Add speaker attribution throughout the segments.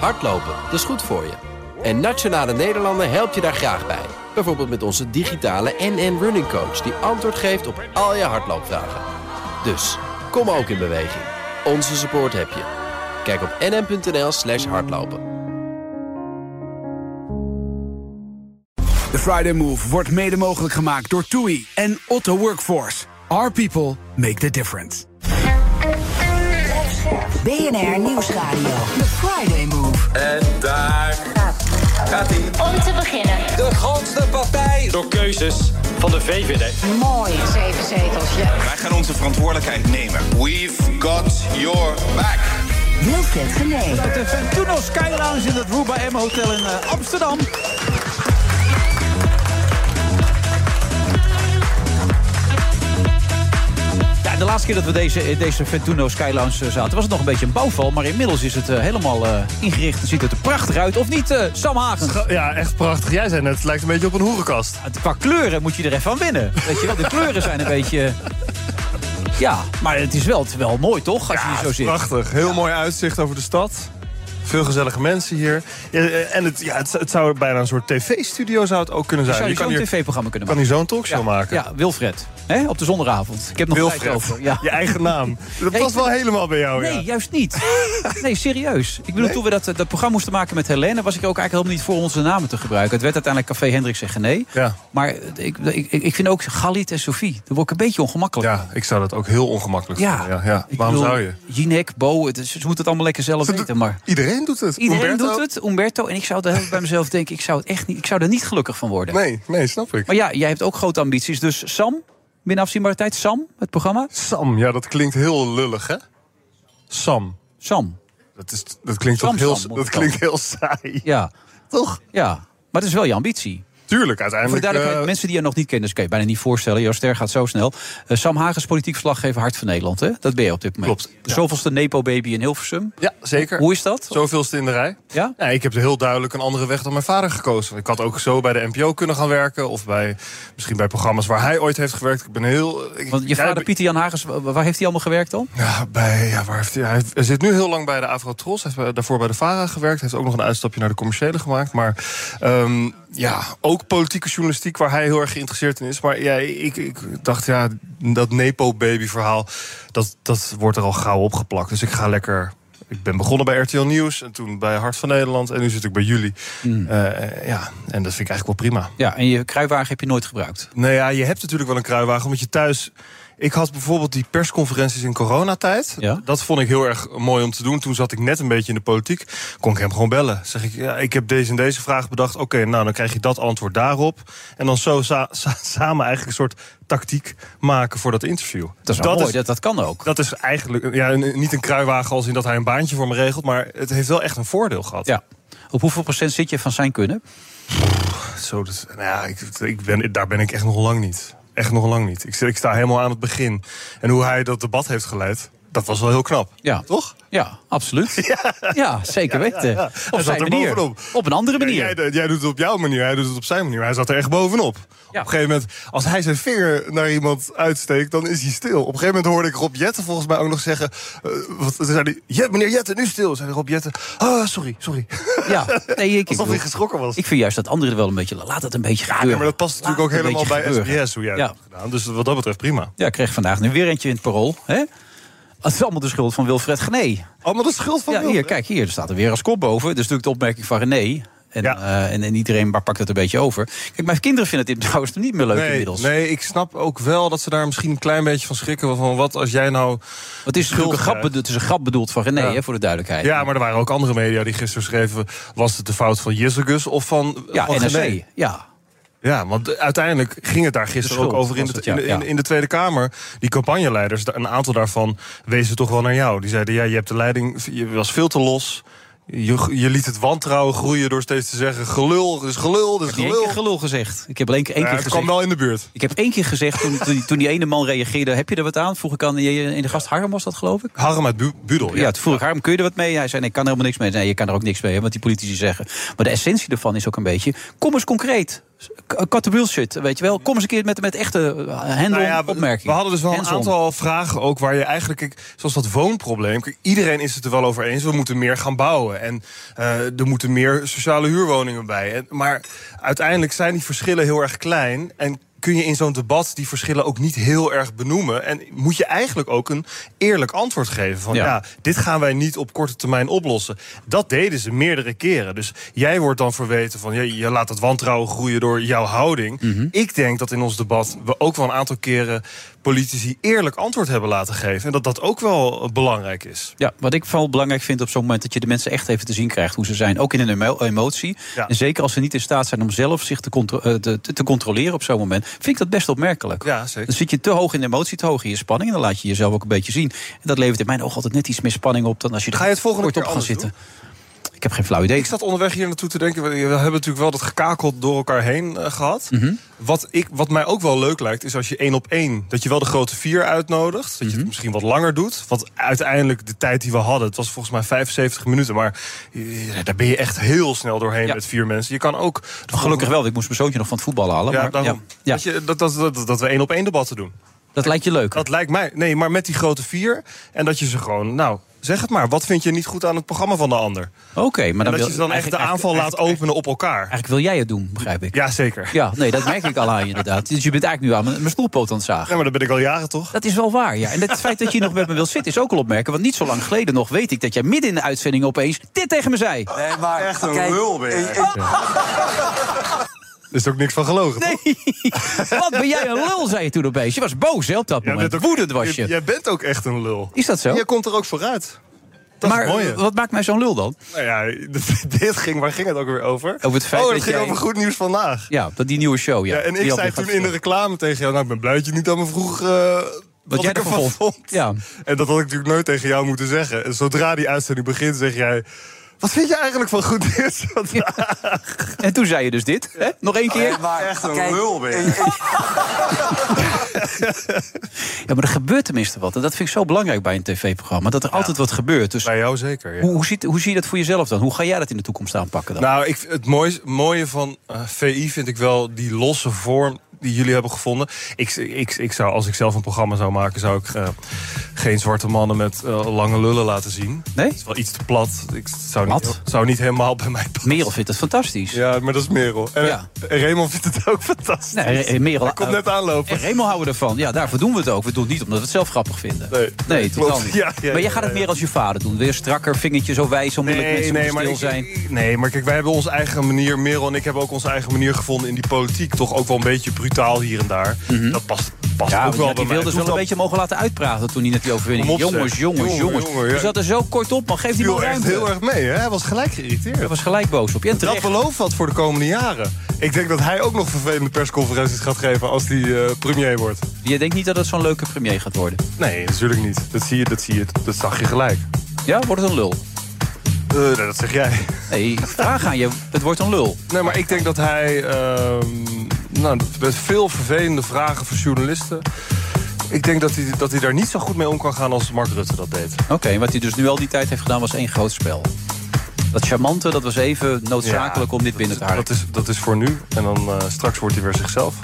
Speaker 1: Hardlopen, dat is goed voor je. En Nationale Nederlanden helpt je daar graag bij. Bijvoorbeeld met onze digitale NN Running Coach... die antwoord geeft op al je hardloopvragen. Dus, kom ook in beweging. Onze support heb je. Kijk op nn.nl slash hardlopen.
Speaker 2: De Friday Move wordt mede mogelijk gemaakt door TUI en Otto Workforce. Our people make the difference.
Speaker 3: BNR Nieuwsradio. The Friday Move.
Speaker 4: En daar gaat hij.
Speaker 5: Om te beginnen.
Speaker 4: De grootste partij.
Speaker 6: Door keuzes van de VVD.
Speaker 3: Mooi, zeven zetels. Ja.
Speaker 7: Wij gaan onze verantwoordelijkheid nemen. We've got your back.
Speaker 3: Wilfred Genee.
Speaker 8: Uit de Ventuno Sky Lounge in het Roeba M Hotel in eh, Amsterdam. Ja, de laatste keer dat we deze, in deze Ventuno Sky Lounge eh, zaten... was het nog een beetje een bouwval. Maar inmiddels is het eh, helemaal eh, ingericht. en ziet het er prachtig uit. Of niet, eh, Sam Hagen?
Speaker 9: Ge- Ja, echt prachtig. Jij zei net, het lijkt een beetje op een hoerenkast.
Speaker 8: Het- Qua kleuren moet je er even aan winnen. Weet je wel, de kleuren zijn een beetje... Ja, maar het is wel, het is wel mooi, toch? Als je hier zo zit.
Speaker 9: Prachtig. Heel mooi uitzicht over de stad. Veel gezellige mensen hier. Ja, eh, en het, ja, het, het zou bijna een soort tv-studio zou het ook kunnen zijn.
Speaker 8: Zou je
Speaker 9: kan
Speaker 8: zo'n
Speaker 9: hier,
Speaker 8: tv-programma kunnen
Speaker 9: kan
Speaker 8: maken?
Speaker 9: hier zo'n talkshow maken.
Speaker 8: Ja, Wilfred. Hè? Op de zondagavond. Ik heb nog tijd
Speaker 9: Wilfred,
Speaker 8: over. Ja.
Speaker 9: je eigen naam. Dat
Speaker 8: Nee,
Speaker 9: past wel helemaal bij jou,
Speaker 8: Nee,
Speaker 9: ja.
Speaker 8: juist niet. Nee, serieus. Ik bedoel, toen we dat, eh, dat programma moesten maken met Helene... was ik er ook eigenlijk helemaal niet voor om onze namen te gebruiken. Het werd uiteindelijk Café Hendricks en Gené.
Speaker 9: Ja.
Speaker 8: Maar eh, ik, ik, ik vind ook Galit en Sophie... daar word ik een beetje ongemakkelijk.
Speaker 9: Ja, ik zou dat ook heel ongemakkelijk
Speaker 8: Ja.
Speaker 9: vinden. Ja, ja.
Speaker 8: Ik
Speaker 9: Waarom
Speaker 8: bedoel,
Speaker 9: zou je?
Speaker 8: Jinek, Bo, het, is- ze moeten het allemaal lekker zelf
Speaker 9: Ze
Speaker 8: weten.
Speaker 9: doen-
Speaker 8: Maar
Speaker 9: Iedereen doet het.
Speaker 8: iedereen
Speaker 9: Umberto?
Speaker 8: doet het, Umberto. En ik zou de hele tijd bij mezelf denken, ik zou, het echt niet, ik zou er niet gelukkig van worden.
Speaker 9: Nee, nee, snap ik.
Speaker 8: Maar ja, jij hebt ook grote ambities. Dus Sam, binnen afzienbare tijd, Sam, het programma.
Speaker 9: Sam, ja, dat klinkt heel lullig, hè? Sam.
Speaker 8: Sam,
Speaker 9: Dat, is, dat klinkt,
Speaker 8: Sam,
Speaker 9: toch heel,
Speaker 8: Sam, moet
Speaker 9: dat
Speaker 8: het
Speaker 9: klinkt heel saai.
Speaker 8: ja.
Speaker 9: Toch?
Speaker 8: Ja, maar het is wel je ambitie.
Speaker 9: Tuurlijk,
Speaker 8: Voor de
Speaker 9: uiteindelijk.
Speaker 8: duidelijkheid,
Speaker 9: eh,
Speaker 8: mensen die je nog niet kennen, dus kan je bijna niet voorstellen. Jouw ster gaat zo snel. Eh, Sam Hagens, politiek verslaggever, Hart van Nederland. Hè? Dat ben je op dit moment.
Speaker 9: Klopt,
Speaker 8: De zoveelste Nepo-baby in Hilversum.
Speaker 9: Ja, zeker.
Speaker 8: Hoe is dat?
Speaker 9: Zoveelste in de rij.
Speaker 8: Ja?
Speaker 9: ik heb heel duidelijk een andere weg dan mijn vader gekozen. Ik had ook zo bij de NPO kunnen gaan werken. Of bij, misschien bij programma's waar hij ooit heeft gewerkt. Ik ben heel... Ik,
Speaker 8: Want je
Speaker 9: jij-
Speaker 8: vader Pieter Jan Hagens, wa- waar heeft hij allemaal gewerkt dan?
Speaker 9: Ja, bij, ja, waar heeft hij, hij hij zit nu heel lang bij de Avrotros. Hij heeft bij- daarvoor bij de VARA gewerkt. Hij heeft ook nog een uitstapje naar de commerciële gemaakt. Maar ehm, ja, ook politieke journalistiek waar hij heel erg geïnteresseerd in is. Maar ja, ik, ik dacht, ja, dat Nepo-baby-verhaal... Dat, dat wordt er al gauw opgeplakt. Dus ik ga lekker... Ik ben begonnen bij RTL Nieuws en toen bij Hart van Nederland. En nu zit ik bij jullie. Eh, ja, en dat vind ik eigenlijk wel prima.
Speaker 8: Ja, en je kruiwagen heb je nooit gebruikt.
Speaker 9: Nou ja, je hebt natuurlijk wel een kruiwagen, omdat je thuis... Ik had bijvoorbeeld die persconferenties in coronatijd.
Speaker 8: Ja.
Speaker 9: Dat vond ik heel erg mooi om te doen. Toen zat ik net een beetje in de politiek. Kon ik hem gewoon bellen. Zeg ik, ja, ik heb deze en deze vraag bedacht. Oké, nou, dan krijg je dat antwoord daarop. En dan zo sa- sa- samen eigenlijk een soort tactiek maken voor dat interview.
Speaker 8: Dat is wel mooi, dat, dat kan ook.
Speaker 9: dat is eigenlijk ja, een- niet een kruiwagen als in dat hij een baantje voor me regelt. Maar het heeft wel echt een voordeel gehad.
Speaker 8: Ja. Op hoeveel procent zit je van zijn kunnen?
Speaker 9: Zo, dus, nou ja, ik, ik ben, daar ben ik echt nog lang niet. Echt nog lang niet. Ik, sta- ik sta helemaal aan het begin. En hoe hij dat debat heeft geleid, dat was wel heel knap.
Speaker 8: Ja.
Speaker 9: Toch?
Speaker 8: Ja, absoluut. Ja, zeker weten. Op
Speaker 9: Hij zat
Speaker 8: zijn
Speaker 9: er
Speaker 8: manier.
Speaker 9: bovenop.
Speaker 8: Op een andere
Speaker 9: Ja,
Speaker 8: manier.
Speaker 9: jij, jij doet het op jouw manier, hij doet het op zijn manier. Maar hij zat er echt bovenop. Op een gegeven moment, als hij zijn vinger naar iemand uitsteekt, dan is hij stil. Op een gegeven moment hoorde ik Rob Jetten volgens mij ook nog zeggen... eh, wat, toen zei hij, "Jet, meneer Jetten, nu stil. Zei Rob Jetten, ah, sorry, sorry.
Speaker 8: Ja, nee, ik, ik,
Speaker 9: Alsof hij
Speaker 8: bedoel-
Speaker 9: geschrokken was.
Speaker 8: ik vind juist dat anderen er wel een beetje... Laat het een beetje gebeuren.
Speaker 9: Ja, maar dat past natuurlijk ook
Speaker 8: Laat het een
Speaker 9: helemaal bij
Speaker 8: beetje gebeuren.
Speaker 9: SBS, hoe jij
Speaker 8: Ja.
Speaker 9: dat hebt gedaan. Dus wat dat betreft prima.
Speaker 8: Ja, ik kreeg vandaag nu weer eentje in het parool. Hè? Het is allemaal de schuld van Wilfred Gené.
Speaker 9: Allemaal de schuld van
Speaker 8: Ja,
Speaker 9: Wilfred.
Speaker 8: hier, kijk, hier er staat er weer als kop boven. Dus natuurlijk de opmerking van René. En,
Speaker 9: Ja.
Speaker 8: eh, en, en iedereen maar pakt het een beetje over. Kijk, mijn kinderen vinden dit trouwens niet meer leuk
Speaker 9: nee,
Speaker 8: inmiddels.
Speaker 9: Nee, ik snap ook wel dat ze daar misschien een klein beetje van schrikken. Van wat als jij nou...
Speaker 8: Want het is natuurlijk een grap, bedo- het is een grap bedoeld van René,
Speaker 9: Ja.
Speaker 8: hè, voor de duidelijkheid.
Speaker 9: Ja, maar er waren ook andere media die gisteren schreven... was het de fout van Jissegus of van,
Speaker 8: ja
Speaker 9: van
Speaker 8: NRC.
Speaker 9: Gené?
Speaker 8: Ja,
Speaker 9: Ja, want uiteindelijk ging het daar gisteren
Speaker 8: schuld
Speaker 9: ook over in
Speaker 8: was
Speaker 9: de,
Speaker 8: het, ja.
Speaker 9: in, de- in, de- in de Tweede Kamer. Die campagneleiders, da- een aantal daarvan wezen toch wel naar jou. Die zeiden, ja, je hebt de leiding, je was veel te los... Je, je liet het wantrouwen groeien door steeds te zeggen... gelul, dus gelul, dus
Speaker 8: ik heb één
Speaker 9: gelul.
Speaker 8: keer gelul gezegd. Ik heb alleen één
Speaker 9: Ja,
Speaker 8: keer
Speaker 9: het kwam
Speaker 8: gezegd.
Speaker 9: wel in de buurt.
Speaker 8: Ik heb één keer gezegd, toen, toen, die- toen die ene man reageerde... heb je er wat aan? Vroeg ik aan die- in de gast Harm, was dat geloof ik?
Speaker 9: Harm uit Bu- Budel,
Speaker 8: Ja, toen vroeg ik Harm, kun je er wat mee? Hij zei, nee, ik kan er helemaal niks mee. Ik zei, Nee, je kan er ook niks mee, hè, want die politici zeggen. Maar de essentie ervan is ook een beetje, kom eens concreet. k- cut the bull shit, weet je wel. Kom eens een keer met, met echte eh, handel
Speaker 9: Nou ja, we-
Speaker 8: opmerking.
Speaker 9: We hadden dus wel een
Speaker 8: Hands-on.
Speaker 9: aantal vragen ook waar je eigenlijk, kijk, zoals dat woonprobleem, kijk, iedereen is het er wel over eens. We moeten meer gaan bouwen en eh, er moeten meer sociale huurwoningen bij. En- Maar uiteindelijk zijn die verschillen heel erg klein en kun je in zo'n debat die verschillen ook niet heel erg benoemen. En moet je eigenlijk ook een eerlijk antwoord geven van
Speaker 8: Ja.
Speaker 9: ja dit gaan wij niet op korte termijn oplossen. Dat deden ze meerdere keren. Dus jij wordt dan verweten van je, je laat het wantrouwen groeien door jouw houding. Ik denk dat in ons debat we ook wel een aantal keren politici eerlijk antwoord hebben laten geven. En dat dat ook wel eh, belangrijk is.
Speaker 8: Ja, wat ik vooral belangrijk vind op zo'n moment... dat je de mensen echt even te zien krijgt hoe ze zijn. Ook in een emo- emotie.
Speaker 9: Ja.
Speaker 8: En zeker als ze niet in staat zijn om zelf zich te, contro- eh, te, te controleren op zo'n moment... vind ik dat best opmerkelijk.
Speaker 9: Ja, zeker.
Speaker 8: Dan zit je te hoog in de emotie, te hoog in je spanning... en dan laat je jezelf ook een beetje zien. En dat levert in mijn oog altijd net iets meer spanning op... dan als je er
Speaker 9: Ga je het volgende
Speaker 8: kort op
Speaker 9: keer
Speaker 8: gaat
Speaker 9: anders
Speaker 8: zitten. Ik heb geen flauw idee.
Speaker 9: Ik zat onderweg hier naartoe te denken. We we hebben natuurlijk wel dat gekakeld door elkaar heen eh, gehad.
Speaker 8: Mhm. Hm?
Speaker 9: wat, ik, wat mij ook wel leuk lijkt, is als je één op één. dat je wel de grote vier uitnodigt. Dat je
Speaker 8: Mhm.
Speaker 9: het misschien wat langer doet. Want uiteindelijk, de tijd die we hadden. het was volgens mij 75 minuten. Maar eh, daar ben je echt heel snel doorheen
Speaker 8: Ja.
Speaker 9: met vier mensen. Je kan ook.
Speaker 8: Gelukkig wel, want ik moest mijn zoontje nog van het voetbal halen.
Speaker 9: Ja,
Speaker 8: maar,
Speaker 9: daarom.
Speaker 8: ja,
Speaker 9: Dat,
Speaker 8: ja,
Speaker 9: je, dat, dat, dat, dat we één op één debatten doen.
Speaker 8: dat lijkt je leuk.
Speaker 9: Dat lijkt mij. Nee, maar met die grote vier. En dat je ze gewoon. Nou, zeg het maar. Wat vind je niet goed aan het programma van de ander?
Speaker 8: Oké, maar
Speaker 9: En
Speaker 8: dan
Speaker 9: dat
Speaker 8: wil,
Speaker 9: je ze dan echt de
Speaker 8: eigenlijk-
Speaker 9: aanval laat
Speaker 8: eigenlijk-
Speaker 9: openen op elkaar.
Speaker 8: Eigenlijk wil jij het doen, begrijp ik.
Speaker 9: Jazeker.
Speaker 8: Ja, nee, dat merk ik al aan je inderdaad. Dus je bent eigenlijk nu aan mijn, mijn stoelpoot aan het zagen.
Speaker 9: Ja, maar dat ben ik al jaren toch?
Speaker 8: Dat is wel waar, ja. En het feit dat je nog met me wilt zitten is ook al opmerken. Want niet zo lang geleden nog weet ik dat jij midden in de uitzending opeens dit tegen me zei.
Speaker 4: Nee, maar echt een lul ben
Speaker 9: Er is ook niks van gelogen. toch?
Speaker 8: Nee, wat ben jij een lul, zei je toen opeens. Je was boos hè, op dat
Speaker 9: Jij
Speaker 8: moment.
Speaker 9: bent ook-
Speaker 8: Woedend was
Speaker 9: Jij-
Speaker 8: je.
Speaker 9: Jij bent ook echt een lul.
Speaker 8: Is dat zo?
Speaker 9: Jij komt er ook vooruit. Dat
Speaker 8: maar eh,
Speaker 9: is het mooie.
Speaker 8: wat maakt mij zo'n lul dan?
Speaker 9: Nou ja, dit ging, waar ging het ook weer over?
Speaker 8: Over het feit
Speaker 9: oh, dat
Speaker 8: dat
Speaker 9: ging
Speaker 8: jij-
Speaker 9: over goed nieuws vandaag.
Speaker 8: Ja, dat die nieuwe show, ja.
Speaker 9: Ja, en
Speaker 8: Die
Speaker 9: ik
Speaker 8: alweer
Speaker 9: zei
Speaker 8: gaat
Speaker 9: toen in de reclame tegen jou... nou, ik ben blij dat je niet aan me vroeg eh, wat,
Speaker 8: jij
Speaker 9: ik
Speaker 8: ervan
Speaker 9: ervan vond.
Speaker 8: vond. Ja.
Speaker 9: En dat had ik natuurlijk nooit tegen jou moeten zeggen. En zodra die uitzending begint, zeg jij... Wat vind je eigenlijk van goed nieuws vandaag?
Speaker 8: En toen zei je dus dit. Hè? Nog één keer.
Speaker 4: maar echt een lul ben
Speaker 9: Oh,
Speaker 8: Ja, maar er gebeurt tenminste wat. En dat vind ik zo belangrijk bij een tv-programma. Dat er altijd wat gebeurt. Dus
Speaker 9: Bij jou zeker, ja.
Speaker 8: hoe, hoe, ziet, hoe zie je dat voor jezelf dan? Hoe ga jij dat in de toekomst aanpakken dan?
Speaker 9: Nou, ik, het moois- mooie van eh, VI vind ik wel die losse vorm die jullie hebben gevonden. Ik, ik, ik zou, als ik zelf een programma zou maken, zou ik eh, geen zwarte mannen met eh, lange lullen laten zien.
Speaker 8: Nee?
Speaker 9: Het is wel iets te plat. Ik zou niet,
Speaker 8: Wat?
Speaker 9: zou niet helemaal bij mij passen.
Speaker 8: Merel vindt het fantastisch.
Speaker 9: Ja, maar dat is Merel. En,
Speaker 8: Ja.
Speaker 9: en Raymond vindt het ook fantastisch.
Speaker 8: Nee, Re- Merel... eh,
Speaker 9: Hij komt net aanlopen.
Speaker 8: En Remo houden we ervan. Ja, daarvoor doen we het ook. We doen het niet omdat we het zelf grappig vinden.
Speaker 9: Nee,
Speaker 8: nee
Speaker 9: klopt.
Speaker 8: totaal niet.
Speaker 9: Ja, ja,
Speaker 8: maar jij
Speaker 9: ja,
Speaker 8: gaat het
Speaker 9: ja.
Speaker 8: meer als je vader doen. Weer strakker, vingertje zo wijs, zo moeilijk mensen moeten stil
Speaker 9: ik-
Speaker 8: zijn.
Speaker 9: ik- nee, maar kijk, wij hebben onze eigen manier. Merel en ik hebben ook onze eigen manier gevonden in die politiek. Toch ook wel een beetje brutaal hier en daar. Dat past, past
Speaker 8: Mhm. ja,
Speaker 9: ook
Speaker 8: want
Speaker 9: wel bij mij.
Speaker 8: die wilde
Speaker 9: Het
Speaker 8: ze wel
Speaker 9: hoeft
Speaker 8: een
Speaker 9: dan-
Speaker 8: beetje mogen laten uitpraten toen hij net die overwinning...
Speaker 9: Kom op, zeg.
Speaker 8: jongens, jongens,
Speaker 9: Jongen,
Speaker 8: jongens.
Speaker 9: jongen, ja.
Speaker 8: Je zat er zo kort op, man. Geef die man
Speaker 9: viel echt
Speaker 8: ruimte.
Speaker 9: heel erg mee. Hè? Hij was gelijk geïrriteerd.
Speaker 8: Hij was gelijk boos op je. En
Speaker 9: Dat
Speaker 8: terecht.
Speaker 9: belooft wat voor de komende jaren. Ik denk dat hij ook nog vervelende persconferenties gaat geven als hij eh, premier wordt.
Speaker 8: Je denkt niet dat het zo'n leuke premier gaat worden.
Speaker 9: Nee, natuurlijk niet. Dat zie je, dat zie je, dat zag je gelijk.
Speaker 8: Ja, wordt het een lul?
Speaker 9: Eh, nee, dat zeg jij.
Speaker 8: Nee, ik vraag aan je. Het wordt een lul.
Speaker 9: Nee, maar ik denk dat hij ehm, nou, met veel vervelende vragen voor journalisten. Ik denk dat hij, dat hij daar niet zo goed mee om kan gaan als Mark Rutte dat deed.
Speaker 8: Oké, wat hij dus nu al die tijd heeft gedaan was één groot spel. Dat charmante, dat was even noodzakelijk om dit binnen te houden.
Speaker 9: Dat is, dat is voor nu. En dan eh, straks wordt hij weer zichzelf.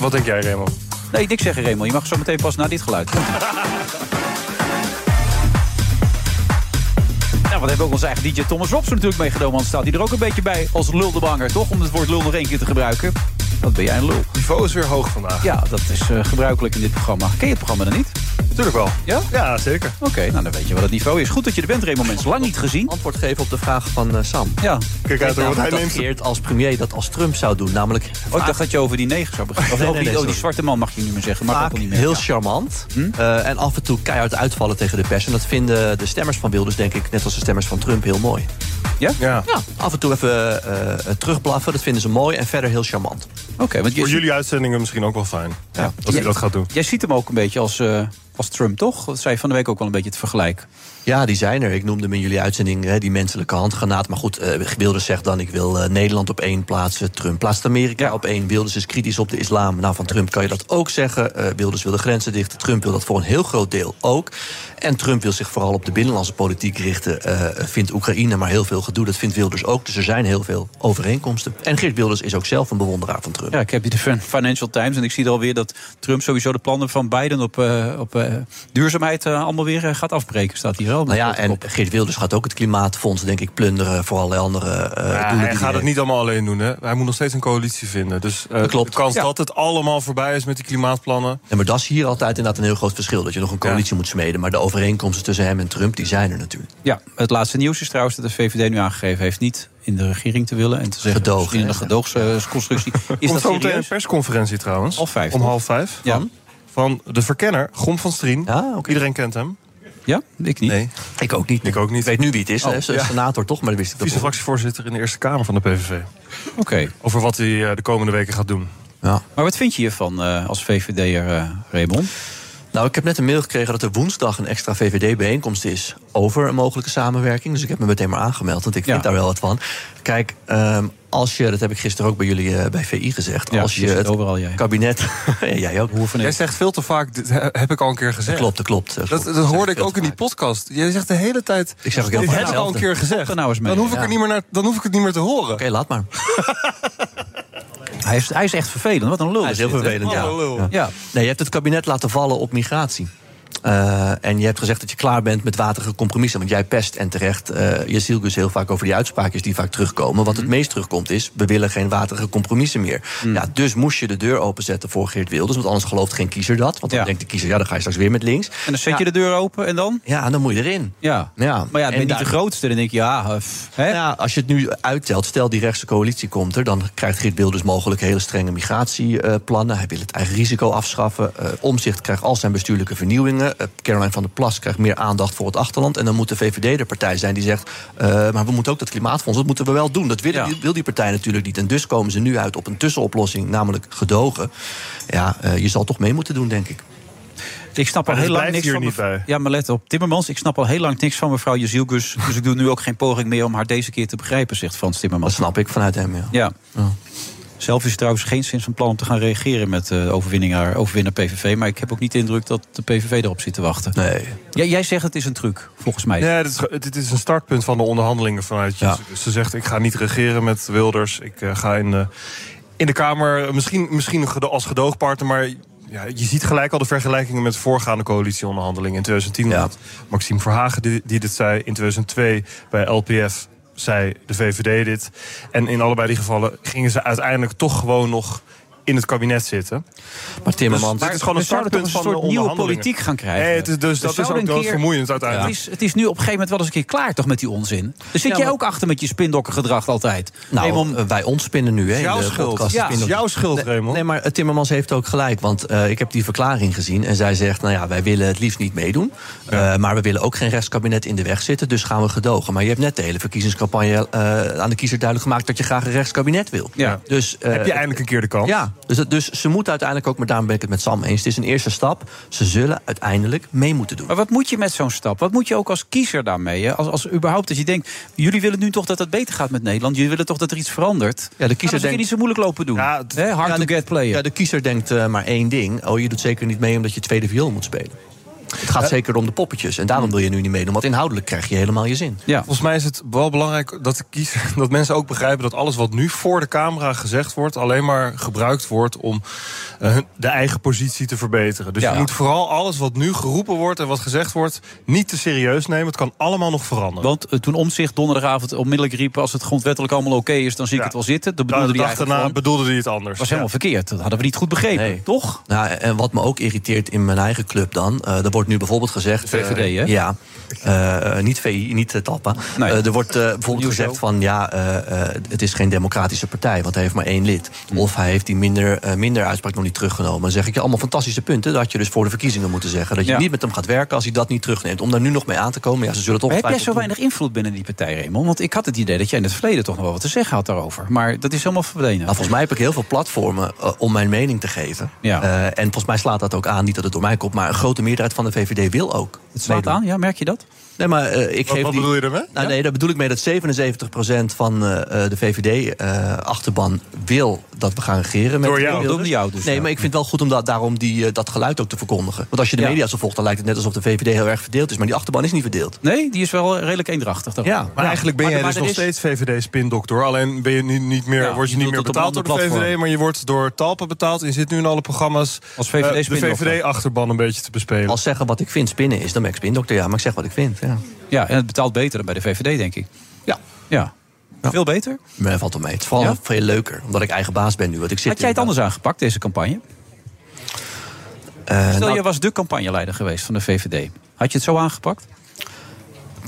Speaker 9: Wat denk jij, Raymond?
Speaker 8: Nee, niks zeggen, Raymond. Je mag zo meteen pas naar dit geluid. nou, wat hebben Nou, we ook onze eigen DJ Thomas Robson natuurlijk meegenomen. Want staat hij er ook een beetje bij als luldebanger, toch? Om het woord lul nog één keer te gebruiken. Wat ben jij een lul?
Speaker 9: Het niveau is weer hoog vandaag.
Speaker 8: Ja, dat is eh, gebruikelijk in dit programma. Ken je het programma dan niet?
Speaker 9: natuurlijk wel.
Speaker 8: Ja?
Speaker 9: Ja, zeker.
Speaker 8: Oké, nou dan weet je wat het niveau is. Goed dat je er bent, Raymond. Mensen lang niet gezien.
Speaker 5: antwoord geven op de vraag van eh, Sam.
Speaker 8: Ja.
Speaker 9: Kijk uit, hoor, want hij
Speaker 5: Namelijk
Speaker 9: neemt
Speaker 5: dat Geert als premier dat als Trump zou doen. Namelijk
Speaker 8: Oh, ik dacht dat je over die negen zou beginnen. Of
Speaker 5: Nee,
Speaker 8: over
Speaker 5: nee,
Speaker 8: die,
Speaker 5: nee,
Speaker 8: oh, die
Speaker 5: sorry.
Speaker 8: zwarte man mag je niet meer zeggen. Mag ook
Speaker 5: vaak
Speaker 8: al niet meer.
Speaker 5: heel
Speaker 8: Ja. Hm?
Speaker 5: charmant. eh, en af en toe keihard uitvallen tegen de pers. En dat vinden de stemmers van Wilders, denk ik, net als de stemmers van Trump, heel mooi.
Speaker 8: Ja?
Speaker 9: Ja.
Speaker 5: Ja, af en toe even eh, eh, terugblaffen, dat vinden ze mooi. En verder heel charmant.
Speaker 8: Oké, want
Speaker 9: Voor
Speaker 8: je,
Speaker 9: jullie uitzendingen misschien ook wel fijn. Ja, als je
Speaker 8: Ja.
Speaker 9: dat gaat doen.
Speaker 8: jij ziet hem ook een beetje als, eh, als Trump, toch? Dat zei je van de week ook wel een beetje het vergelijk.
Speaker 5: Ja, die zijn er. Ik noemde hem in jullie uitzending hè, die menselijke handgranaat. Maar goed, eh Wilders zegt dan: ik wil eh, Nederland op één plaatsen. Trump plaatst Amerika op één. Wilders is kritisch op de islam. Nou, van Trump kan je dat ook zeggen. Eh, Wilders wil de grenzen dicht. Trump wil dat voor een heel groot deel ook. En Trump wil zich vooral op de binnenlandse politiek richten. Eh, vindt Oekraïne maar heel veel gedoe. Dat vindt Wilders ook. Dus er zijn heel veel overeenkomsten. En Geert Wilders is ook zelf een bewonderaar van Trump.
Speaker 8: Ja, ik heb hier de fin- Financial Times en ik zie er alweer dat Trump sowieso de plannen van Biden op, eh, op eh, duurzaamheid eh, allemaal weer eh, gaat afbreken. Staat hier wel.
Speaker 5: Nou ja, en Geert Wilders gaat ook het klimaatfonds, denk ik, plunderen voor allerlei andere eh doelen.
Speaker 9: Ja,
Speaker 5: die
Speaker 9: hij gaat
Speaker 5: heeft.
Speaker 9: het niet allemaal alleen doen. Hè? Hij moet nog steeds een coalitie vinden. Dus eh,
Speaker 5: klopt.
Speaker 9: de kans
Speaker 5: Ja.
Speaker 9: dat het allemaal voorbij is met die klimaatplannen.
Speaker 5: Ja, maar dat is hier altijd inderdaad een heel groot verschil. Dat je nog een coalitie moet smeden. Maar de overeenkomsten tussen hem en Trump, die zijn er natuurlijk.
Speaker 8: Ja, het laatste nieuws is trouwens dat de VVD nu aangegeven heeft niet in de regering te willen. En te zeggen,
Speaker 5: Gedoog,
Speaker 8: misschien in de
Speaker 5: hè?
Speaker 8: gedoogsconstructie. Is dat
Speaker 9: Komt zo meteen een
Speaker 8: serieus?
Speaker 9: persconferentie trouwens.
Speaker 8: Half vijf,
Speaker 9: Om
Speaker 8: toch?
Speaker 9: half vijf.
Speaker 8: Ja.
Speaker 9: Van, van de verkenner, Gom van Strien.
Speaker 5: Ah, oké.
Speaker 9: Iedereen kent hem.
Speaker 8: Ja, ik niet.
Speaker 9: Nee,
Speaker 5: Ik ook niet.
Speaker 9: ik ook niet.
Speaker 5: Ik weet nu wie het is.
Speaker 8: Oh,
Speaker 5: hè. Ze-
Speaker 8: ja.
Speaker 5: Senator toch, maar dat wist ik dat ook.
Speaker 9: Vice-fractievoorzitter in de Eerste Kamer van de PVV.
Speaker 8: Oké.
Speaker 9: Over wat hij eh, de komende weken gaat doen.
Speaker 5: Ja.
Speaker 8: Maar wat vind je hiervan eh, als VVD'er, eh Raymond?
Speaker 5: Nou, ik heb net een mail gekregen dat er woensdag een extra VVD-bijeenkomst is over een mogelijke samenwerking. Dus ik heb me meteen maar aangemeld, want ik
Speaker 8: Ja.
Speaker 5: vind daar wel wat van. Kijk, ehm, als je, dat heb ik gisteren ook bij jullie eh, bij VI gezegd,
Speaker 8: Ja,
Speaker 5: als
Speaker 8: je
Speaker 5: je
Speaker 8: zit
Speaker 5: het
Speaker 8: overal, jij.
Speaker 5: kabinet. Ja, jij ook.
Speaker 8: Hoeven
Speaker 9: Jij zegt veel te vaak, dit he- heb ik al een keer gezegd.
Speaker 5: Klopt, dat klopt. Dat,
Speaker 9: Dat,
Speaker 5: klopt.
Speaker 9: dat hoorde ik
Speaker 5: veel
Speaker 9: ook
Speaker 5: te
Speaker 9: in die
Speaker 5: vaak.
Speaker 9: podcast. Jij zegt de hele tijd.
Speaker 5: Ik zeg ook heel
Speaker 9: dit
Speaker 5: vaak
Speaker 9: heb ik al een
Speaker 5: hetzelfde.
Speaker 9: keer gezegd.
Speaker 8: er nou eens mee.
Speaker 9: Dan hoef ik
Speaker 5: Ja.
Speaker 9: het niet meer naar, dan hoef ik het niet meer te horen.
Speaker 5: Oké, laat maar.
Speaker 8: Hij is, hij is echt vervelend. Wat een lul.
Speaker 5: Hij is heel
Speaker 8: dit, hè?
Speaker 5: vervelend, ja.
Speaker 9: Wat een lul.
Speaker 5: Ja.
Speaker 8: Ja.
Speaker 5: Nee, je hebt het kabinet laten vallen op migratie. Eh, en je hebt gezegd dat je klaar bent met waterige compromissen. Want jij pest en terecht. eh, je ziet dus heel vaak over die uitspraakjes die vaak terugkomen. Wat
Speaker 8: Mhm.
Speaker 5: het meest terugkomt is: we willen geen waterige compromissen meer. Ja, dus moest je de deur openzetten voor Geert Wilders. Want anders gelooft geen kiezer dat. Want dan
Speaker 8: Ja.
Speaker 5: denkt de kiezer: ja, dan ga je straks weer met links.
Speaker 8: En dan zet
Speaker 5: ja,
Speaker 8: je de deur open en dan?
Speaker 5: Ja, dan moet je erin.
Speaker 8: Ja.
Speaker 5: Ja.
Speaker 8: Maar ja,
Speaker 5: En
Speaker 8: ben je niet de
Speaker 5: daar-
Speaker 8: grootste. Dan denk je, ja, eh, pff, hè?
Speaker 5: Nou ja, als je het nu uittelt, stel die rechtse coalitie komt er... dan krijgt Geert Wilders mogelijk hele strenge migratieplannen. Hij wil het eigen risico afschaffen. Eh, Omzicht krijgt al zijn bestuurlijke vernieuwingen. Eh, Caroline van der Plas krijgt meer aandacht voor het achterland. En dan moet de VVD de partij zijn die zegt... eh, maar we moeten ook dat klimaatfonds, dat moeten we wel doen. Dat wil,
Speaker 8: Ja.
Speaker 5: wil die partij natuurlijk niet. En dus komen ze nu uit op een tussenoplossing, namelijk gedogen. Ja, eh, je zal toch mee moeten doen, denk ik.
Speaker 8: Ik snap al
Speaker 9: Maar
Speaker 8: heel
Speaker 9: dat
Speaker 8: lang
Speaker 9: blijft
Speaker 8: niks
Speaker 9: hier
Speaker 8: van
Speaker 9: niet
Speaker 8: mev-
Speaker 9: bij.
Speaker 8: Ja, maar let op. Timmermans, ik snap al heel lang niks van mevrouw Jezielgus. Dus ik doe nu ook geen poging meer om haar deze keer te begrijpen, zegt Frans
Speaker 5: Dat
Speaker 8: Timmermans.
Speaker 5: snap ik vanuit hem, ja.
Speaker 8: Ja. Zelf is hij trouwens geen sinds van plan om te gaan reageren met eh overwinnaar, overwinnaar PVV. Maar ik heb ook niet de indruk dat de PVV erop zit te wachten.
Speaker 5: Nee.
Speaker 8: Jij- jij zegt het is een truc, volgens mij.
Speaker 9: Ja, dit is, dit is een startpunt van de onderhandelingen vanuit je.
Speaker 5: Ja.
Speaker 9: Ze zegt, ik ga niet regeren met Wilders. Ik eh, ga in de, in de Kamer, misschien, misschien gedo- als gedoogpartner... maar ja, je ziet gelijk al de vergelijkingen met voorgaande coalitieonderhandelingen. In 2010
Speaker 5: Ja.
Speaker 9: had Maxime Verhagen die, die dit zei. In 2002 bij LPF zei de VVD dit. En in allebei die gevallen gingen ze uiteindelijk toch gewoon nog in het kabinet zitten.
Speaker 5: Maar Timmermans...
Speaker 9: dit is gewoon
Speaker 8: we
Speaker 9: een
Speaker 8: zouden toch
Speaker 9: startpunt
Speaker 8: een
Speaker 9: van de
Speaker 8: soort nieuwe
Speaker 9: onderhandelingen.
Speaker 8: politiek gaan krijgen.
Speaker 9: Nee, het is- dus
Speaker 8: We
Speaker 9: dat is
Speaker 8: zouden
Speaker 9: ook
Speaker 8: een
Speaker 9: wel
Speaker 8: keer-
Speaker 9: vermoeiend uiteindelijk.
Speaker 8: Het is, het is nu op een gegeven moment wel eens een keer klaar toch met die onzin. Dus zit
Speaker 5: Ja,
Speaker 8: jij
Speaker 5: maar-
Speaker 8: ook achter met je spindokkengedrag altijd?
Speaker 5: Nou,
Speaker 8: Raymond,
Speaker 5: eh, wij ontspinnen nu. hè, in
Speaker 9: Jouw
Speaker 5: de
Speaker 9: schuld.
Speaker 5: podcast.
Speaker 8: Ja,
Speaker 5: Spinnen-
Speaker 9: jouw schuld,
Speaker 5: nee,
Speaker 9: Raymond.
Speaker 5: Nee, maar eh, Timmermans heeft ook gelijk. Want eh, ik heb die verklaring gezien. En zij zegt, nou ja, wij willen het liefst niet meedoen. eh, maar we willen ook geen rechtskabinet in de weg zitten. Dus gaan we gedogen. Maar je hebt net de hele verkiezingscampagne eh, aan de kiezer duidelijk gemaakt... dat je graag een rechtskabinet wil.
Speaker 8: Ja.
Speaker 5: Dus, eh,
Speaker 9: Heb je eindelijk een keer de kans?
Speaker 5: ja, dus, dat- dus ze moet uiteindelijk ook, maar daarom ben ik het met Sam eens. Het is een eerste stap. Ze zullen uiteindelijk mee moeten doen.
Speaker 8: Maar wat moet je met zo'n stap? Wat moet je ook als kiezer daarmee? hè? Als, als überhaupt dat je denkt, jullie willen nu toch dat het beter gaat met Nederland. Jullie willen toch dat er iets verandert.
Speaker 5: de kiezer
Speaker 8: Laten we eens een keer
Speaker 5: denkt-
Speaker 8: niet zo moeilijk lopen doen.
Speaker 9: Ja, het-
Speaker 8: Hè, hard
Speaker 5: Ja,
Speaker 8: to
Speaker 5: de-
Speaker 8: get player.
Speaker 5: Ja, de kiezer denkt eh, maar één ding. Oh, je doet zeker niet mee omdat je tweede viool moet spelen. Het gaat zeker om de poppetjes. En
Speaker 8: Hm.
Speaker 5: daarom wil je nu niet meedoen. Want inhoudelijk krijg je helemaal je zin.
Speaker 8: ja.
Speaker 9: Volgens mij is het wel belangrijk dat, de kiezer, dat mensen ook begrijpen dat alles wat nu voor de camera gezegd wordt, alleen maar gebruikt wordt om eh, hun- de eigen positie te verbeteren. Dus
Speaker 8: Ja.
Speaker 9: je moet vooral alles wat nu geroepen wordt en wat gezegd wordt, niet te serieus nemen. Het kan allemaal nog veranderen.
Speaker 8: Want eh, toen Omzicht donderdagavond onmiddellijk riep... als het grondwettelijk allemaal oké is, dan zie ik
Speaker 9: Ja.
Speaker 8: het wel zitten. Dat
Speaker 9: Nou,
Speaker 8: bedoelde
Speaker 9: de
Speaker 8: hij
Speaker 9: dag
Speaker 8: eigenlijk
Speaker 9: daarna
Speaker 8: gewoon.
Speaker 9: bedoelde hij het anders.
Speaker 8: was helemaal
Speaker 9: Ja.
Speaker 8: verkeerd. Dat hadden we niet goed begrepen,
Speaker 5: Nee.
Speaker 8: toch?
Speaker 5: Nou, en wat me ook irriteert in mijn eigen club dan... eh, er wordt wordt nu bijvoorbeeld gezegd...
Speaker 8: VVD, hè?
Speaker 5: eh, Ja. Eh, eh, niet VI, niet eh, Talpa.
Speaker 8: Nee.
Speaker 5: Eh, er wordt eh, bijvoorbeeld
Speaker 8: Nieuwshow.
Speaker 5: gezegd van... ja, eh, eh, het is geen democratische partij, want hij heeft maar één lid. Of hij heeft die minder, eh, minder uitspraak nog niet teruggenomen. Dan zeg ik je allemaal fantastische punten. Dat had je dus voor de verkiezingen moeten zeggen. Dat je
Speaker 8: Ja.
Speaker 5: niet met hem gaat werken als hij dat niet terugneemt. Om daar nu nog mee aan te komen, ja, ze zullen toch
Speaker 8: Maar heb jij zo weinig invloed binnen die partij, Raymond? Want ik had het idee dat jij in het verleden toch nog wel wat te zeggen had daarover. Maar dat is helemaal verdwenen.
Speaker 5: Nou, volgens mij heb ik heel veel platformen eh, om mijn mening te geven.
Speaker 8: Ja.
Speaker 5: Eh, en volgens mij slaat dat ook aan, niet dat het door mij komt... maar een grote meerderheid van de VVD wil ook.
Speaker 8: Het slaat
Speaker 5: meedoen.
Speaker 8: aan, ja, merk je dat?
Speaker 5: Nee, maar eh, ik
Speaker 9: Wat-
Speaker 5: geef
Speaker 9: wat
Speaker 5: die-
Speaker 9: bedoel je daarmee?
Speaker 5: Nou, Nee, daar bedoel ik mee dat 77% van eh, eh, de VVD-achterban eh, wil dat we gaan regeren. Met
Speaker 9: Door jou.
Speaker 5: Wilders.
Speaker 8: Door jou dus,
Speaker 5: Nee,
Speaker 8: ja.
Speaker 5: maar ik vind het wel goed om da- daarom die, eh, dat geluid ook te verkondigen. Want als je de
Speaker 8: Ja.
Speaker 5: media zo volgt, dan lijkt het net alsof de VVD heel erg verdeeld is. Maar die achterban is niet verdeeld.
Speaker 8: Nee, die is wel redelijk eendrachtig. daarop.
Speaker 5: Ja.
Speaker 9: Maar eigenlijk ben
Speaker 8: Maar-
Speaker 9: jij
Speaker 8: maar
Speaker 9: dus
Speaker 8: er
Speaker 9: nog
Speaker 8: is-
Speaker 9: steeds VVD-spindokter. Alleen ben je niet, niet meer,
Speaker 8: Ja,
Speaker 9: word je,
Speaker 8: je
Speaker 9: niet meer
Speaker 8: doet het op
Speaker 9: betaald
Speaker 8: een
Speaker 9: door de
Speaker 8: ander
Speaker 9: VVD...
Speaker 8: platform.
Speaker 9: maar je wordt door Talpa betaald. En je zit nu in alle programma's
Speaker 8: Als
Speaker 9: eh, de
Speaker 8: VVD-spindokter.
Speaker 9: VVD-achterban een beetje te bespelen.
Speaker 5: Als zeggen wat ik vind spinnen is, dan ben ik spindokter. Ja, maar ik zeg wat ik vind. Ja.
Speaker 8: Ja, en het betaalt beter dan bij de VVD, denk ik.
Speaker 5: Ja.
Speaker 8: Ja. Veel beter.
Speaker 5: Maar dat valt wel mee. Het is vooral
Speaker 8: Ja?
Speaker 5: veel leuker, omdat ik eigen baas ben nu. Want ik zit
Speaker 8: Had jij het
Speaker 5: in-
Speaker 8: anders aangepakt, deze campagne?
Speaker 5: Eh,
Speaker 8: Stel,
Speaker 5: nou,
Speaker 8: jij was de campagneleider geweest van de VVD. Had je het zo aangepakt?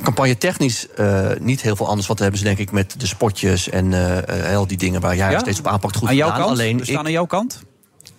Speaker 5: campagne technisch eh, niet heel veel anders. Want dan hebben ze denk ik met de spotjes en eh, eh, al die dingen waar jij
Speaker 8: Ja?
Speaker 5: steeds op aanpakt goed
Speaker 8: aan jouw
Speaker 5: gedaan.
Speaker 8: kant?
Speaker 5: Alleen
Speaker 8: we staan
Speaker 5: ik-
Speaker 8: aan jouw kant?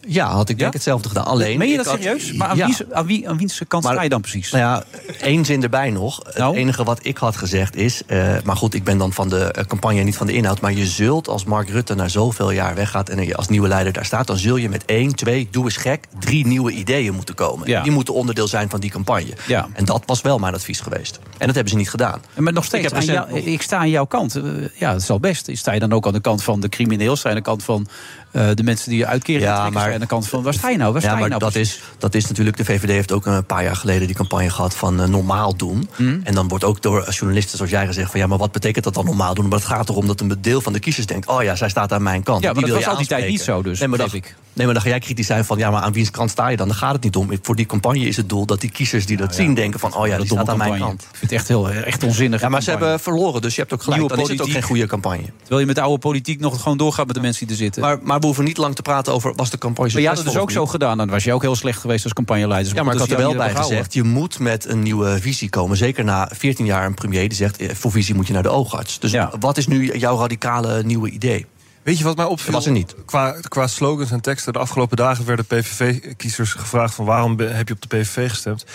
Speaker 5: Ja, had ik denk
Speaker 8: Ja?
Speaker 5: hetzelfde gedaan. Alleen,
Speaker 8: Meen je
Speaker 5: ik
Speaker 8: dat
Speaker 5: had-
Speaker 8: serieus? Maar aan,
Speaker 5: Ja.
Speaker 8: wie, aan, wie, aan wiens kant
Speaker 5: Maar-
Speaker 8: sta je dan precies?
Speaker 5: Nou ja, één zin erbij nog.
Speaker 8: Nou?
Speaker 5: Het enige wat ik had gezegd is... eh, maar goed, ik ben dan van de eh, campagne en niet van de inhoud... maar je zult als Mark Rutte na zoveel jaar weggaat... en je als nieuwe leider daar staat... dan zul je met één, twee, doe eens gek... drie nieuwe ideeën moeten komen.
Speaker 8: Ja.
Speaker 5: Die moeten onderdeel zijn van die campagne.
Speaker 8: Ja.
Speaker 5: En dat was wel mijn advies geweest. En dat hebben ze niet gedaan.
Speaker 8: En Maar nog steeds,
Speaker 5: Ik
Speaker 8: ik,
Speaker 5: heb recent nog-
Speaker 8: ik sta aan jouw kant. Eh, ja, dat is al best. Sta je dan ook aan de kant van de crimineel? Sta je aan de kant van eh, de mensen die je uitkering
Speaker 5: Ja,
Speaker 8: trekken? Sta je
Speaker 5: Ah, maar-
Speaker 8: aan de kant van, waar sta je nou? Waar sta
Speaker 5: Ja,
Speaker 8: je
Speaker 5: maar
Speaker 8: nou
Speaker 5: dat,
Speaker 8: precies?
Speaker 5: is, dat is natuurlijk. De VVD heeft ook een paar jaar geleden die campagne gehad van eh, normaal doen.
Speaker 8: Hmm.
Speaker 5: En dan wordt ook door eh, journalisten zoals jij gezegd van ja, maar wat betekent dat dan normaal doen? Maar het gaat erom dat een deel van de kiezers denkt: oh ja, zij staat aan mijn kant.
Speaker 8: Ja,
Speaker 5: Die
Speaker 8: maar dat
Speaker 5: wil
Speaker 8: was
Speaker 5: je
Speaker 8: al die tijd
Speaker 5: aanspreken.
Speaker 8: niet zo, dus,
Speaker 5: Nee maar, dan,
Speaker 8: begreep ik.
Speaker 5: nee, maar dan ga jij kritisch zijn van ja, maar aan wiens kant sta je dan? Dan gaat het niet om. Voor die campagne is het doel dat die kiezers
Speaker 8: Nou
Speaker 5: die dat zien denken: van oh ja, die
Speaker 8: domme
Speaker 5: staat aan mijn
Speaker 8: campagne.
Speaker 5: kant.
Speaker 8: Ik vind het echt, heel, echt onzinnig.
Speaker 5: Ja, maar ze hebben verloren, dus je hebt ook gelijk.
Speaker 8: Nieuwe
Speaker 5: Dan is het ook geen
Speaker 8: politiek.
Speaker 5: goede campagne.
Speaker 8: Terwijl je met de oude politiek nog gewoon doorgaat met de mensen die er zitten. Oh, Maar,
Speaker 5: Maar, maar we hoeven niet lang te praten over was de campagne
Speaker 8: jij
Speaker 5: succesvol
Speaker 8: had het
Speaker 5: of
Speaker 8: dus ook
Speaker 5: niet.
Speaker 8: zo gedaan. Dan was je ook heel slecht geweest als campagneleider.
Speaker 5: Ja, maar ik
Speaker 8: Dus
Speaker 5: had er wel
Speaker 8: jou
Speaker 5: bij
Speaker 8: niet hebben
Speaker 5: gezegd, je moet met een nieuwe visie komen. Zeker na 14 jaar een premier die zegt, eh, voor visie moet je naar de oogarts. Dus
Speaker 8: Ja.
Speaker 5: wat is nu jouw radicale nieuwe idee?
Speaker 9: Weet je wat mij opviel?
Speaker 5: was er niet.
Speaker 9: Qua, qua slogans en teksten. De afgelopen dagen werden PVV-kiezers gevraagd... van waarom be- heb je op de PVV gestemd?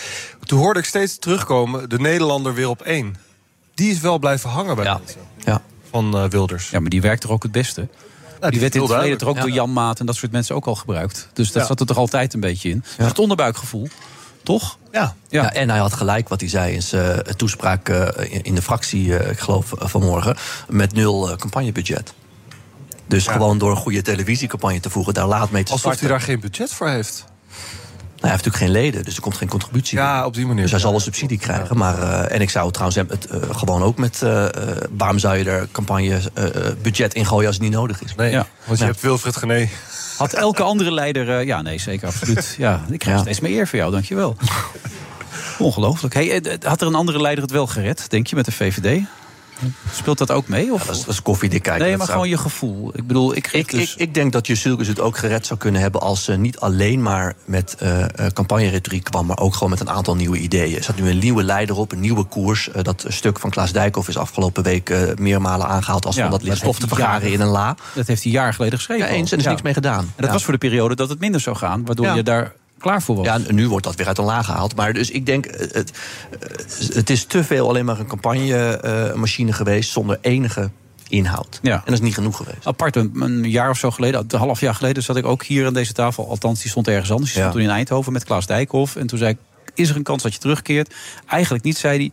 Speaker 9: Toen hoorde ik steeds terugkomen... de Nederlander weer op één. Die is wel blijven hangen bij
Speaker 5: Ja.
Speaker 9: mensen.
Speaker 5: Ja.
Speaker 9: Van eh, Wilders.
Speaker 8: gehouden. Ja, maar die werkt er ook het beste. die, werd in het verleden toch ook door Jan Maat en dat soort mensen ook al gebruikt. Dus dat
Speaker 9: Ja.
Speaker 8: zat er toch altijd een beetje in. Dus het onderbuikgevoel, toch?
Speaker 9: Ja.
Speaker 8: Ja.
Speaker 5: Ja. en hij had gelijk wat hij zei in zijn eh, toespraak eh, in- in de fractie, eh, ik geloof eh, vanmorgen, met nul eh, campagnebudget. Dus gewoon door een goede televisiecampagne te voegen, daar laat mee te
Speaker 9: Alsof
Speaker 5: starten.
Speaker 9: hij daar geen budget voor heeft.
Speaker 5: Nou, hij heeft natuurlijk geen leden, dus er komt geen contributie.
Speaker 9: Ja,
Speaker 5: meer.
Speaker 9: op die manier.
Speaker 5: Dus hij zal
Speaker 9: Ja,
Speaker 5: wel subsidie krijgen. Maar, eh, en ik zou trouwens hem het eh, gewoon ook met... eh, eh, waarom zou je er campagne eh, eh, budget in gooien als het niet nodig is?
Speaker 9: Nee,
Speaker 8: Ja.
Speaker 9: want je hebt Wilfred Gené.
Speaker 8: Had elke andere leider... eh, ja, nee, zeker, absoluut. Ja, ik krijg
Speaker 5: Ja.
Speaker 8: steeds meer eer voor jou, dankjewel. Ongelooflijk. Hey, eh, d- had er een andere leider het wel gered, denk je, met de VVD? Speelt dat ook mee? Of?
Speaker 5: Dat is, dat is koffiedik kijken.
Speaker 8: nee,
Speaker 5: Dat
Speaker 8: maar
Speaker 5: zou-
Speaker 8: gewoon je gevoel. Ik bedoel, ik...
Speaker 5: Ik,
Speaker 8: dus-
Speaker 5: ik, ik denk dat Jusilkus het ook gered zou kunnen hebben... als ze niet alleen maar met eh eh, campagneretoriek kwam... maar ook gewoon met een aantal nieuwe ideeën. Er zat nu een nieuwe leider op, een nieuwe koers. Eh, dat stuk van Klaas Dijkhoff is afgelopen week eh, meermalen aangehaald... als
Speaker 8: Ja,
Speaker 5: van dat
Speaker 8: dat
Speaker 5: ligt stof te
Speaker 8: heeft
Speaker 5: vergaren
Speaker 8: jaren-
Speaker 5: in een la.
Speaker 8: Dat heeft hij jaar geleden geschreven.
Speaker 5: Ja, eens, en er is
Speaker 8: al.
Speaker 5: niks mee gedaan.
Speaker 8: En dat
Speaker 5: Ja.
Speaker 8: was voor de periode dat het minder zou gaan, waardoor
Speaker 5: Ja.
Speaker 8: je daar klaar voor was.
Speaker 5: Ja, en nu wordt dat weer uit een laag gehaald. Maar dus ik denk, eh, het, eh, het is te veel alleen maar een campagnemachine geweest... zonder enige inhoud.
Speaker 8: Ja.
Speaker 5: En dat is niet genoeg geweest.
Speaker 8: Apart, een, een jaar of zo geleden, een half jaar geleden, zat ik ook hier aan deze tafel. Althans, die stond ergens anders. Die stond
Speaker 5: Ja.
Speaker 8: toen in Eindhoven met Klaas Dijkhoff. En toen zei ik: Is er een kans dat je terugkeert? Eigenlijk niet, zei hij.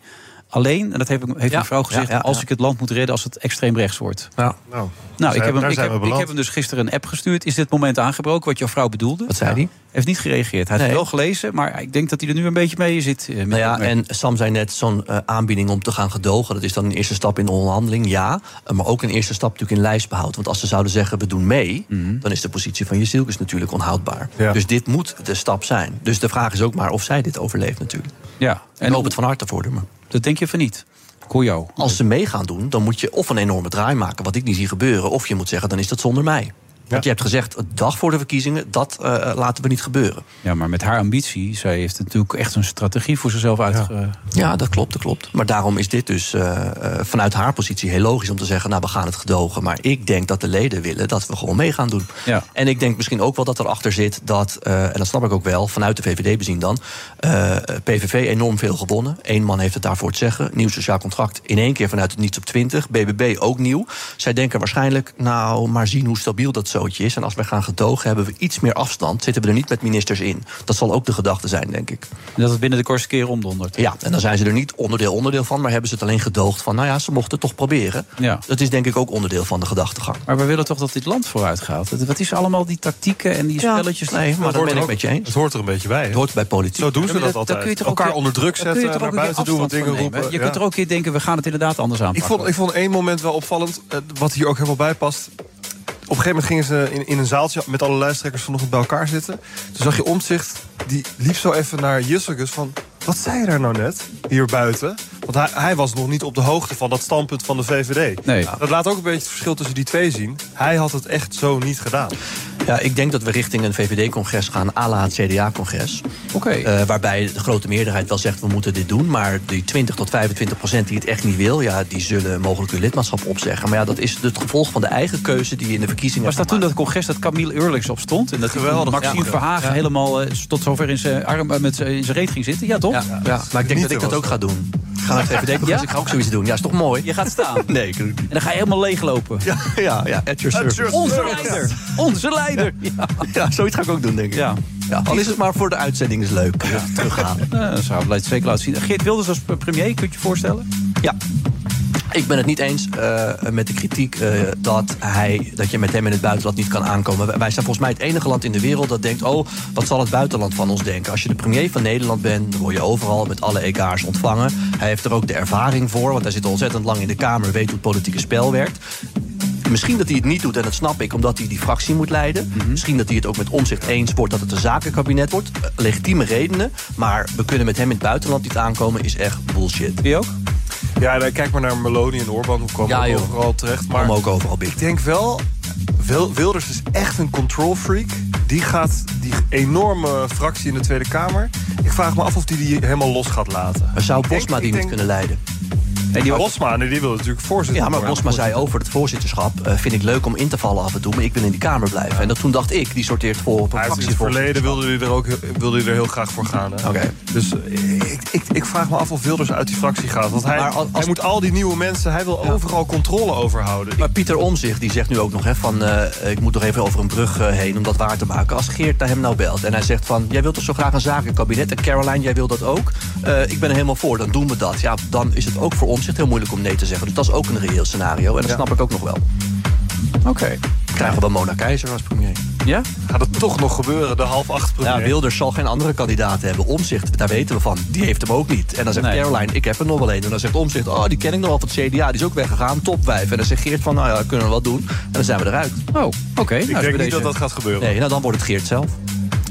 Speaker 8: Alleen, en dat heeft, heeft
Speaker 5: Ja,
Speaker 8: mijn vrouw
Speaker 5: ja,
Speaker 8: gezegd,
Speaker 5: ja,
Speaker 8: als
Speaker 5: ja.
Speaker 8: ik het land moet redden als het extreem rechts wordt.
Speaker 5: Ja.
Speaker 9: Nou,
Speaker 8: Nou, ik
Speaker 9: zijn-
Speaker 8: heb, hem,
Speaker 9: daar zijn
Speaker 8: ik, heb,
Speaker 9: we
Speaker 8: ik
Speaker 9: beland.
Speaker 8: heb hem dus gisteren een app gestuurd. Is dit moment aangebroken, wat jouw vrouw bedoelde?
Speaker 5: Wat zei hij?
Speaker 8: Heeft niet gereageerd. Hij heeft
Speaker 5: Nee.
Speaker 8: het wel gelezen, maar ik denk dat hij er nu een beetje mee zit. eh, met
Speaker 5: Nou ja,
Speaker 8: dat merk.
Speaker 5: en Sam zei net, zo'n eh, aanbieding om te gaan gedogen... dat is dan een eerste stap in de onderhandeling, ja. Eh, Maar ook een eerste stap natuurlijk in lijstbehoud. Want als ze zouden zeggen, we doen mee...
Speaker 8: Mhm.
Speaker 5: dan is de positie van Jezilkes natuurlijk onhoudbaar.
Speaker 9: Ja.
Speaker 5: Dus dit moet de stap zijn. Dus de vraag is ook maar of zij dit overleeft natuurlijk.
Speaker 8: ja.
Speaker 5: En ik hoop het van harte voor haar, maar
Speaker 8: Dat denk je van niet. Ik hoor jou.
Speaker 5: Als ze mee gaan doen, dan moet je of een enorme draai maken... wat ik niet zie gebeuren, of je moet zeggen, dan is dat zonder mij. Want je hebt gezegd, een dag voor de verkiezingen, dat eh, laten we niet gebeuren.
Speaker 8: Ja, maar met haar ambitie, zij heeft natuurlijk echt een strategie voor zichzelf uitge...
Speaker 5: Ja, dat klopt, dat klopt. Maar daarom is dit dus eh, eh, vanuit haar positie heel logisch om te zeggen... nou, we gaan het gedogen. Maar ik denk dat de leden willen dat we gewoon mee gaan doen.
Speaker 8: Ja.
Speaker 5: En ik denk misschien ook wel dat erachter zit dat... eh, en dat snap ik ook wel, vanuit de VVD bezien dan... eh, PVV enorm veel gewonnen. Eén man heeft het daarvoor te zeggen. Nieuw sociaal contract in één keer vanuit het niets op 20. BBB ook nieuw. Zij denken waarschijnlijk, nou, maar zien hoe stabiel dat zootje is. En als we gaan gedogen, hebben we iets meer afstand. Zitten we er niet met ministers in. Dat zal ook de gedachte zijn, denk ik.
Speaker 8: En dat het binnen de kortste keer omdondert.
Speaker 5: Ja, en dan zijn ze er niet onderdeel onderdeel van, maar hebben ze het alleen gedoogd van, nou ja, ze mochten het toch proberen.
Speaker 8: Ja.
Speaker 5: Dat is denk ik ook onderdeel van de gedachtegang.
Speaker 8: Maar we willen toch dat dit land vooruit gaat? Het- Wat is allemaal die tactieken en die spelletjes?
Speaker 5: nee, maar dat
Speaker 10: hoort
Speaker 5: ben
Speaker 10: er
Speaker 5: ik
Speaker 10: ook-
Speaker 5: met je eens.
Speaker 10: Het hoort er een beetje bij. hè?
Speaker 5: Het hoort bij politiek.
Speaker 10: Zo doen ze
Speaker 8: Ja,
Speaker 10: dat,
Speaker 8: maar daar
Speaker 10: altijd.
Speaker 8: kun je toch ook
Speaker 10: Elkaar
Speaker 8: weer-
Speaker 10: onder druk
Speaker 8: daar kun
Speaker 10: zetten,
Speaker 8: je toch
Speaker 10: naar
Speaker 8: ook weer
Speaker 10: buiten doen, wat
Speaker 8: afstand
Speaker 10: dingen
Speaker 8: van nemen?
Speaker 10: roepen.
Speaker 8: Je
Speaker 10: Ja.
Speaker 8: kunt er ook in denken, we gaan het inderdaad anders
Speaker 9: Ik
Speaker 8: aanpakken.
Speaker 9: vond, ik vond één moment wel opvallend, eh, wat hier ook helemaal bij past. Op een gegeven moment gingen ze in, in een zaaltje met alle lijsttrekkers vanochtend bij elkaar zitten. Toen zag je omzicht, die liep zo even naar Jussekus van... Wat zei je daar nou net, hier buiten? Want hij, hij was nog niet op de hoogte van dat standpunt van de VVD.
Speaker 8: Nee.
Speaker 9: Dat laat ook een beetje het verschil tussen die twee zien. Hij had het echt zo niet gedaan.
Speaker 5: Ja, ik denk dat we richting een VVD-congres gaan, à la het CDA-congres.
Speaker 8: Oké.
Speaker 5: Eh, waarbij de grote meerderheid wel zegt, we moeten dit doen. Maar die 20 tot 25 procent die het echt niet wil... ja, die zullen mogelijk hun lidmaatschap opzeggen. Maar ja, dat is het gevolg van de eigen keuze die je in de verkiezingen
Speaker 8: Was dat
Speaker 5: hebt
Speaker 8: toen dat
Speaker 5: gemaakt.
Speaker 8: congres dat Camille Eurlings op stond? En dat hij toen Maxime Verhagen helemaal eh, tot zover in zijn arm eh, met zijn in zijn reet ging zitten? Ja, toch?
Speaker 5: Ja, ja, maar ik denk dat ik dat ook ga doen. Ik ga naar het VVD-congres,
Speaker 8: Ja?
Speaker 5: dus ik ga ook zoiets doen. Ja, is toch mooi?
Speaker 8: Je gaat staan. En
Speaker 5: Nee, ik doe het niet.
Speaker 8: dan ga je helemaal leeglopen.
Speaker 5: Ja, ja, ja, at your service.
Speaker 8: Onze leider! Onze leider! Ja.
Speaker 5: Ja, zoiets ga ik ook doen, denk ik.
Speaker 8: Ja.
Speaker 5: Ja, al is het maar voor de uitzending is leuk. Ja. Terughalen.
Speaker 8: Nou, dat zou het zeker laten zien. Geert Wilders als premier, kunt je je voorstellen?
Speaker 5: Ja. Ik ben het niet eens eh, met de kritiek eh, dat, hij, dat je met hem in het buitenland niet kan aankomen. Wij- Wij zijn volgens mij het enige land in de wereld dat denkt: oh, wat zal het buitenland van ons denken? Als je de premier van Nederland bent, dan word je overal met alle EK's ontvangen. Hij heeft er ook de ervaring voor, want hij zit al ontzettend lang in de Kamer, weet hoe het politieke spel werkt. Misschien dat hij het niet doet, en dat snap ik, omdat hij die fractie moet leiden. Misschien dat hij het ook met omzicht eens wordt dat het een zakenkabinet wordt. Eh, Legitieme redenen, maar we kunnen met hem in het buitenland niet aankomen, is echt bullshit.
Speaker 8: Die ook?
Speaker 9: Ja, dan kijk maar naar Meloni en Orbán. Hoe kwam
Speaker 5: Ja,
Speaker 9: ook
Speaker 5: joh.
Speaker 9: overal terecht. Maar
Speaker 5: Kom ook overal binnen.
Speaker 9: Ik denk wel, Wil- Wilders is echt een control freak. Die gaat die enorme fractie in de Tweede Kamer. Ik vraag me af of die die helemaal los gaat laten.
Speaker 5: Maar zou
Speaker 9: Ik denk-
Speaker 5: Bosma die
Speaker 9: ik
Speaker 5: niet
Speaker 9: denk-
Speaker 5: kunnen leiden?
Speaker 8: Nee, die was...
Speaker 9: Bosma, nee, die wil natuurlijk voorzitter
Speaker 5: Ja, maar
Speaker 9: worden.
Speaker 5: Bosma zei over het voorzitterschap... eh, vind ik leuk om in te vallen af en toe, maar ik wil in die Kamer blijven. En dat toen dacht ik, die sorteert voor op een
Speaker 9: Hij heeft in het verleden
Speaker 5: fractievoorzitterschap.
Speaker 9: wilde hij er ook heel- wilde hij er heel graag voor gaan. hè.
Speaker 5: Oké.
Speaker 9: Dus eh, ik, ik, ik vraag me af of Wilders uit die fractie gaat. Want hij,
Speaker 5: Maar als-
Speaker 9: hij moet al die nieuwe mensen, hij wil overal controle over houden. Ik-
Speaker 5: Maar Pieter Omzicht die zegt nu ook nog hè, van... eh, ik moet nog even over een brug eh, heen om dat waar te maken. Als Geert naar hem nou belt en hij zegt van... jij wilt toch zo graag een zakenkabinet en Caroline, jij wil dat ook? Eh, ik ben er helemaal voor, dan doen we dat. Ja, dan is het ook voor Omzicht heel moeilijk om nee te zeggen. Dus dat is ook een reëel scenario en dat snap ik ook nog wel.
Speaker 8: Oké.
Speaker 5: Krijgen we Mona Keizer als premier?
Speaker 8: Ja?
Speaker 9: Gaat het toch nog gebeuren, de half acht
Speaker 5: Ja,
Speaker 9: premier?
Speaker 5: Wilders zal geen andere kandidaat hebben. Omzicht, daar weten we van. Die heeft hem ook niet. En dan zegt
Speaker 8: Nee.
Speaker 5: Caroline, ik heb er nog wel een. En dan zegt Omzicht, oh, die ken ik nog wel van het CDA. Die is ook weggegaan, topwijf. En dan zegt Geert van, nou ja, kunnen we wat doen. En dan zijn we eruit.
Speaker 8: Oh, oké. Nou,
Speaker 9: ik
Speaker 8: is bij
Speaker 9: denk niet
Speaker 8: deze-
Speaker 9: dat dat gaat gebeuren.
Speaker 5: Nee, nou dan wordt het Geert zelf.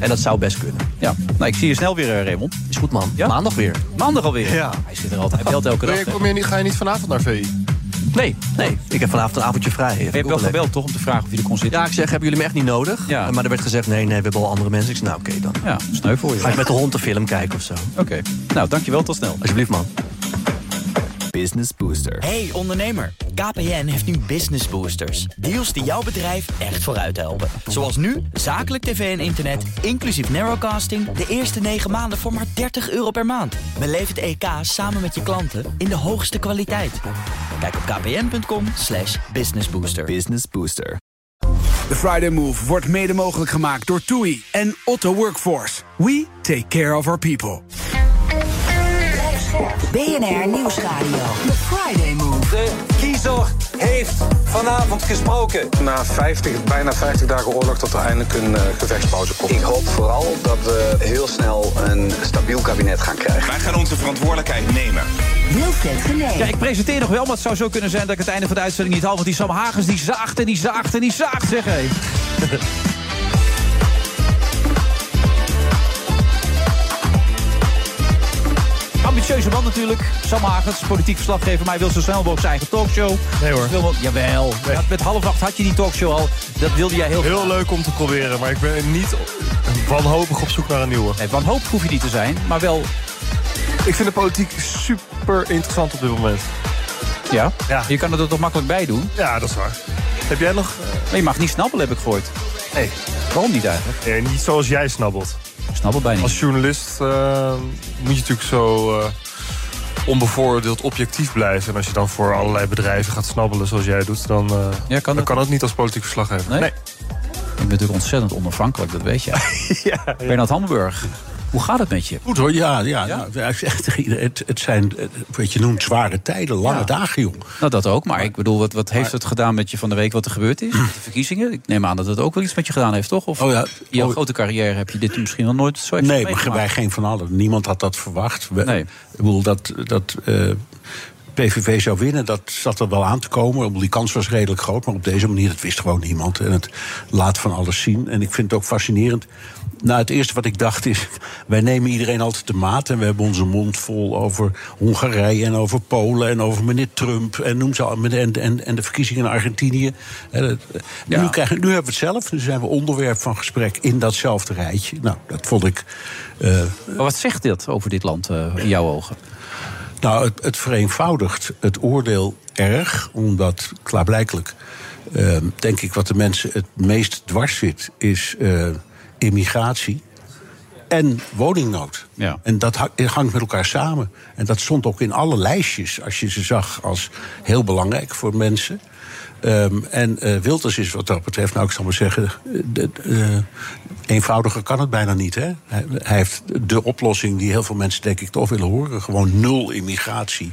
Speaker 5: En dat zou best kunnen.
Speaker 8: Ja. Nou, ik zie je snel weer, eh, Raymond.
Speaker 5: Is goed, man.
Speaker 8: Ja?
Speaker 5: Maandag weer.
Speaker 8: Maandag alweer.
Speaker 9: Ja.
Speaker 8: Hij zit er altijd. Hij belt elke dag.
Speaker 9: Ben je-
Speaker 8: hè.
Speaker 9: kom je niet, ga je niet vanavond naar VI?
Speaker 5: Nee, nee. Ik heb vanavond een avondje vrij.
Speaker 8: Je hebt wel gebeld, toch? Om te vragen of je er kon zitten.
Speaker 5: Ja, ik zeg, hebben jullie me echt niet nodig? Eh,
Speaker 8: Ja.
Speaker 5: Maar er werd gezegd, nee, nee, we hebben al andere mensen. Ik zei, nou oké, dan
Speaker 8: Ja, sneu voor je.
Speaker 5: ga ik met de hond een film kijken of zo.
Speaker 8: Oké. Nou, dankjewel. Tot snel.
Speaker 5: Alsjeblieft, man.
Speaker 11: Business Booster.
Speaker 3: Hey ondernemer, KPN heeft nu Business Boosters. Deals die jouw bedrijf echt vooruit helpen. Zoals nu, zakelijk tv en internet, inclusief narrowcasting... de eerste 9 maanden voor maar 30 euro per maand. Beleef het EK samen met je klanten in de hoogste kwaliteit. Kijk op kpn.com slash businessbooster.
Speaker 11: Business Booster.
Speaker 2: De Friday Move wordt mede mogelijk gemaakt door TUI en Otto Workforce. We take care of our people.
Speaker 3: BNR Nieuwsradio. The Friday Move.
Speaker 6: De kiezer heeft vanavond gesproken.
Speaker 10: Na 50, bijna 50 dagen oorlog tot er eindelijk een gevechtspauze komt. Ik hoop vooral dat we heel snel een stabiel kabinet gaan krijgen.
Speaker 7: Wij gaan onze verantwoordelijkheid nemen.
Speaker 3: Wilfred
Speaker 8: Ja,
Speaker 3: Genee.
Speaker 8: ik presenteer nog wel, maar het zou zo kunnen zijn dat ik het einde van de uitzending niet haal. Want die Sam Hagens die zaagt en die zaagt en die zaagt, zeg hé. Ambitie ambitieuze man natuurlijk. Sam Hagens, politiek verslaggever. Maar hij wil zo snel mogelijk zijn eigen talkshow.
Speaker 9: Nee hoor.
Speaker 8: Wil, jawel. Ja, met half acht had je die talkshow al. Dat wilde jij heel
Speaker 9: Heel leuk om te proberen, maar ik ben niet wanhopig op zoek naar een nieuwe.
Speaker 8: Nee, wanhopig hoef je niet te zijn, maar wel...
Speaker 9: Ik vind de politiek super interessant op dit moment.
Speaker 8: Ja? Je kan er toch makkelijk bij doen?
Speaker 9: Ja, dat is waar. Heb jij nog...
Speaker 8: Maar je mag niet snappen, heb ik gehoord.
Speaker 9: Nee.
Speaker 8: Waarom niet eigenlijk?
Speaker 9: Nee, niet zoals jij snabbelt.
Speaker 8: Ik snabbel bijna niet.
Speaker 9: Als journalist eh, moet je natuurlijk zo eh, onbevooroordeeld objectief blijven. En als je dan voor allerlei bedrijven gaat snabbelen zoals jij doet... dan, eh, dan kan dat niet als politiek verslaggever.
Speaker 8: Nee? Ik ben natuurlijk ontzettend onafhankelijk, dat weet je. ja, Bernard Hamburg, hoe gaat het met je?
Speaker 12: Goed hoor, ja. ja, Nou, hij zegt tegen iedereen, het, het zijn, eh, wat je noemt, zware tijden, lange
Speaker 8: Ja.
Speaker 12: dagen, jong.
Speaker 8: Nou, dat ook. Maar ik bedoel, wat, wat heeft het gedaan met je van de week wat er gebeurd is? De verkiezingen? Ik neem aan dat het ook wel iets met je gedaan heeft, toch? Of
Speaker 12: Oh ja.
Speaker 8: in jouw
Speaker 12: Oh.
Speaker 8: grote carrière heb je dit misschien nog nooit zo even
Speaker 12: Nee, maar
Speaker 8: meegemaakt.
Speaker 12: wij geen van allen. Niemand had dat verwacht. We- Ik bedoel, dat, dat eh, PVV zou winnen, dat zat er wel aan te komen. Ik bedoel, Die kans was redelijk groot, maar op deze manier, dat wist gewoon niemand. En het laat van alles zien. En ik vind het ook fascinerend. Nou, het eerste wat ik dacht is, wij nemen iedereen altijd de maat... en we hebben onze mond vol over Hongarije en over Polen... en over meneer Trump en, noem ze al, en, en, en de verkiezingen in Argentinië. Hè, dat- nu, krijgen, nu hebben we het zelf, nu zijn we onderwerp van gesprek... in datzelfde rijtje. Nou, dat vond ik... eh, maar
Speaker 8: wat zegt dit over dit land eh, in jouw ogen?
Speaker 12: Nou, het, het vereenvoudigt het oordeel erg, omdat klaarblijkelijk, eh, denk ik, wat de mensen het meest dwars zit, is eh, immigratie en woningnood.
Speaker 8: Ja.
Speaker 12: En dat ha- hangt met elkaar samen. En dat stond ook in alle lijstjes, als je ze zag, als heel belangrijk voor mensen. Ehm, en eh Wilders is wat dat betreft, nou ik zal maar zeggen, eh, de- eh, eenvoudiger kan het bijna niet. Hè? Hij, hij heeft de oplossing die heel veel mensen denk ik toch willen horen. Gewoon nul immigratie.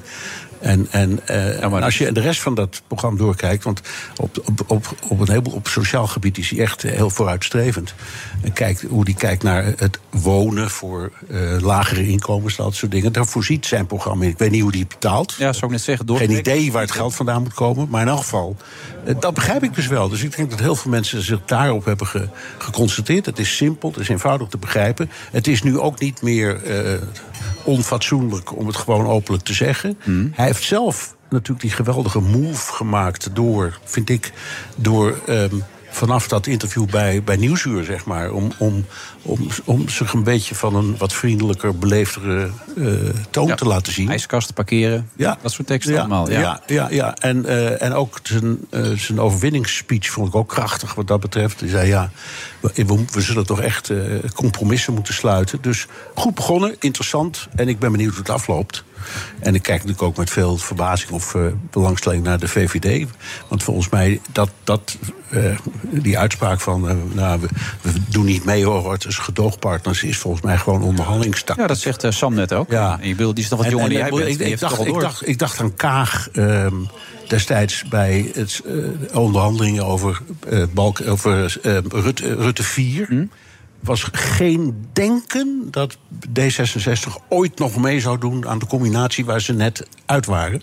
Speaker 12: En, en, eh, en als je de rest van dat programma doorkijkt, want op, op, op, op een heleboel op sociaal gebied is hij echt eh, heel vooruitstrevend. En kijkt hoe die kijkt naar het wonen voor eh, lagere inkomens, dat soort dingen. Daar voorziet zijn programma in. Ik weet niet hoe die het betaalt.
Speaker 8: Ja, zou ik net zeggen.
Speaker 12: Geen idee waar het geld vandaan moet komen. Maar in elk geval, eh, dat begrijp ik dus wel. Dus ik denk dat heel veel mensen zich daarop hebben ge- geconcentreerd. Het is simpel, het is eenvoudig te begrijpen. Het is nu ook niet meer eh, onfatsoenlijk om het gewoon openlijk te zeggen. Hij heeft zelf natuurlijk die geweldige move gemaakt door, vind ik, door. ehm, Vanaf dat interview bij, bij Nieuwsuur, zeg maar. Om, om, om, om zich een beetje van een wat vriendelijker, beleefdere eh, toon te laten zien.
Speaker 8: IJskast parkeren,
Speaker 12: ja.
Speaker 8: dat soort teksten allemaal. Oh, Ja.
Speaker 12: Ja, ja, ja. En, eh, en ook zijn, eh, zijn overwinningsspeech vond ik ook krachtig wat dat betreft. Hij zei, ja, we, we- we zullen toch echt eh, compromissen moeten sluiten. Dus goed begonnen, interessant. En ik ben benieuwd hoe het afloopt. En ik kijk natuurlijk ook met veel verbazing of eh, belangstelling naar de VVD. Want volgens mij, dat, dat, eh, die uitspraak van... eh, nou, we, we doen niet mee hoor, het is gedoogpartners... is volgens mij gewoon
Speaker 8: Ja,
Speaker 12: onderhandelingstactiek.
Speaker 8: dat zegt eh, Sam net ook. Ja. En je bedoelt, die is nog wat
Speaker 12: En-
Speaker 8: jonger
Speaker 12: en
Speaker 8: dan jij
Speaker 12: ik bedoel,
Speaker 8: bent.
Speaker 12: ik-
Speaker 8: die
Speaker 12: ik
Speaker 8: heeft
Speaker 12: dacht-
Speaker 8: het toch al
Speaker 12: ik
Speaker 8: door.
Speaker 12: dacht- Ik dacht aan Kaag ehm, destijds bij het, eh, onderhandelingen over, eh, Balk, over eh, Rutte, Rutte 4.
Speaker 8: Hm?
Speaker 12: Was geen denken dat D66 ooit nog mee zou doen aan de combinatie waar ze net uit waren.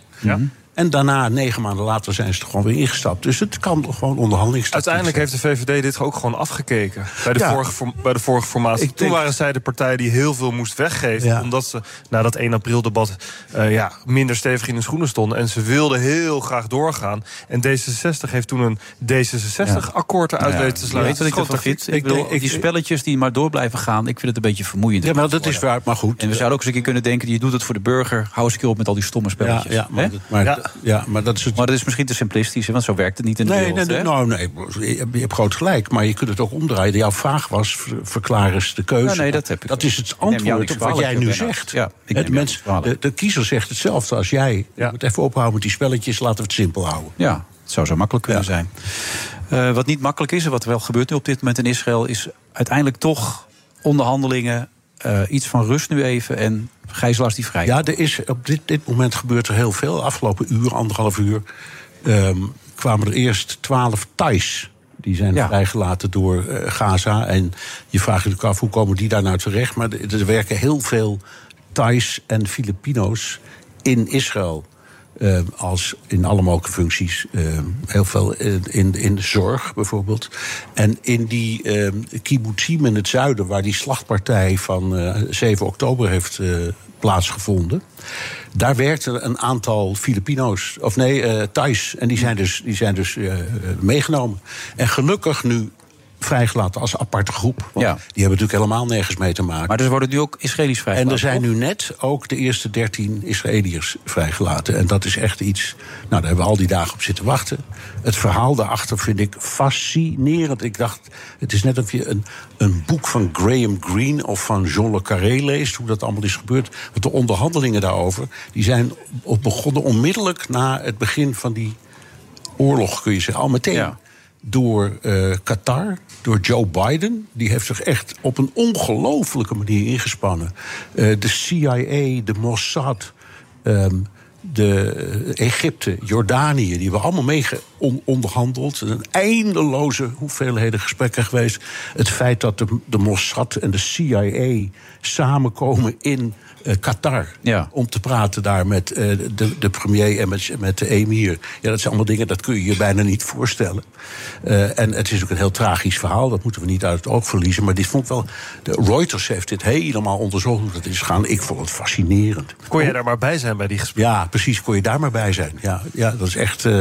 Speaker 12: En daarna, negen maanden later, zijn ze er gewoon weer ingestapt. Dus het kan gewoon onderhandelingstactiek
Speaker 9: Uiteindelijk heeft de VVD dit ook gewoon afgekeken. Bij de,
Speaker 12: Ja.
Speaker 9: vorige, form- bij de vorige formatie.
Speaker 12: Ik
Speaker 9: Toen
Speaker 12: denk-
Speaker 9: waren zij de partij die heel veel moest weggeven.
Speaker 12: Ja.
Speaker 9: Omdat ze na dat 1 april debat eh, ja, minder stevig in hun schoenen stonden. En ze wilden heel graag doorgaan. En D66 heeft toen een D66-akkoord eruit
Speaker 8: Ja,
Speaker 9: weten te
Speaker 8: je
Speaker 9: sluiten.
Speaker 8: Weet wat ik
Speaker 9: Gewoon
Speaker 8: ervan
Speaker 9: tactiek.
Speaker 8: vind? Ik bedoel, die spelletjes die maar door blijven gaan, ik vind het een beetje vermoeiend. Ja,
Speaker 12: maar dat is waar, maar goed. eh,
Speaker 8: En we zouden ook eens een keer kunnen denken, je doet het voor de burger, hou eens een keer op met al die stomme spelletjes.
Speaker 12: Ja, ja, maar
Speaker 8: Hè?
Speaker 12: dat- maar dat- ja, maar dat is
Speaker 8: Maar dat is misschien te simplistisch, hè, want zo werkt het niet in de
Speaker 12: Nee,
Speaker 8: wereld.
Speaker 12: nee, nee,
Speaker 8: hè?
Speaker 12: nou, nee, je hebt- je hebt groot gelijk. Maar je kunt het ook omdraaien. Jouw vraag was, ver- verklaar eens de keuze.
Speaker 8: Ja, nee, dat heb ik ook.
Speaker 12: is het
Speaker 8: Ik neem jou
Speaker 12: antwoord
Speaker 8: niks
Speaker 12: op wat jij
Speaker 8: kwalijk,
Speaker 12: nu
Speaker 8: Bernard.
Speaker 12: zegt.
Speaker 8: Ja, ik
Speaker 12: Hè,
Speaker 8: neem jou
Speaker 12: de, mens, de, de kiezer zegt hetzelfje als jij. Je moet even ophouden met die spelletjes, laten we het simpel houden.
Speaker 8: Ja, het zou zo makkelijk kunnen zijn. Eh, wat niet makkelijk is, en wat wel gebeurt nu op dit moment in Israël, is uiteindelijk toch onderhandelingen, eh, iets van rust nu even en gijzelaars die vrij.
Speaker 12: Ja, er is, op dit, dit moment gebeurt er heel veel. Afgelopen uur, anderhalf uur, ehm, kwamen er eerst twaalf Thais. Die zijn vrijgelaten door eh, Gaza. En je vraagt je natuurlijk af, hoe komen die daar nou terecht? Maar er er werken heel veel Thais en Filipino's in Israël. eh, als in alle mogelijke functies. eh, heel veel in, in, in de zorg bijvoorbeeld. En in die eh kibbutzim in het zuiden, waar die slachtpartij van eh, 7 oktober heeft eh, plaatsgevonden. Daar werkten een aantal Filipino's, of nee, eh Thais. En die zijn dus, die zijn dus eh, eh, meegenomen. En gelukkig nu vrijgelaten als aparte groep. Want die hebben natuurlijk helemaal nergens mee te maken. Maar
Speaker 8: dus worden nu ook Israëli's
Speaker 12: En er
Speaker 8: vrijgelaten,
Speaker 12: zijn
Speaker 8: toch?
Speaker 12: nu net ook de eerste dertien Israëliërs vrijgelaten. En dat is echt iets. Nou, daar hebben we al die dagen op zitten wachten. Het verhaal daarachter vind ik fascinerend. Ik dacht, het is net of je een, een boek van Graham Greene of van John le Carré leest. Hoe dat allemaal is gebeurd. Want de onderhandelingen daarover. die zijn op begonnen onmiddellijk na het begin van die oorlog, kun je zeggen. Al meteen. Door eh, Qatar, door Joe Biden. Die heeft zich echt op een ongelofelijke manier ingespannen. Eh, de CIA, de Mossad, ehm, de eh, Egypte, Jordanië. Die hebben allemaal mee ge- on- onderhandeld. Er zijn eindeloze hoeveelheden gesprekken geweest. Het feit dat de, de Mossad en de CIA samenkomen in eh, Qatar. Om te praten daar met eh, de, de premier en met, met de emir. Ja, dat zijn allemaal dingen, dat kun je je bijna niet voorstellen. Eh, en het is ook een heel tragisch verhaal, dat moeten we niet uit het oog verliezen. Maar dit vond wel. De Reuters heeft dit helemaal onderzocht hoe dat is gegaan. Ik vond het fascinerend.
Speaker 9: Kon jij daar maar bij zijn bij die gesprekken?
Speaker 12: Ja, precies, kon je daar maar bij zijn. Ja, ja dat is echt. eh,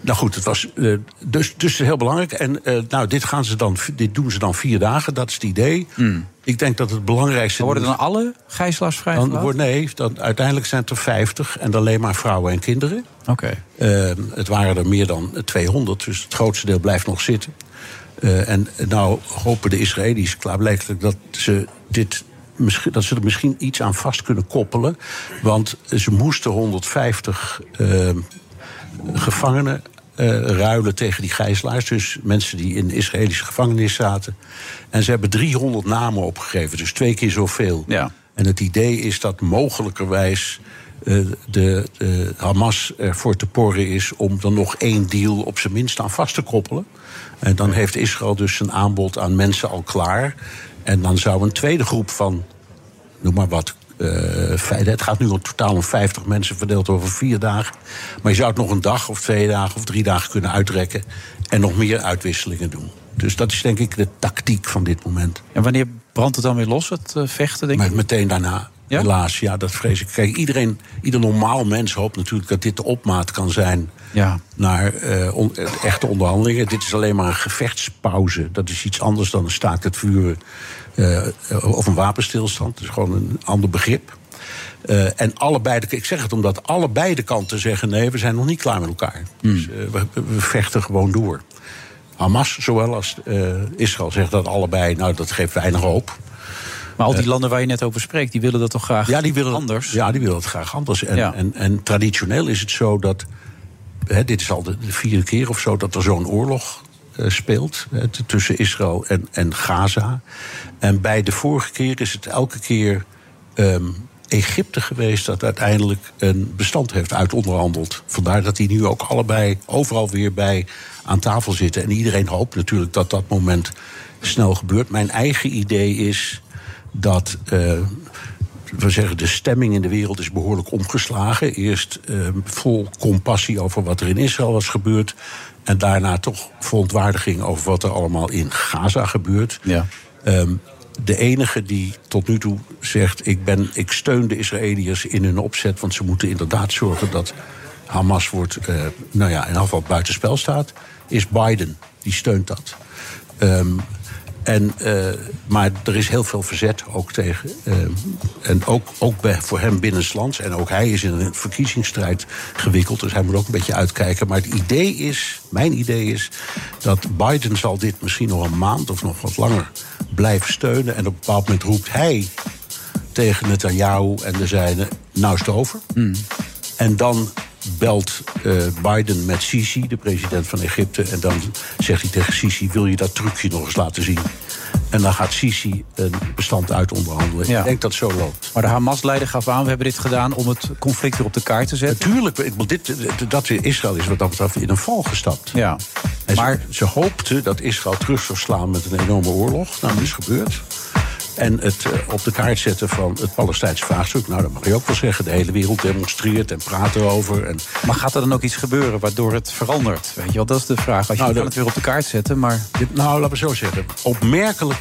Speaker 12: nou goed, het was eh, dus, dus heel belangrijk. En eh, nou, dit, gaan ze dan, dit doen ze dan vier dagen, dat is het idee.
Speaker 8: Hmm.
Speaker 12: Ik denk dat het belangrijkste.
Speaker 8: Maar worden dan alle gijzelaars
Speaker 12: Dan
Speaker 8: vrijgelaten?
Speaker 12: wordt, nee, dan, uiteindelijk zijn het er 50 en alleen maar vrouwen en kinderen.
Speaker 8: Oké.
Speaker 12: Ehm, het waren er meer dan 200, dus het grootste deel blijft nog zitten. Eh, en nou hopen de Israëli's klaarblijkelijk dat ze dit. misschien- Dat ze er misschien iets aan vast kunnen koppelen. Want ze moesten 150 ehm, gevangenen eh, ruilen tegen die gijzelaars. Dus mensen die in de Israëlische gevangenis zaten. En ze hebben 300 namen opgegeven, dus twee keer zoveel. En het idee is dat mogelijkerwijs eh, de, de Hamas ervoor te porren is om dan nog één deal op zijn minst aan vast te koppelen. En dan heeft Israël dus zijn aanbod aan mensen al klaar. En dan zou een tweede groep van noem maar wat. eh, vijf- het gaat nu in totaal om 50 mensen verdeeld over vier dagen. Maar je zou het nog een dag of twee dagen of drie dagen kunnen uitrekken. En nog meer uitwisselingen doen. Dus dat is denk ik de tactiek van dit moment.
Speaker 8: En wanneer brandt het dan weer los, het eh, vechten, denk ik?
Speaker 12: Meteen daarna. Helaas, ja, dat vrees ik. Kijk, iedereen, ieder normaal mens hoopt natuurlijk dat dit de opmaat kan zijn
Speaker 8: Ja.
Speaker 12: naar eh, on- eh, echte onderhandelingen. Dit is alleen maar een gevechtspauze. Dat is iets anders dan een staakt het vuren eh, of een wapenstilstand. Dat is gewoon een ander begrip. Eh, en allebei, de- ik zeg het omdat allebei de kanten zeggen: nee, we zijn nog niet klaar met elkaar.
Speaker 8: Hmm.
Speaker 12: Dus, eh, we, we vechten gewoon door. Hamas, zowel als eh, Israël, zegt dat allebei. Nou, dat geeft weinig hoop. Eh,
Speaker 8: Maar al die landen waar je net over spreekt, die willen dat toch graag
Speaker 12: ja, die willen, anders? Ja, die willen het graag anders. En, eh, en, en traditioneel is het zo dat. Hè, dit is al de, de vierde keer of zo dat er zo'n oorlog eh, speelt. Hè, t- tussen Israël en, en Gaza. En bij de vorige keer is het elke keer ehm, Egypte geweest dat uiteindelijk een bestand heeft uitonderhandeld. Vandaar dat die nu ook allebei overal weer bij aan tafel zitten. En iedereen hoopt natuurlijk dat dat moment snel gebeurt. Mijn eigen idee is dat. eh, we zeggen, de stemming in de wereld is behoorlijk omgeslagen. Eerst eh, vol compassie over wat er in Israël was gebeurd. En daarna toch verontwaardiging over wat er allemaal in Gaza gebeurt.
Speaker 8: Ja.
Speaker 12: Ehm, de enige die tot nu toe zegt: ik, ben, ik steun de Israëliërs in hun opzet. Want ze moeten inderdaad zorgen dat Hamas wordt, eh, nou ja, in ieder geval buitenspel staat. Is Biden. Die steunt dat. Ehm, en, eh, maar er is heel veel verzet ook tegen. Ehm, en ook, ook bij, voor hem binnenlands. En ook hij is in een verkiezingsstrijd gewikkeld. Dus hij moet ook een beetje uitkijken. Maar het idee is, mijn idee is, dat Biden zal dit misschien nog een maand of nog wat langer blijven steunen. En op een bepaald moment roept hij tegen Netanyahu en de zijnen: nou is het over.
Speaker 8: Hmm.
Speaker 12: En dan belt eh, Biden met Sisi, de president van Egypte. En dan zegt hij tegen Sisi: Wil je dat trucje nog eens laten zien? En dan gaat Sisi een bestand uit onderhandelen.
Speaker 8: Ja.
Speaker 12: Ik denk dat het zo loopt.
Speaker 8: Maar de Hamas-leider gaf aan, we hebben dit gedaan om het conflict weer op de kaart te zetten.
Speaker 12: Natuurlijk, ik bedoel, dit, dit- dat Israël is wat dat betreft in een val gestapt.
Speaker 8: Ja.
Speaker 12: En maar ze, ze hoopte dat Israël terug zou slaan met een enorme oorlog. Nou, dat is gebeurd. En het eh, op de kaart zetten van het Palestijnse vraagstuk. Nou, dat mag je ook wel zeggen. De hele wereld demonstreert en praat erover. En...
Speaker 8: Maar gaat er dan ook iets gebeuren waardoor het verandert? Weet je wel, dat is de vraag. Als je
Speaker 12: Nou,
Speaker 8: kan
Speaker 12: dat-
Speaker 8: het weer op de kaart zetten, maar...
Speaker 12: Nou, laten we zo zeggen. Opmerkelijk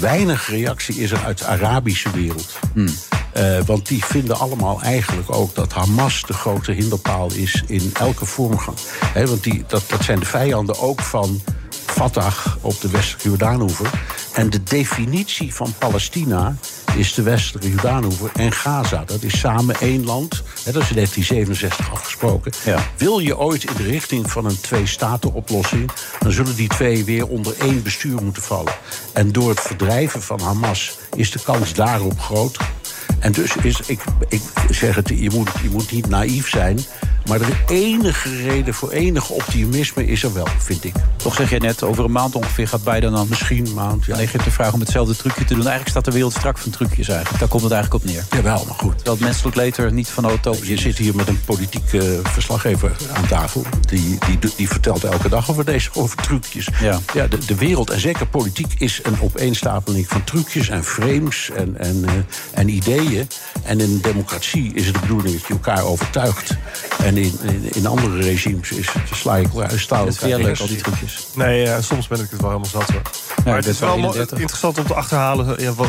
Speaker 12: weinig reactie is er uit de Arabische wereld.
Speaker 8: Hmm.
Speaker 12: Eh, want die vinden allemaal eigenlijk ook dat Hamas de grote hinderpaal is in elke vormgang. Hè, want die, dat, dat zijn de vijanden ook van Fatah op de westelijke Jordaanhoever. En de definitie van Palestina is de westelijke Jordaanhoever en Gaza. Dat is samen één land. Hè, dat is in 1967 afgesproken. Wil je ooit in de richting van een twee-staten-oplossing... dan zullen die twee weer onder één bestuur moeten vallen. En door het verdrijven van Hamas is de kans daarop groot... En dus is, ik, ik zeg het, je moet, je moet niet naïef zijn. Maar de enige reden voor enig optimisme is er wel, vind ik.
Speaker 8: Toch zeg je net, over een maand ongeveer gaat Biden dan...
Speaker 12: Misschien een maand, ja.
Speaker 8: Aan Egypte vragen om hetzelfde trucje te doen. Eigenlijk staat de wereld strak van trucjes eigenlijk. Daar komt het eigenlijk op neer.
Speaker 12: Jawel, maar goed.
Speaker 8: Oh, Dat menselijk leter niet van de utopie
Speaker 12: Je zit hier met een politiek eh, verslaggever aan tafel. Die, die, do- die vertelt elke dag over deze over trucjes. Ja. de, de wereld, en zeker politiek, is een opeenstapeling van trucjes en frames en, en, eh, en ideeën. En in democratie is het de bedoeling dat je elkaar overtuigt. En in, in, in andere regimes is het sla je elkaar, staan
Speaker 9: vind jij
Speaker 12: elkaar
Speaker 9: leuk, al die
Speaker 8: trucjes.
Speaker 9: Nee, ja, soms ben ik het wel helemaal zat hoor. maar het
Speaker 12: bent
Speaker 9: is wel
Speaker 12: wel
Speaker 9: mo-
Speaker 12: 31.
Speaker 9: interessant om te achterhalen ja, wat-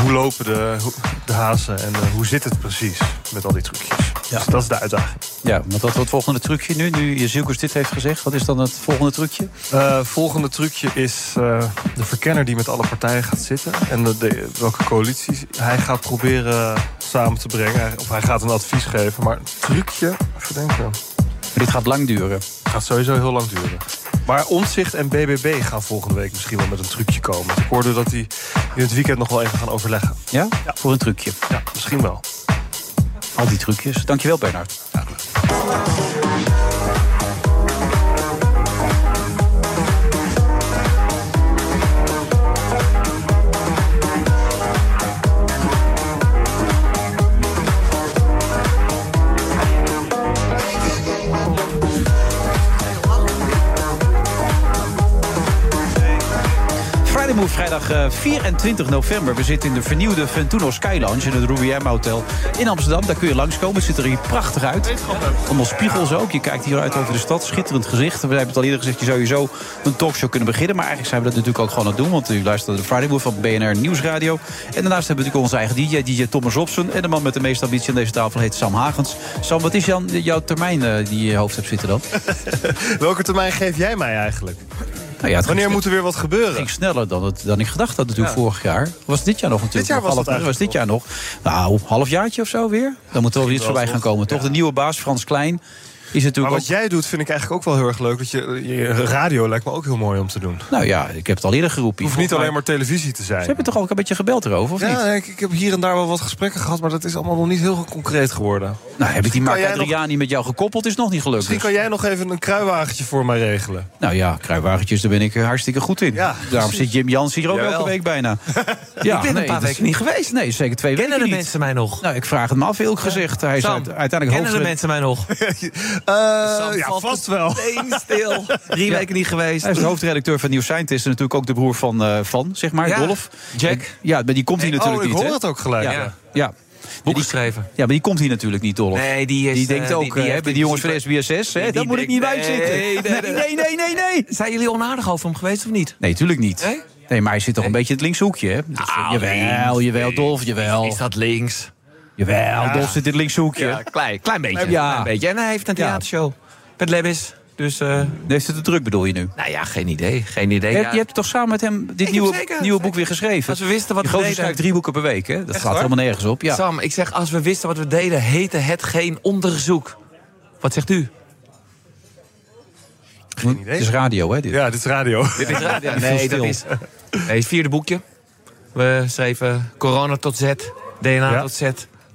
Speaker 9: hoe lopen de, hoe- de hazen en eh, hoe zit het precies met al die trucjes. Dus dat is de uitdaging.
Speaker 8: Ja, want wat wordt het volgende trucje nu? Nu Jezielkus dit heeft gezegd, wat is dan het volgende trucje?
Speaker 9: Eh, volgende trucje is eh, de verkenner die met alle partijen gaat zitten. En de, de- welke coalities hij gaat proberen samen te brengen. Hij- Of hij gaat een advies geven. Maar het trucje, even denken.
Speaker 8: Dit gaat lang duren.
Speaker 9: Gaat sowieso heel lang duren. Maar Omtzigt en BBB gaan volgende week misschien wel met een trucje komen. Ik hoorde dat die in het weekend nog wel even gaan overleggen.
Speaker 8: Ja? Voor een trucje.
Speaker 9: Ja, misschien wel.
Speaker 8: Al die trucjes. Dankjewel, Bernard. Friday Move, vrijdag eh, 24 november. We zitten in de vernieuwde Ventuno Sky Lounge in het Ruby M Hotel in Amsterdam. Daar kun je langskomen. Het ziet er hier prachtig uit. Allemaal spiegels ook. Je kijkt hieruit over de stad. Schitterend gezicht. We hebben het al eerder gezegd, je zou hier zo een talkshow kunnen beginnen. Maar eigenlijk zijn we dat natuurlijk ook gewoon aan het doen. Want u luistert naar de Friday Move van BNR Nieuwsradio. En daarnaast hebben we natuurlijk onze eigen DJ, DJ Thomas Robson. En de man met de meeste ambitie aan deze tafel heet Sam Hagens. Sam, wat is Jan, jouw termijn eh, die je in je hoofd hebt zitten dan?
Speaker 9: Welke termijn geef jij mij eigenlijk?
Speaker 8: Nou ja, het
Speaker 9: Wanneer
Speaker 8: ging-
Speaker 9: moet er weer wat gebeuren?
Speaker 8: Het ging sneller dan, het, dan ik gedacht had natuurlijk
Speaker 9: Ja.
Speaker 8: vorig jaar. Was dit jaar nog natuurlijk.
Speaker 9: jaar
Speaker 8: nog
Speaker 9: was
Speaker 8: half-
Speaker 9: het eigenlijk
Speaker 8: dit jaar nog. Nou, halfjaartje of zo weer. Dan moet er wel weer iets
Speaker 9: wel,
Speaker 8: voorbij gaan
Speaker 9: toch?
Speaker 8: komen. Toch de nieuwe baas Frans Klein is
Speaker 9: Maar
Speaker 8: natuurlijk ook...
Speaker 9: wat jij doet vind ik eigenlijk ook wel heel erg leuk. Dat je, je radio lijkt me ook heel mooi om te doen.
Speaker 8: Nou ja, ik heb het al eerder geroepen.
Speaker 9: Het hoeft niet alleen maar televisie te zijn.
Speaker 8: Ze hebben toch ook een beetje gebeld erover, of niet?
Speaker 9: Ja, ik, ik heb hier en daar wel wat gesprekken gehad, maar dat is allemaal nog niet heel concreet geworden.
Speaker 8: Nou, heb ik die Mark
Speaker 9: jij nog-
Speaker 8: Adriani met jou gekoppeld? Is nog niet gelukt.
Speaker 9: Misschien kan
Speaker 13: Dus-
Speaker 9: jij nog even een kruiwagentje voor mij regelen.
Speaker 8: Nou ja, kruiwagentjes, daar ben ik eh, hartstikke goed in. Daarom
Speaker 9: precies.
Speaker 8: zit Jim Jans hier ook
Speaker 9: Jawel.
Speaker 8: elke week bijna.
Speaker 13: Ik ben een paar
Speaker 8: dat is-
Speaker 13: weken niet geweest.
Speaker 8: Nee, zeker twee
Speaker 13: Kennen
Speaker 8: weken
Speaker 13: de
Speaker 8: niet.
Speaker 13: mensen mij nog?
Speaker 8: Nou, ik vraag het me af, eerlijk gezegd. Hij is
Speaker 13: Sam,
Speaker 8: uit- uiteindelijk
Speaker 13: kennen de mensen
Speaker 8: hoofdred-
Speaker 13: mij nog?
Speaker 9: Eh, ja, vast wel.
Speaker 13: stil. Drie
Speaker 8: Ja.
Speaker 13: weken niet geweest.
Speaker 8: Hij is de hoofdredacteur van Nieuw Scientist en natuurlijk ook de broer van, eh, van zeg maar,
Speaker 13: Ja,
Speaker 8: Wolf.
Speaker 13: Jack.
Speaker 8: En- ja, maar die komt hier
Speaker 13: Hey,
Speaker 8: natuurlijk
Speaker 13: oh, ik
Speaker 8: niet.
Speaker 13: hoor
Speaker 8: hè?
Speaker 13: het ook gelijk,
Speaker 8: Ja.
Speaker 13: ja.
Speaker 8: ja. Boek geschreven. Ja, maar die komt hier natuurlijk niet, Dolf.
Speaker 13: Nee, die is,
Speaker 8: denkt
Speaker 13: eh,
Speaker 8: ook,
Speaker 13: die- die
Speaker 8: eh,
Speaker 13: heeft
Speaker 8: bij die
Speaker 13: in
Speaker 8: jongens van
Speaker 13: principe-
Speaker 8: SBS, hè,
Speaker 13: die-
Speaker 8: dat
Speaker 13: die
Speaker 8: moet ik niet bij
Speaker 13: denkt-
Speaker 8: zitten.
Speaker 13: Nee, nee, nee,
Speaker 8: nee, nee, nee.
Speaker 13: Zijn jullie onaardig over hem geweest of niet?
Speaker 8: Nee, natuurlijk niet.
Speaker 13: Nee? Nou,
Speaker 8: maar hij zit toch een beetje in het linkse hoekje, hè? Dus, eh, jawel, jawel, Dolf, jawel. Is
Speaker 13: dat links?
Speaker 8: Jawel, Dolf zit in het linkse hoekje.
Speaker 13: Ja, klein, klein beetje.
Speaker 8: Ja.
Speaker 13: Klein beetje. En hij heeft een
Speaker 8: Ja.
Speaker 13: theatershow met Lebbis. Dus, eh
Speaker 8: Heeft het te druk, bedoel je nu?
Speaker 13: Nou ja, geen idee. Geen idee.
Speaker 8: Je,
Speaker 13: ja.
Speaker 8: je hebt toch samen met hem dit nieuwe, nieuwe boek weer geschreven?
Speaker 13: Als we wisten wat
Speaker 8: Die
Speaker 13: we
Speaker 8: gozer
Speaker 13: deden.
Speaker 8: schrijft drie boeken per week, hè?
Speaker 13: Echt
Speaker 8: Dat gaat
Speaker 13: waar?
Speaker 8: helemaal nergens op. Ja.
Speaker 13: Sam, ik zeg, als we wisten wat we deden, heette het geen onderzoek. Wat zegt u?
Speaker 8: Geen
Speaker 9: idee.
Speaker 8: Het is radio, hè? Dit.
Speaker 9: Ja, dit is radio.
Speaker 13: Dit is radio. Nee, dat is, nee, het vierde boekje. We schreven corona tot Z, DNA
Speaker 9: Ja.
Speaker 13: tot Z,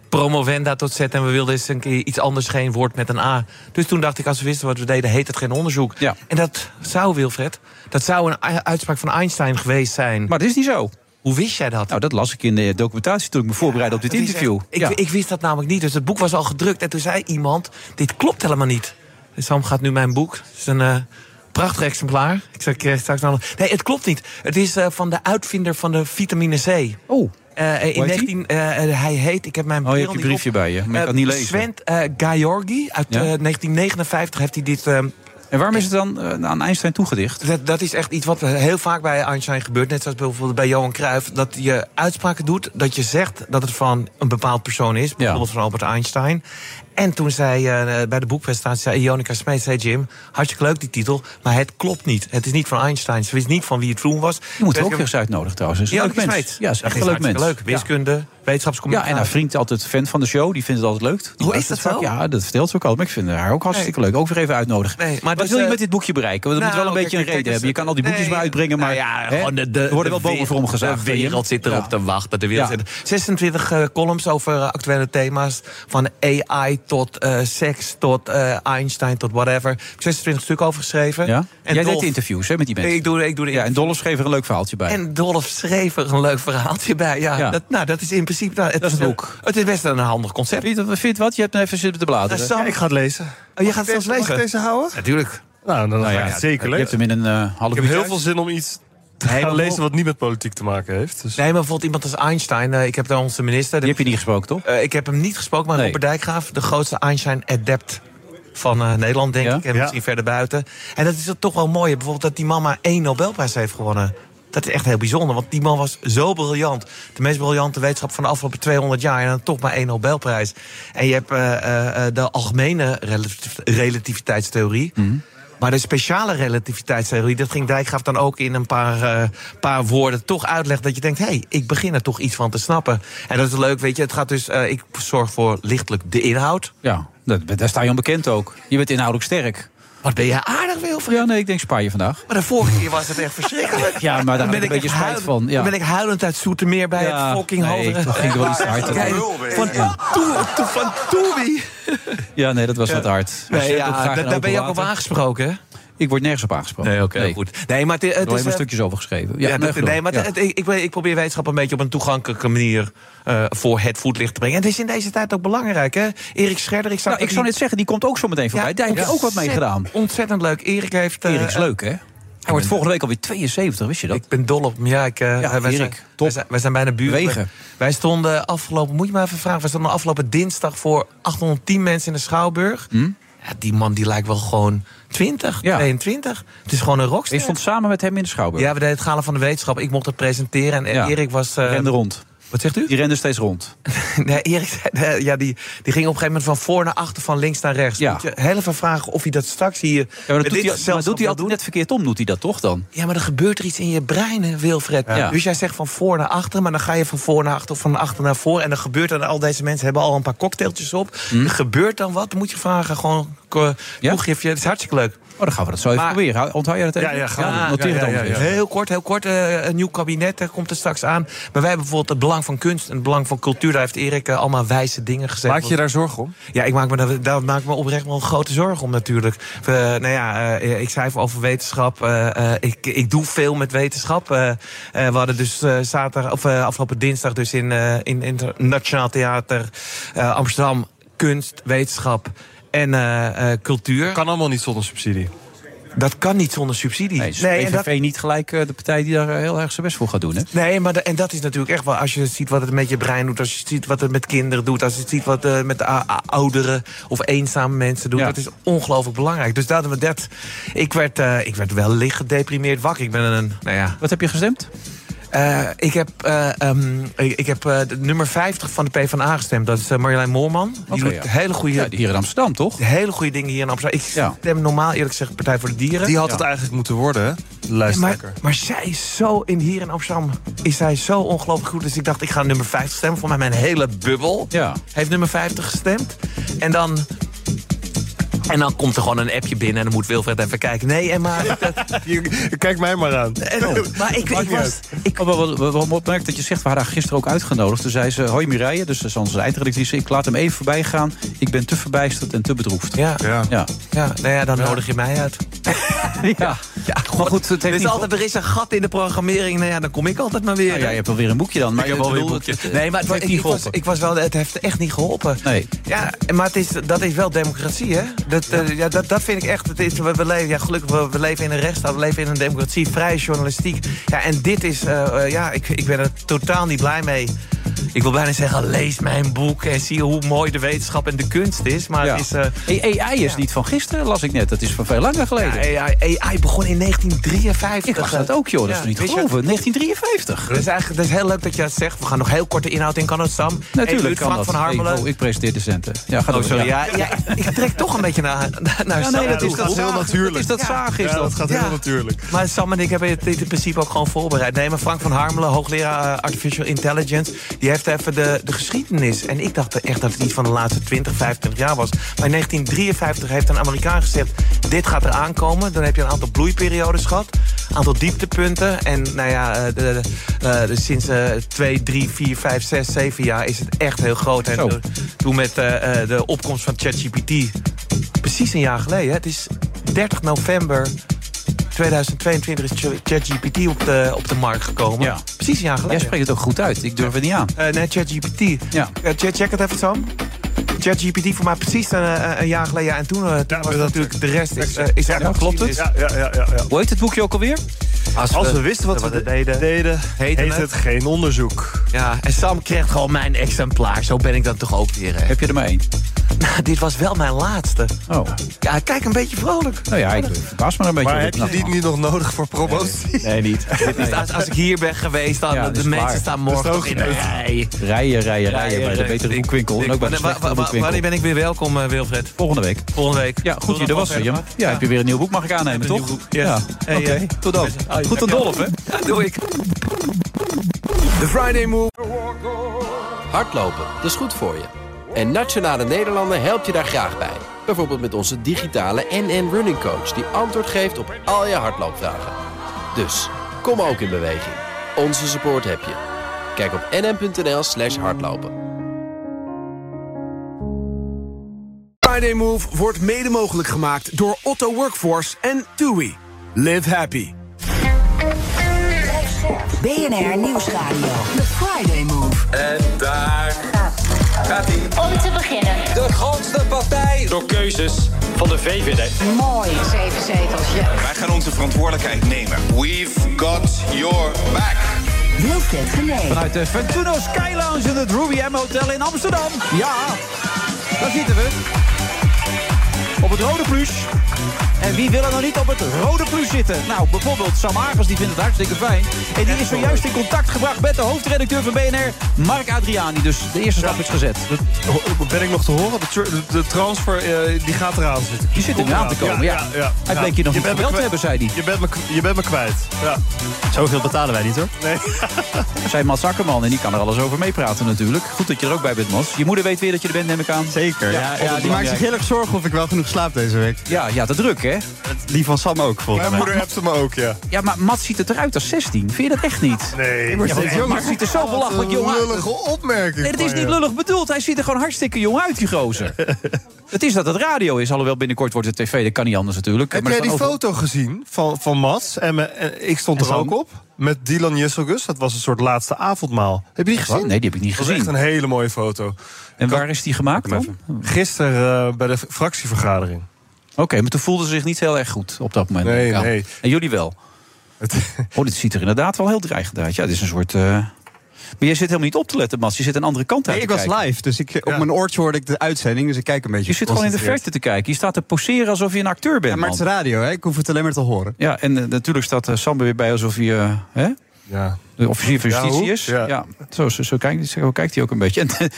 Speaker 13: promovenda tot Z. En we wilden eens een keer iets anders, geen woord met een A. Dus toen dacht ik, als we wisten wat we deden, heet het geen onderzoek. En dat zou, Wilfred, dat zou een u- uitspraak van Einstein geweest zijn.
Speaker 8: Maar dat is niet zo.
Speaker 13: Hoe wist jij dat?
Speaker 8: Nou, dat las ik in de documentatie toen ik me voorbereidde op dit
Speaker 13: Dat is
Speaker 8: interview.
Speaker 13: echt- ik,
Speaker 8: ja.
Speaker 13: ik wist dat namelijk niet. Dus het boek was al gedrukt. En toen zei iemand, dit klopt helemaal niet. Dus Sam gaat nu mijn boek. Het is een eh, Prachtig exemplaar. Ik zal ik, eh, straks nog... Nee, het klopt niet. Het is eh, van de uitvinder van de vitamine C. eh,
Speaker 8: Oh.
Speaker 13: in 19, eh, eh, hij heet, ik heb mijn
Speaker 8: Oh, je
Speaker 13: bril
Speaker 8: hebt je
Speaker 13: niet op.
Speaker 8: briefje bij je, maar ik
Speaker 13: Eh,
Speaker 8: kan niet lezen.
Speaker 13: Svent eh, Gajorgi uit
Speaker 8: Ja.
Speaker 13: eh, 1959 heeft hij dit... en
Speaker 8: waarom is het dan eh, aan Einstein toegedicht?
Speaker 13: Dat, dat is echt iets wat heel vaak bij Einstein gebeurt. Net zoals bijvoorbeeld bij Johan Cruijff. Dat je uitspraken doet, dat je zegt dat het van een bepaald persoon is. Bijvoorbeeld van Albert Einstein. En toen zei eh, bij de boekpresentatie, zei Jonica Smeet, zei Jim... hartstikke leuk die titel, maar het klopt niet. Het is niet van Einstein. Ze wist niet van wie het toen was.
Speaker 8: Je moet er
Speaker 13: Dus
Speaker 8: ook
Speaker 13: ik-
Speaker 8: weer eens uitnodigen trouwens. Is een leuk
Speaker 13: Jonica
Speaker 8: mens.
Speaker 13: Smeet.
Speaker 8: Ja, is
Speaker 13: Dat
Speaker 8: echt een leuk mens.
Speaker 13: hartstikke leuk. Wiskunde,
Speaker 8: Ja,
Speaker 13: wetenschapscommunicatie.
Speaker 8: en haar vriend altijd fan van de show. Die vindt het altijd leuk. Die
Speaker 13: Hoe
Speaker 8: maakt
Speaker 13: is dat
Speaker 8: het vaak.
Speaker 13: wel?
Speaker 8: Ja, dat vertelt ze ook al. Maar ik vind haar ook hartstikke leuk. Ook weer even uitnodigen.
Speaker 13: Nee, maar
Speaker 8: Wat
Speaker 13: dus,
Speaker 8: wil je
Speaker 13: eh,
Speaker 8: met dit boekje bereiken? Want het
Speaker 13: nou,
Speaker 8: moet wel een
Speaker 13: kijk,
Speaker 8: beetje een
Speaker 13: kijk,
Speaker 8: reden
Speaker 13: kijk, dus,
Speaker 8: hebben. Je kan al die boekjes
Speaker 13: nee, Nou
Speaker 8: maar uitbrengen, maar hè,
Speaker 13: gewoon de, de,
Speaker 8: er worden
Speaker 13: de
Speaker 8: wel bomen voor
Speaker 13: wereld-
Speaker 8: omgezaagd.
Speaker 13: De wereld zit erop
Speaker 8: Ja.
Speaker 13: te wachten. De wereld
Speaker 8: Ja.
Speaker 13: zit- 26 eh, columns over eh, actuele thema's. Van AI tot eh, seks, tot eh, Einstein, tot whatever. Ik heb 26 stuk over geschreven.
Speaker 8: Ja? Jij deed
Speaker 13: Dolf-
Speaker 8: de interviews hè, met die mensen.
Speaker 13: Ik doe, ik doe de
Speaker 8: Ja, en Dolph schreef er een leuk verhaaltje bij.
Speaker 13: en Dolph schreef er een leuk verhaaltje bij. Ja,
Speaker 8: Ja.
Speaker 13: Dat, nou, dat is in principe... nou, het
Speaker 8: Dat is
Speaker 13: een-
Speaker 8: het boek.
Speaker 13: Het is best een handig concept.
Speaker 8: Vind je dat- vind je wat? Je hebt nou even zitten te bladeren.
Speaker 13: Sam- Ja, ik ga het
Speaker 8: lezen.
Speaker 13: Oh, je gaat het zelfs
Speaker 9: Mag ik
Speaker 13: lezen?
Speaker 9: deze houden?
Speaker 13: Natuurlijk.
Speaker 9: Nou, dan
Speaker 8: Nou
Speaker 9: ga
Speaker 8: ja,
Speaker 9: ik het zeker
Speaker 8: je
Speaker 9: lezen.
Speaker 8: hebt hem in een eh, half
Speaker 9: ik heb
Speaker 8: uurtje
Speaker 9: heel
Speaker 8: uit.
Speaker 9: veel zin om iets te
Speaker 13: Nee,
Speaker 9: gaan
Speaker 13: maar-
Speaker 9: lezen wat niet met politiek te maken heeft. Dus.
Speaker 13: Nee, maar bijvoorbeeld iemand als Einstein. eh, ik heb daar onze minister. Die
Speaker 8: heb je niet gesproken, toch?
Speaker 13: ik heb hem niet gesproken, maar Robert Dijkgraaf, de grootste Einstein-adept van eh, Nederland, denk ik. En misschien verder buiten. En dat is dan toch wel mooi. Bijvoorbeeld dat die man maar één Nobelprijs heeft gewonnen. Dat is echt heel bijzonder, want die man was zo briljant. De meest briljante wetenschap van de afgelopen 200 jaar. En dan toch maar één Nobelprijs. En je hebt eh, eh, eh, de algemene relativ- relativiteitstheorie. Maar de speciale relativiteitstheorie, dat ging Dijkgraaf dan ook in een paar, eh, paar woorden toch uitleggen. Dat je denkt, hé, hey, ik begin er toch iets van te snappen. En dat is leuk, weet je. Het gaat dus, eh, ik zorg voor lichtelijk de inhoud.
Speaker 8: Ja, dat- daar sta je onbekend ook. Je bent inhoudelijk sterk.
Speaker 13: Wat ben je aardig, Wilfried?
Speaker 8: Ja, nee, ik denk spaar je vandaag.
Speaker 13: Maar de vorige keer was het echt verschrikkelijk.
Speaker 8: Ja, maar daar heb ik een beetje
Speaker 13: echt
Speaker 8: spijt van. Ja.
Speaker 13: Dan ben ik huilend uit Zoetermeer bij
Speaker 8: Ja,
Speaker 13: het fucking
Speaker 8: nee,
Speaker 13: Hogere-
Speaker 8: dat ging wel iets te hard, hè.
Speaker 13: Kijk, Van, toe, toe, van Toebi.
Speaker 8: Ja, nee, dat was wat hard. Maar
Speaker 13: Nee,
Speaker 8: zet
Speaker 13: ja,
Speaker 8: ook graag
Speaker 13: da-
Speaker 8: een
Speaker 13: daar ben je ook
Speaker 8: open
Speaker 13: op
Speaker 8: water.
Speaker 13: aangesproken, hè?
Speaker 8: Ik word nergens op aangesproken.
Speaker 13: Nee, oké, goed. Nee, maar het, het
Speaker 8: er
Speaker 13: is,
Speaker 8: alleen maar
Speaker 13: eh,
Speaker 8: stukjes over geschreven.
Speaker 13: Ja,
Speaker 8: Ja,
Speaker 13: dat-
Speaker 8: nee,
Speaker 13: nee, maar
Speaker 8: ja.
Speaker 13: het- ik, ik, ik probeer wetenschap een beetje op een toegankelijke manier eh, voor het voetlicht te brengen. En het is in deze tijd ook belangrijk, hè? Erik Scherder, ik zou,
Speaker 8: Nou, ik zou net zeggen, die komt ook zo meteen voorbij. Daar heb je ook wat mee gedaan.
Speaker 13: Ontzettend leuk. Erik heeft. eh,
Speaker 8: Erik is leuk, hè? Hij wordt
Speaker 13: ben-
Speaker 8: volgende week alweer 72, wist je dat?
Speaker 13: Ik ben dol op hem. Ja, ik, eh, wij,
Speaker 8: Erik,
Speaker 13: zijn, wij, zijn, wij zijn bijna buren.
Speaker 8: Wegen.
Speaker 13: Wij stonden afgelopen, moet je maar even vragen, wij stonden afgelopen dinsdag voor 810 mensen in de Schouwburg.
Speaker 8: Hm?
Speaker 13: Ja, die man die lijkt wel gewoon 20, 22. Het is gewoon een rockster.
Speaker 8: Je stond samen met hem in de Schouwburg.
Speaker 13: Ja, we deden het Gala van de Wetenschap. Ik mocht het presenteren en eh,
Speaker 8: Ja.
Speaker 13: Erik was... eh,
Speaker 8: rende rond.
Speaker 13: Wat zegt u?
Speaker 8: Die rende steeds rond.
Speaker 13: Nee, Erik nee, ja, die, die ging op een gegeven moment van voor naar achter, van links naar rechts. Moet je heel even vragen of hij dat straks hier.
Speaker 8: Ja, maar dat doet hij,
Speaker 13: zelf
Speaker 8: maar doet hij altijd net verkeerd om, doet hij dat toch dan?
Speaker 13: Ja, maar er gebeurt er iets in je brein, hè, Wilfred.
Speaker 8: Ja.
Speaker 13: Dus jij zegt van voor naar achter, maar dan ga je van voor naar achter of van achter naar voor. En dan gebeurt dan, al deze mensen hebben al een paar cocktailtjes op.
Speaker 8: Mhm.
Speaker 13: Er gebeurt dan wat, dan moet je vragen, gewoon eh, toegifje. Dat is hartstikke leuk.
Speaker 8: Oh, dan gaan we dat zo even
Speaker 13: Maar-
Speaker 8: proberen. Hou- Onthoud jij dat even? Noteer het anders even.
Speaker 13: Heel kort, heel kort. eh, een nieuw kabinet eh, komt er straks aan. Maar wij hebben bijvoorbeeld het belang van kunst en het belang van cultuur. Daar heeft Erik eh, allemaal wijze dingen gezegd.
Speaker 9: Maak je daar zorgen om?
Speaker 13: Ja, ik maak me, daar, daar maak ik me oprecht wel een grote zorgen om natuurlijk. We, nou ja, eh, ik schrijf over wetenschap. eh, eh, ik, ik doe veel met wetenschap. Eh, eh, we hadden dus eh, zaterdag, of, eh, afgelopen dinsdag dus in, eh in, in het Nationaal Theater eh, Amsterdam... kunst, wetenschap en eh, eh, cultuur.
Speaker 9: Kan allemaal niet zonder subsidie.
Speaker 13: Dat kan niet zonder subsidie.
Speaker 8: Nee, dus
Speaker 13: Nee, en
Speaker 8: PVV
Speaker 13: dat-
Speaker 8: niet gelijk eh, de partij die daar eh, heel erg zijn best voor gaat doen, hè?
Speaker 13: Nee, maar de- en dat is natuurlijk echt wel... als je ziet wat het met je brein doet... als je ziet wat het met kinderen doet... als je ziet wat het met a- a- ouderen of eenzame mensen doet... dat is ongelooflijk belangrijk. Dus dat, dat, ik, werd, eh, ik werd wel licht gedeprimeerd wakker. Ik ben een... Nou ja.
Speaker 8: Wat heb je gestemd?
Speaker 13: ik heb, eh, ehm, ik, ik heb eh, de nummer 50 van de PvdA gestemd. Dat is eh, Marjolein Moorman. Die
Speaker 8: Oké,
Speaker 13: doet
Speaker 8: ja.
Speaker 13: hele goede...
Speaker 8: Ja, hier in Amsterdam, toch?
Speaker 13: Hele goede dingen hier in Amsterdam. Ik stem normaal eerlijk gezegd Partij voor de Dieren.
Speaker 9: Die had
Speaker 13: Ja.
Speaker 9: het eigenlijk moeten worden, hè? Luister
Speaker 13: Maar, maar zij is zo, in, hier in Amsterdam, is zij zo ongelooflijk goed. Dus ik dacht, ik ga nummer 50 stemmen. Voor mij mijn hele bubbel heeft nummer 50 gestemd. En dan... En dan komt er gewoon een appje binnen en dan moet Wilfred even kijken. Nee, en maar... dat-
Speaker 9: Kijk mij maar aan.
Speaker 13: en- maar ik, ik was...
Speaker 8: Ik Oh, wel, wel, wel, wel opmerkt dat je zegt, we hadden haar gisteren ook uitgenodigd. Toen zei ze, hoi Mireille, dus dat is onze eindredactrice. Ik laat hem even voorbij gaan. Ik ben te verbijsterd en te bedroefd.
Speaker 13: Ja.
Speaker 8: Ja.
Speaker 13: Ja, nou ja, dan nodig je mij uit.
Speaker 8: ja.
Speaker 13: Ja, maar goed, het heeft is altijd, er is een gat in de programmering. Nou ja, dan kom ik altijd maar weer.
Speaker 8: ja, je hebt alweer een boekje dan. Maar
Speaker 13: ik heb
Speaker 8: je
Speaker 13: alweer
Speaker 8: bedoelt-
Speaker 13: een boekje.
Speaker 8: Nee, maar het
Speaker 13: was-
Speaker 8: heeft niet
Speaker 13: ik, was,
Speaker 8: geholpen.
Speaker 13: ik was wel, het heeft echt niet geholpen.
Speaker 8: Nee.
Speaker 13: Ja, maar het is, dat is wel democratie, hè? Dat, eh, ja, dat, dat vind ik echt. Het is, we, we leven, ja, gelukkig, we, we leven in een rechtsstaat, we leven in een democratie, vrije journalistiek. Ja, en dit is, eh, eh, ja, ik, ik ben er totaal niet blij mee. Ik wil bijna zeggen, lees mijn boek en zie hoe mooi de wetenschap en de kunst is. Maar
Speaker 8: Ja.
Speaker 13: het is... eh,
Speaker 8: Hey, AI is niet van gisteren, las ik net. Dat is van veel langer geleden.
Speaker 13: ja, AI, AI begon in 1953.
Speaker 8: Ik las dat ook, joh. Dat is
Speaker 13: Ja.
Speaker 8: toch niet te
Speaker 13: Wist je-
Speaker 8: geloven. 1953.
Speaker 13: Dat is, eigenlijk, dat is heel leuk dat je dat zegt. We gaan nog heel kort de inhoud in, kan dat, Sam? Eén
Speaker 8: Natuurlijk
Speaker 13: minuut,
Speaker 8: kan
Speaker 13: Frank
Speaker 8: dat.
Speaker 13: van Harmelen.
Speaker 8: Ik, oh, ik presenteer de centen. Ja, gaat
Speaker 13: Oh,
Speaker 8: ook
Speaker 13: sorry. Ja, ja, ik- ik trek toch een beetje naar, naar, naar
Speaker 8: Ja,
Speaker 13: Sam
Speaker 8: nee, dat
Speaker 13: toe.
Speaker 8: is dat heel
Speaker 13: zagen.
Speaker 8: natuurlijk.
Speaker 13: Dat is dat
Speaker 8: Ja,
Speaker 13: zagen, is
Speaker 8: ja,
Speaker 13: dat.
Speaker 8: dat gaat heel
Speaker 9: natuurlijk.
Speaker 13: Maar Sam en ik hebben dit in principe ook gewoon voorbereid. Nee, maar Frank van Harmelen, hoogleraar eh, Artificial Intelligence... die heeft even de, de geschiedenis. En ik dacht echt dat het iets van de laatste 20, 25 jaar was. Maar in 1953 heeft een Amerikaan gezegd... dit gaat er aankomen. Dan heb je een aantal bloeiperiodes gehad. Een aantal dieptepunten. En nou ja, eh, de, de, eh, de- sinds eh 2, 3, 4, 5, 6, 7 jaar is het echt heel groot. En
Speaker 8: Zo.
Speaker 13: toen- toen met eh, eh, de opkomst van ChatGPT precies een jaar geleden. Het is 30 november 2022 is Ch- ChatGPT op de, op de markt gekomen.
Speaker 8: Ja.
Speaker 13: Precies een jaar geleden.
Speaker 8: Jij spreekt het ook goed uit. Ik durf het niet aan.
Speaker 13: Eh, nee, ChatGPT. Ja. check, check het even, Sam. ChatGPT voor mij precies een, eh, een jaar geleden. En toen, eh, toen was natuurlijk de rest. Is, eh, is echt
Speaker 8: klopt het?
Speaker 9: Ja, ja, ja, ja, ja.
Speaker 8: Hoe heet het boekje ook alweer?
Speaker 9: Als, we, wisten wat we, deden, heet
Speaker 13: Heette
Speaker 9: het,
Speaker 13: het?
Speaker 9: geen onderzoek.
Speaker 13: Ja, en Sam krijgt gewoon mijn exemplaar. Zo ben ik dan toch ook weer. Hè.
Speaker 8: Heb je er maar één?
Speaker 13: Nou, dit was wel mijn laatste.
Speaker 8: Oh.
Speaker 13: Ja, kijk een beetje vrolijk.
Speaker 8: Nou ja, ik verbaas me er een beetje.
Speaker 9: Maar
Speaker 8: op.
Speaker 9: heb je
Speaker 8: Nou,
Speaker 9: die niet nog nodig voor promotie?
Speaker 8: Nee, niet.
Speaker 13: Dit is, als, als ik hier ben geweest, dan
Speaker 8: Ja, dat
Speaker 13: de
Speaker 8: is
Speaker 13: mensen
Speaker 8: klaar.
Speaker 13: staan morgen
Speaker 8: Dat
Speaker 13: nog
Speaker 8: is
Speaker 13: in de rij.
Speaker 8: Rijden, rijden, rijden bij de betere boekwinkel. En ook bij de
Speaker 13: Wa- wa-
Speaker 8: slechtere
Speaker 13: wa- Wanneer
Speaker 8: boekwinkel.
Speaker 13: ben ik weer welkom, eh, Wilfred?
Speaker 8: Volgende week.
Speaker 13: Volgende week.
Speaker 8: Ja, goed, je, dat was hem. Ja, heb je weer een nieuw boek, mag ik aannemen, toch? Ja, oké.
Speaker 13: eh,
Speaker 8: Tot dan. Goed aan Dolf, hè?
Speaker 13: doe ik.
Speaker 1: De Friday Move. Hardlopen, dat is goed voor je. En Nationale Nederlanden helpt je daar graag bij. Bijvoorbeeld met onze digitale NN Running Coach... die antwoord geeft op al je hardloopvragen. Dus, kom ook in beweging. Onze support heb je. Kijk op nn.nl slash hardlopen.
Speaker 2: Friday Move wordt mede mogelijk gemaakt door Otto Workforce en TUI. Live happy.
Speaker 14: BNR Nieuwsradio. The Friday Move.
Speaker 6: En daar gaat hij.
Speaker 14: Om te beginnen.
Speaker 6: De grootste partij.
Speaker 7: Door keuzes van de VVD.
Speaker 14: Mooi. Zeven zetels, ja.
Speaker 7: Wij gaan onze verantwoordelijkheid nemen. We've got your back.
Speaker 14: Wilfred Genee.
Speaker 8: Vanuit de Ventuno Sky Lounge in het Ruby M Hotel in Amsterdam. Ja, daar zitten we. Op het rode pluche. En wie wil er nou niet op het rode pluche zitten? Nou, bijvoorbeeld Sam Agers, die vindt het hartstikke fijn. En die is zojuist in contact gebracht met de hoofdredacteur van BNR, Mark Adriani. Dus de eerste stap is gezet.
Speaker 9: Ben ik nog te horen? De, tr- de- de transfer eh, die gaat eraan zitten.
Speaker 8: Die zit er nu aan te komen, ja. Hij bleek je nog niet
Speaker 9: bent me kwijt-
Speaker 8: gebeld te hebben, zei hij.
Speaker 9: Je bent me, k- je bent me kwijt. Ja.
Speaker 8: Zoveel betalen wij niet hoor.
Speaker 9: Nee.
Speaker 8: Zij Mats Akkerman en die kan er alles over meepraten natuurlijk. Goed dat je er ook bij bent, Mats. Je moeder weet weer dat je er bent, neem ik aan. Zeker.
Speaker 15: Ja, ja, die maakt zich heel erg zorgen of ik wel genoeg slaap deze week.
Speaker 8: Ja, ja, te druk, hè?
Speaker 15: Die van Sam ook, volgens
Speaker 9: Mijn
Speaker 15: mij.
Speaker 9: moeder hebt hem ook, ja.
Speaker 8: Ja, maar Mats ziet het eruit als 16. Vind je dat echt niet?
Speaker 9: Nee.
Speaker 8: Ik word steeds jonger.
Speaker 9: Het
Speaker 8: Mats ziet er zo belachelijk jong uit.
Speaker 9: lullige opmerking.
Speaker 8: Nee, dat is
Speaker 9: van
Speaker 8: niet
Speaker 9: je.
Speaker 8: lullig bedoeld. Hij ziet er gewoon hartstikke jong uit, die gozer. het is dat het radio is. Alhoewel binnenkort wordt het tv. Dat kan niet anders natuurlijk.
Speaker 9: Heb
Speaker 8: Maar er
Speaker 9: jij die
Speaker 8: staan
Speaker 9: foto gezien van, van Mats? En, me- en ik stond
Speaker 8: En
Speaker 9: er
Speaker 8: Sam?
Speaker 9: ook op. Met Dylan Jesselgus. Dat was een soort laatste avondmaal. Heb je die gezien?
Speaker 8: Wat? Nee, die heb ik niet gezien.
Speaker 9: Dat was echt een hele mooie foto.
Speaker 8: En waar is die gemaakt dan? Oké,
Speaker 9: Gisteren eh, bij de fractievergadering.
Speaker 8: maar toen voelde ze zich niet heel erg goed op dat moment.
Speaker 9: Nee,
Speaker 8: Ja.
Speaker 9: nee.
Speaker 8: En jullie wel? Oh, dit ziet er inderdaad wel heel dreigend uit. Ja, dit is een soort... eh, Maar je zit helemaal niet op te letten, Mats. Je zit een andere kant uit
Speaker 15: Nee, ik
Speaker 8: te
Speaker 15: was
Speaker 8: kijken.
Speaker 15: live, dus ik, op mijn oortje hoorde ik de uitzending, dus ik kijk een beetje.
Speaker 8: Je zit gewoon in de
Speaker 15: geconcentreerd.
Speaker 8: verte te kijken. Je staat te poseren alsof je een acteur bent,
Speaker 15: Ja, maar
Speaker 8: man.
Speaker 15: het is radio, hè? ik hoef het alleen maar te horen.
Speaker 8: Ja, en eh, natuurlijk staat eh, Sam er weer bij alsof hij eh, hè,
Speaker 9: Ja.
Speaker 8: de officier van
Speaker 9: Ja,
Speaker 8: justitie
Speaker 9: hoe?
Speaker 8: is. Ja.
Speaker 9: Ja.
Speaker 8: Zo, zo, zo kijkt, zo kijkt hij ook een beetje. En,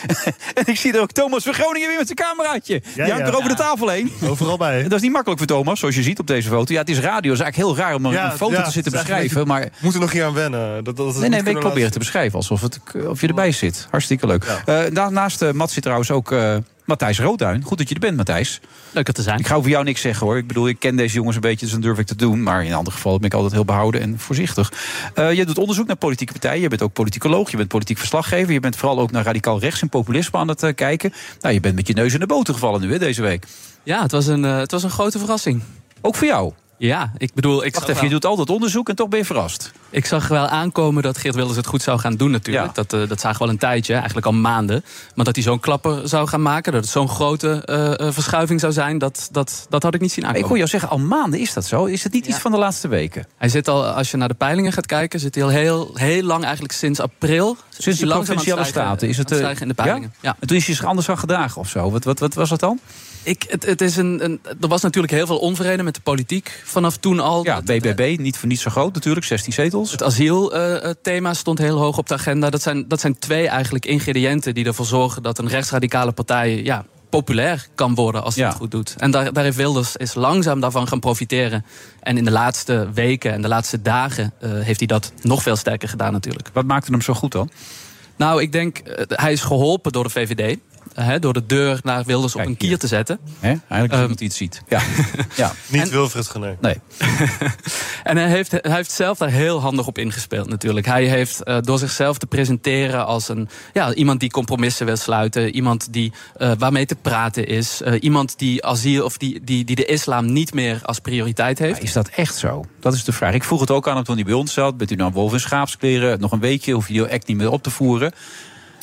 Speaker 8: en ik zie er ook Thomas van Groningen weer met zijn cameraatje. die
Speaker 9: ja.
Speaker 8: hangt er over de tafel heen.
Speaker 9: Overal bij. hè?
Speaker 8: Dat is niet makkelijk voor Thomas, zoals je ziet op deze foto. Ja, het is radio. Het is eigenlijk heel raar om een-
Speaker 9: Ja,
Speaker 8: een foto
Speaker 9: ja,
Speaker 8: te zitten
Speaker 9: het is
Speaker 8: beschrijven. Maar
Speaker 9: We moeten nog hier aan wennen. Dat, dat, dat
Speaker 8: Nee, nee,
Speaker 9: niet
Speaker 8: maar ik
Speaker 9: kunnen
Speaker 8: probeer het te
Speaker 9: laten-
Speaker 8: beschrijven alsof het, eh, of je erbij zit. Hartstikke leuk. Eh, daarnaast eh Mats zit trouwens ook eh, Matthijs Roodduin. Goed dat je er bent, Matthijs. Leuk dat te zijn. Ik ga over jou niks zeggen hoor. Ik bedoel, ik ken deze jongens een beetje, dus dan durf ik te doen. Maar in een ander geval ben ik altijd heel behouden en voorzichtig. Eh je doet onderzoek naar politieke partijen. Je bent ook politicoloog, je bent politiek verslaggever. Je bent vooral ook naar radicaal rechts en populisme aan het eh, kijken. Nou, je bent met je neus in de boter gevallen nu hè, deze week.
Speaker 16: Ja, het was, een, eh, het was een grote verrassing.
Speaker 8: Ook voor jou?
Speaker 16: Ja, ik bedoel... Ik
Speaker 8: Wacht
Speaker 16: zag
Speaker 8: even,
Speaker 16: wel-
Speaker 8: je doet altijd onderzoek en toch ben je verrast.
Speaker 16: Ik zag wel aankomen dat Geert Wilders het goed zou gaan doen natuurlijk. Dat, eh, dat zagen we al een tijdje, eigenlijk al maanden. Maar dat hij zo'n klapper zou gaan maken, dat het zo'n grote eh, eh, verschuiving zou zijn... Dat, dat, dat had ik niet zien aankomen.
Speaker 8: Ik hoor jou zeggen, al maanden is dat zo. Is het niet iets van de laatste weken?
Speaker 16: Hij zit al, als je naar de peilingen gaat kijken, zit hij al heel, heel lang, eigenlijk sinds april.
Speaker 8: Sinds de provinciale staten is het... eh,
Speaker 16: een in de peilingen.
Speaker 8: Ja? En toen is je zich anders aan gedragen of zo. Wat, wat, wat was dat dan?
Speaker 16: Ik, het, het is een, een, er was natuurlijk heel veel onvrede met de politiek vanaf toen al.
Speaker 8: Ja, BBB, niet, voor niet zo groot natuurlijk, 16 zetels.
Speaker 16: Het asielthema eh, stond heel hoog op de agenda. Dat zijn, dat zijn twee eigenlijk ingrediënten die ervoor zorgen dat een rechtsradicale partij ja, populair kan worden als hij het goed doet. En daar, daar heeft Wilders is langzaam daarvan gaan profiteren. En in de laatste weken en de laatste dagen eh, heeft hij dat nog veel sterker gedaan natuurlijk.
Speaker 8: Wat maakte hem zo goed dan?
Speaker 16: Nou, ik denk, eh, hij is geholpen door de VVD. eh, hè, door de deur naar Wilders op een kier te zetten. Ehm,
Speaker 8: Hè? Eigenlijk iemand die het ziet. Ja. ja.
Speaker 9: Niet Wilfred Genee.
Speaker 8: Nee.
Speaker 16: En hij heeft, hij heeft zelf daar heel handig op ingespeeld natuurlijk. Hij heeft eh, door zichzelf te presenteren als een, ja, iemand die compromissen wil sluiten. Iemand die, eh, waarmee te praten is. eh, iemand die, asiel, of die, die, die de islam niet meer als prioriteit heeft.
Speaker 8: Is dat echt zo? Dat is de vraag. Ik vroeg het ook aan hem toen hij bij ons zat. Bent u nou een wolf in schaapskleren? Nog een weekje? Hoef je die act niet meer op te voeren?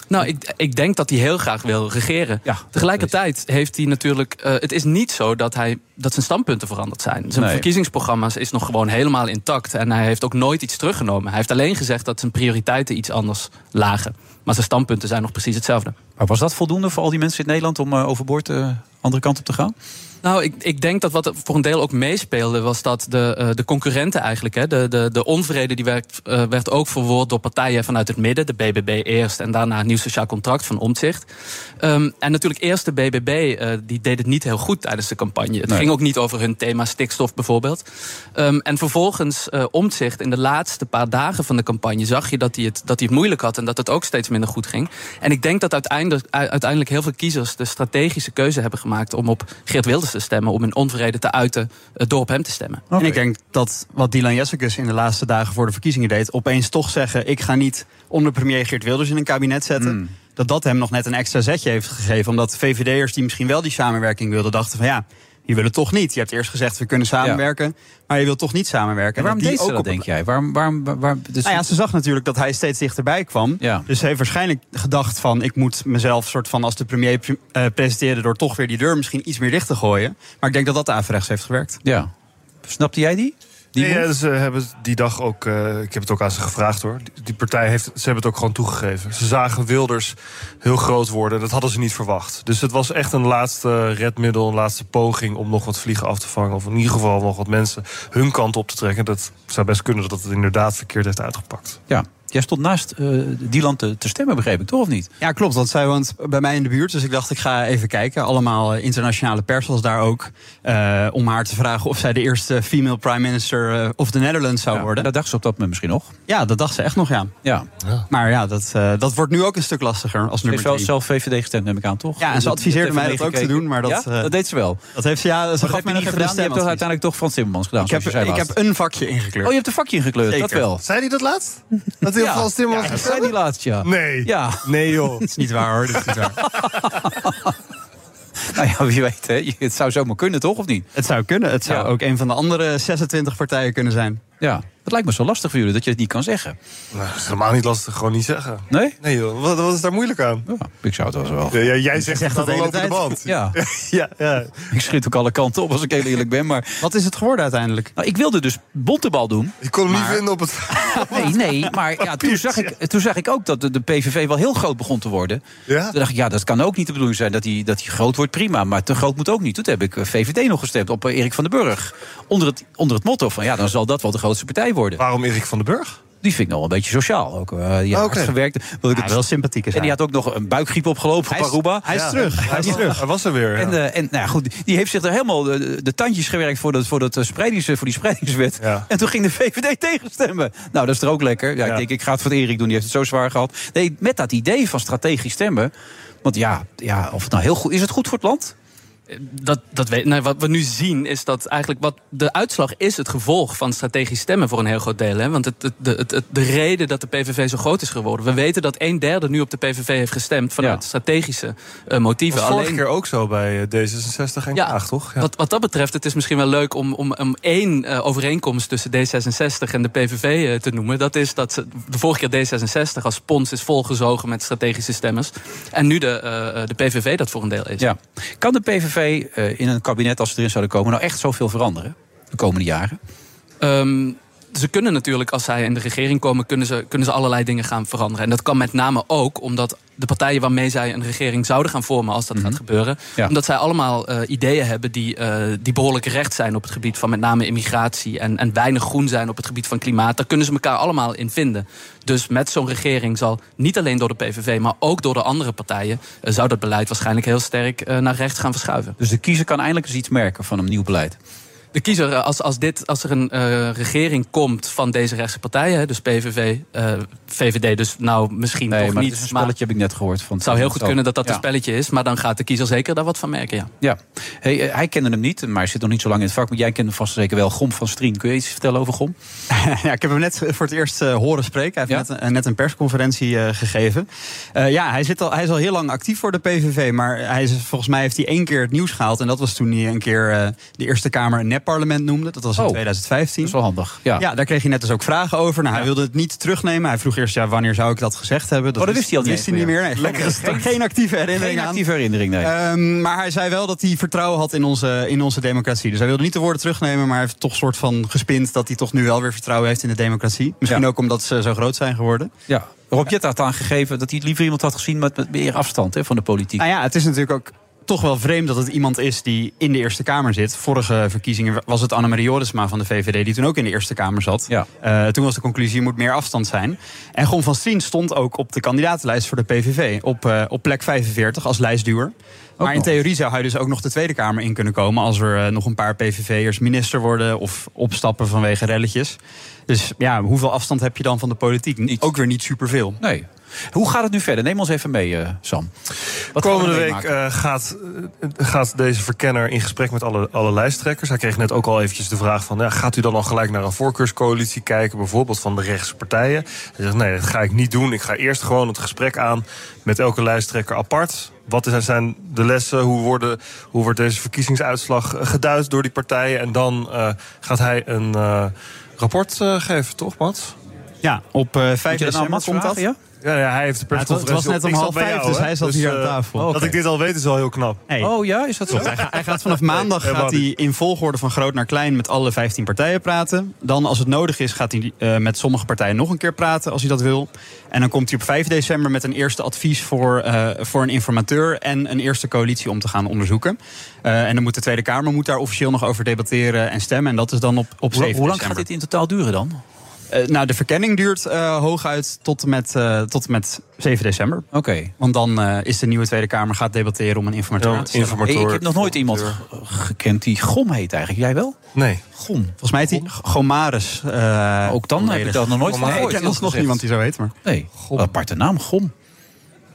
Speaker 16: Nou, ik, ik denk dat hij heel graag wil regeren. Tegelijkertijd heeft hij natuurlijk. eh, het is niet zo dat, hij, dat zijn standpunten veranderd zijn. Zijn
Speaker 8: Nee.
Speaker 16: verkiezingsprogramma's is nog gewoon helemaal intact. En hij heeft ook nooit iets teruggenomen. Hij heeft alleen gezegd dat zijn prioriteiten iets anders lagen. Maar zijn standpunten zijn nog precies hetzelfde.
Speaker 8: Maar was dat voldoende voor al die mensen in Nederland om eh, overboord de andere kant op te gaan?
Speaker 16: Nou, ik, ik denk dat wat er voor een deel ook meespeelde, was dat de, eh, de concurrenten eigenlijk, hè, de, de, de onvrede, die werd, eh, werd ook verwoord door partijen vanuit het midden. De BBB eerst en daarna het Nieuw Sociaal Contract van Omtzigt. Ehm, en natuurlijk eerst de BBB, eh, die deed het niet heel goed tijdens de campagne. Het
Speaker 8: Nee.
Speaker 16: ging ook niet over hun thema stikstof bijvoorbeeld. Ehm, en vervolgens eh Omtzigt, in de laatste paar dagen van de campagne, zag je dat hij, het, dat hij het moeilijk had en dat het ook steeds minder goed ging. En ik denk dat uiteindelijk, u- uiteindelijk heel veel kiezers de strategische keuze hebben gemaakt om op Geert Wilders te stemmen, om hun onvrede te uiten eh, door op hem te stemmen.
Speaker 15: En ik denk dat wat Dylan Jessicus in de laatste dagen voor de verkiezingen deed... opeens toch zeggen, ik ga niet onder premier Geert Wilders in een kabinet zetten...
Speaker 8: Mm.
Speaker 15: dat dat hem nog net een extra zetje heeft gegeven. Omdat VVD'ers die misschien wel die samenwerking wilden... dachten van ja, je wil het toch niet. Je hebt eerst gezegd, we kunnen samenwerken, maar je wilt toch niet samenwerken. En
Speaker 8: waarom
Speaker 15: die
Speaker 8: deed ze
Speaker 15: ook
Speaker 8: dat,
Speaker 15: op-
Speaker 8: denk jij? Waarom, waarom, waar, waar- dus-
Speaker 15: nou ja, ze zag natuurlijk dat hij steeds dichterbij kwam. Dus ze heeft waarschijnlijk gedacht van... ik moet mezelf soort van als de premier pre- eh, presenteren... door toch weer die deur misschien iets meer dicht te gooien. Maar ik denk dat dat averechts heeft gewerkt.
Speaker 8: Ja. Snapte jij die?
Speaker 9: Die ja, ja, ze hebben die dag ook. eh, ik heb het ook aan ze gevraagd hoor. Die, die partij heeft. Ze hebben het ook gewoon toegegeven. Ze zagen Wilders heel groot worden. Dat hadden ze niet verwacht. Dus het was echt een laatste redmiddel. Een laatste poging om nog wat vliegen af te vangen. Of in ieder geval nog wat mensen hun kant op te trekken. Dat zou best kunnen dat het inderdaad verkeerd heeft uitgepakt.
Speaker 8: Ja. Jij stond naast eh Dylan te, te stemmen, begreep ik, toch of niet?
Speaker 15: Ja, klopt. Want zij woont bij mij in de buurt. Dus ik dacht, ik ga even kijken. Allemaal eh, internationale pers was daar ook. eh, om haar te vragen of zij de eerste female prime minister eh, of the Netherlands zou worden.
Speaker 8: Dat dacht ze op dat moment misschien nog.
Speaker 15: Ja, dat dacht ze echt nog, ja.
Speaker 8: Ja.
Speaker 15: Maar ja, dat, eh, dat wordt nu ook een stuk lastiger als
Speaker 8: Ze
Speaker 15: nummer
Speaker 8: heeft wel
Speaker 15: drie.
Speaker 8: zelf VVD gestemd, neem ik aan, toch?
Speaker 15: Ja, en ze
Speaker 8: Dat-
Speaker 15: adviseerde
Speaker 8: dat
Speaker 15: mij
Speaker 8: heeft
Speaker 15: dat ook te
Speaker 8: gekeken.
Speaker 15: doen. Maar dat,
Speaker 8: Ja?
Speaker 15: eh,
Speaker 8: dat deed ze wel.
Speaker 15: Dat heeft ze, ja, ze
Speaker 8: Dat
Speaker 15: gaf
Speaker 8: heb je
Speaker 15: mij
Speaker 8: niet
Speaker 15: nog
Speaker 8: gedaan.
Speaker 15: gedaan.
Speaker 8: Je hebt toch uiteindelijk toch Frans Timmermans gedaan.
Speaker 15: Ik heb,
Speaker 8: zoals je zei
Speaker 15: ik heb
Speaker 8: laatst.
Speaker 15: een vakje ingekleurd.
Speaker 8: Oh, je hebt een vakje ingekleurd,
Speaker 15: Zeker.
Speaker 8: dat wel.
Speaker 9: Zei hij dat laatst? Dat heel
Speaker 8: Ja.
Speaker 9: Frans Timmermans
Speaker 8: Ja, dat
Speaker 9: gestemd
Speaker 8: zei hij laatst, ja.
Speaker 9: Nee.
Speaker 8: Ja.
Speaker 9: Nee, joh. dat
Speaker 15: is niet waar, hoor. Dat is niet waar.
Speaker 8: Nou ja, wie weet, hè? het zou zomaar kunnen, toch, of niet?
Speaker 15: Het zou kunnen. Het zou ook een van de andere 26 partijen kunnen zijn.
Speaker 8: Ja, dat lijkt me zo lastig voor jullie dat je het niet kan zeggen.
Speaker 9: Nou, dat is helemaal niet lastig, gewoon niet zeggen.
Speaker 8: Nee?
Speaker 9: Nee joh, wat, wat is daar moeilijk aan?
Speaker 8: ik zou het wel wel.
Speaker 9: Ja, jij zegt,
Speaker 15: zegt
Speaker 9: het
Speaker 15: dat
Speaker 9: aan
Speaker 15: de
Speaker 9: de
Speaker 15: hele
Speaker 9: band.
Speaker 8: Ja.
Speaker 9: ja, ja.
Speaker 8: Ik schiet ook alle kanten op, als ik heel eerlijk ben. Maar...
Speaker 15: Wat is het geworden uiteindelijk?
Speaker 8: Nou, ik wilde dus bontebal doen.
Speaker 9: Ik kon hem
Speaker 8: Maar-
Speaker 9: niet vinden op het...
Speaker 8: Nee, nee, maar ja, toen, zag ik, toen zag ik ook dat de, de PVV wel heel groot begon te worden.
Speaker 9: Ja?
Speaker 8: Toen dacht ik, ja, dat kan ook niet de bedoeling zijn dat hij dat hij groot wordt, prima. Maar te groot moet ook niet. Toen heb ik eh, VVD nog gestemd op eh, Erik van den Burg. Onder het, onder het motto van, ja, dan zal dat wel de grootste partij worden.
Speaker 9: Waarom Erik van den Burg?
Speaker 8: Die vind ik nog wel een beetje sociaal. Ook, eh, die heeft hard gewerkt. Wil ik het-
Speaker 15: wel sympathiek is
Speaker 8: en die had ook nog een buikgriep opgelopen,
Speaker 15: Hij is-
Speaker 8: Paruba.
Speaker 15: hij is terug, hij is terug.
Speaker 9: Hij was er weer.
Speaker 8: En, eh, en nou ja, goed, die heeft zich er helemaal eh, de, de tandjes gewerkt voor, dat, voor, dat eh, spreidings, voor die spreidingswet. En toen ging de VVD tegenstemmen. Nou, dat is er ook lekker. Ja, Ik denk, ik ga het voor Erik doen, die heeft het zo zwaar gehad. Nee, met dat idee van strategisch stemmen. Want ja, ja of het nou heel goed is, het goed voor het land?
Speaker 16: dat, dat weet, nee, wat we nu zien is dat eigenlijk wat de uitslag is het gevolg van strategisch stemmen voor een heel groot deel. Hè? Want het, het, de- het, het- de reden dat de PVV zo groot is geworden. We weten dat een derde nu op de PVV heeft gestemd vanuit strategische eh, motieven.
Speaker 9: was vorige
Speaker 16: Alleen-
Speaker 9: keer ook zo bij eh, D66 en Kaag, toch?
Speaker 16: wat, wat dat betreft, het is misschien wel leuk om, om, om één eh, overeenkomst tussen D66 en de PVV eh, te noemen. Dat is dat ze, de vorige keer D66 als spons is volgezogen met strategische stemmers. En nu de, eh, eh, de PVV dat voor een deel is.
Speaker 8: Ja. Kan de PVV eh, in een kabinet, als ze erin zouden komen, nou echt zoveel veranderen de komende jaren?
Speaker 16: Ehm, ze kunnen natuurlijk, als zij in de regering komen, kunnen ze, kunnen ze allerlei dingen gaan veranderen. En dat kan met name ook omdat de partijen waarmee zij een regering zouden gaan vormen, als dat gaat gebeuren,
Speaker 8: Mhm. Ja.
Speaker 16: omdat zij allemaal eh, ideeën hebben die, eh, die behoorlijk recht zijn op het gebied van met name immigratie en, en weinig groen zijn op het gebied van klimaat. Daar kunnen ze elkaar allemaal in vinden. Dus met zo'n regering zal niet alleen door de PVV, maar ook door de andere partijen, eh, zou dat beleid waarschijnlijk heel sterk eh, naar rechts gaan verschuiven.
Speaker 8: Dus de kiezer kan eindelijk eens iets merken van een nieuw beleid.
Speaker 16: De kiezer, eh, als, als, dit, als er een eh, regering komt van deze rechtse partijen, hè, dus PVV, eh, VVD, dus nou misschien
Speaker 8: Nee,
Speaker 16: toch
Speaker 8: maar
Speaker 16: niet.
Speaker 8: het is een spelletje, heb ik net gehoord. Van
Speaker 16: het zou heel goed
Speaker 8: Zo.
Speaker 16: kunnen dat dat
Speaker 8: Ja.
Speaker 16: een spelletje is, maar dan gaat de kiezer zeker daar wat van merken. Ja.
Speaker 8: Ja, hey, eh, hij kende hem niet, maar hij zit nog niet zo lang in het vak. Maar jij kent hem vast zeker wel, Gom van Strien. Kun je iets vertellen over Gom?
Speaker 15: ja, ik heb hem net voor het eerst eh, horen spreken. Hij heeft net, een- eh, net een persconferentie eh, gegeven. Eh, ja, hij, zit al, hij is al heel lang actief voor de PVV. Maar hij is, volgens mij heeft hij één keer het nieuws gehaald. En dat was toen hij een keer eh, de Eerste Kamer een nepparlement noemde. Dat was in
Speaker 8: Oh,
Speaker 15: 2015. Dat is
Speaker 8: wel handig. Ja.
Speaker 15: daar kreeg hij net dus ook vragen over. Nou, hij wilde het niet terugnemen. Hij vroeg eerst, ja, wanneer zou ik dat gezegd hebben?
Speaker 8: Oh, dat wist hij al niet
Speaker 15: wist hij niet
Speaker 8: eens
Speaker 15: meer.
Speaker 8: meer.
Speaker 15: Nee,
Speaker 8: Lekker
Speaker 15: geen-
Speaker 8: gestart.
Speaker 15: Geen actieve herinnering
Speaker 8: Geen
Speaker 15: aan.
Speaker 8: actieve herinnering, nee.
Speaker 15: Ehm, maar hij zei wel dat hij vertrouwen had in onze, in onze democratie. Dus hij wilde niet de woorden terugnemen, maar hij heeft toch soort van gespind dat hij toch nu wel weer vertrouwen heeft in de democratie. Misschien ook omdat ze zo groot zijn geworden.
Speaker 8: Ja, Rob Jette had aangegeven dat hij het liever iemand had gezien met, met meer afstand hè, van de politiek.
Speaker 15: Nou ja, het is natuurlijk ook toch wel vreemd dat het iemand is die in de Eerste Kamer zit. Vorige verkiezingen was het Annemarie Jorisma van de VVD... die toen ook in de Eerste Kamer zat. Eh, toen was de conclusie, er moet meer afstand zijn. En Gon van Steen stond ook op de kandidatenlijst voor de PVV... op, eh, op plek 45 als lijstduwer. maar in theorie zou hij dus ook nog de Tweede Kamer in kunnen komen... als er eh, nog een paar PVV'ers minister worden... of opstappen vanwege relletjes. Dus ja, hoeveel afstand heb je dan van de politiek? Ook weer niet superveel.
Speaker 8: Nee. Hoe gaat het nu verder? Neem ons even mee, eh, Sam. Wat gaan we
Speaker 9: Komende week
Speaker 8: meemaken?
Speaker 9: eh, gaat, eh, gaat deze verkenner in gesprek met alle, alle lijsttrekkers. Hij kreeg net ook al eventjes de vraag van... Ja, gaat u dan al gelijk naar een voorkeurscoalitie kijken... bijvoorbeeld van de rechtse partijen? Hij zegt, nee, dat ga ik niet doen. Ik ga eerst gewoon het gesprek aan met elke lijsttrekker apart. Wat is- zijn de lessen? Hoe, worden, hoe wordt deze verkiezingsuitslag eh, geduid door die partijen? En dan eh, gaat hij een eh, rapport eh, geven, toch, Mats?
Speaker 15: Ja, op eh 5
Speaker 9: dat nou
Speaker 15: december
Speaker 9: Mats
Speaker 15: komt dat.
Speaker 9: vragen, Ja, ja, hij heeft de
Speaker 15: Ja, het was-
Speaker 9: persconferentie.
Speaker 15: het was
Speaker 9: op.
Speaker 15: net om
Speaker 9: Ik zat
Speaker 15: half
Speaker 9: bij
Speaker 15: vijf,
Speaker 9: jou,
Speaker 15: dus
Speaker 9: hè.
Speaker 15: hij zat hier aan
Speaker 9: eh,
Speaker 15: tafel.
Speaker 9: Dat
Speaker 15: Oké.
Speaker 9: ik dit al weet is al heel knap.
Speaker 15: Hey.
Speaker 8: Oh ja, is dat zo?
Speaker 15: Hij, ga- hij gaat vanaf maandag gaat hij in volgorde van groot naar klein met alle 15 partijen praten. Dan, als het nodig is, gaat hij eh, met sommige partijen nog een keer praten als hij dat wil. En dan komt hij op 5 december met een eerste advies voor, eh, voor een informateur en een eerste coalitie om te gaan onderzoeken. Eh, en dan moet de Tweede Kamer moet daar officieel nog over debatteren en stemmen. En dat is dan op, op 7
Speaker 8: Hoe, hoe lang
Speaker 15: december.
Speaker 8: gaat dit in totaal duren dan?
Speaker 15: Eh, nou, de verkenning duurt eh, hooguit tot en, met, eh, tot en met 7 december. Oké. Want dan eh, is de nieuwe Tweede Kamer gaat debatteren om een informateur aan te stellen.
Speaker 8: Hey, ik heb nog nooit iemand ge- gekend die Gom heet eigenlijk. Jij wel?
Speaker 9: Nee.
Speaker 8: Gom.
Speaker 15: Volgens mij heet hij Gomaris. eh,
Speaker 8: ook dan heb ik dat nog nooit van
Speaker 15: Nee,
Speaker 8: gehoord.
Speaker 15: Ik ken nog niemand die zo heet. Maar.
Speaker 8: Nee, Wat een aparte naam, Gom.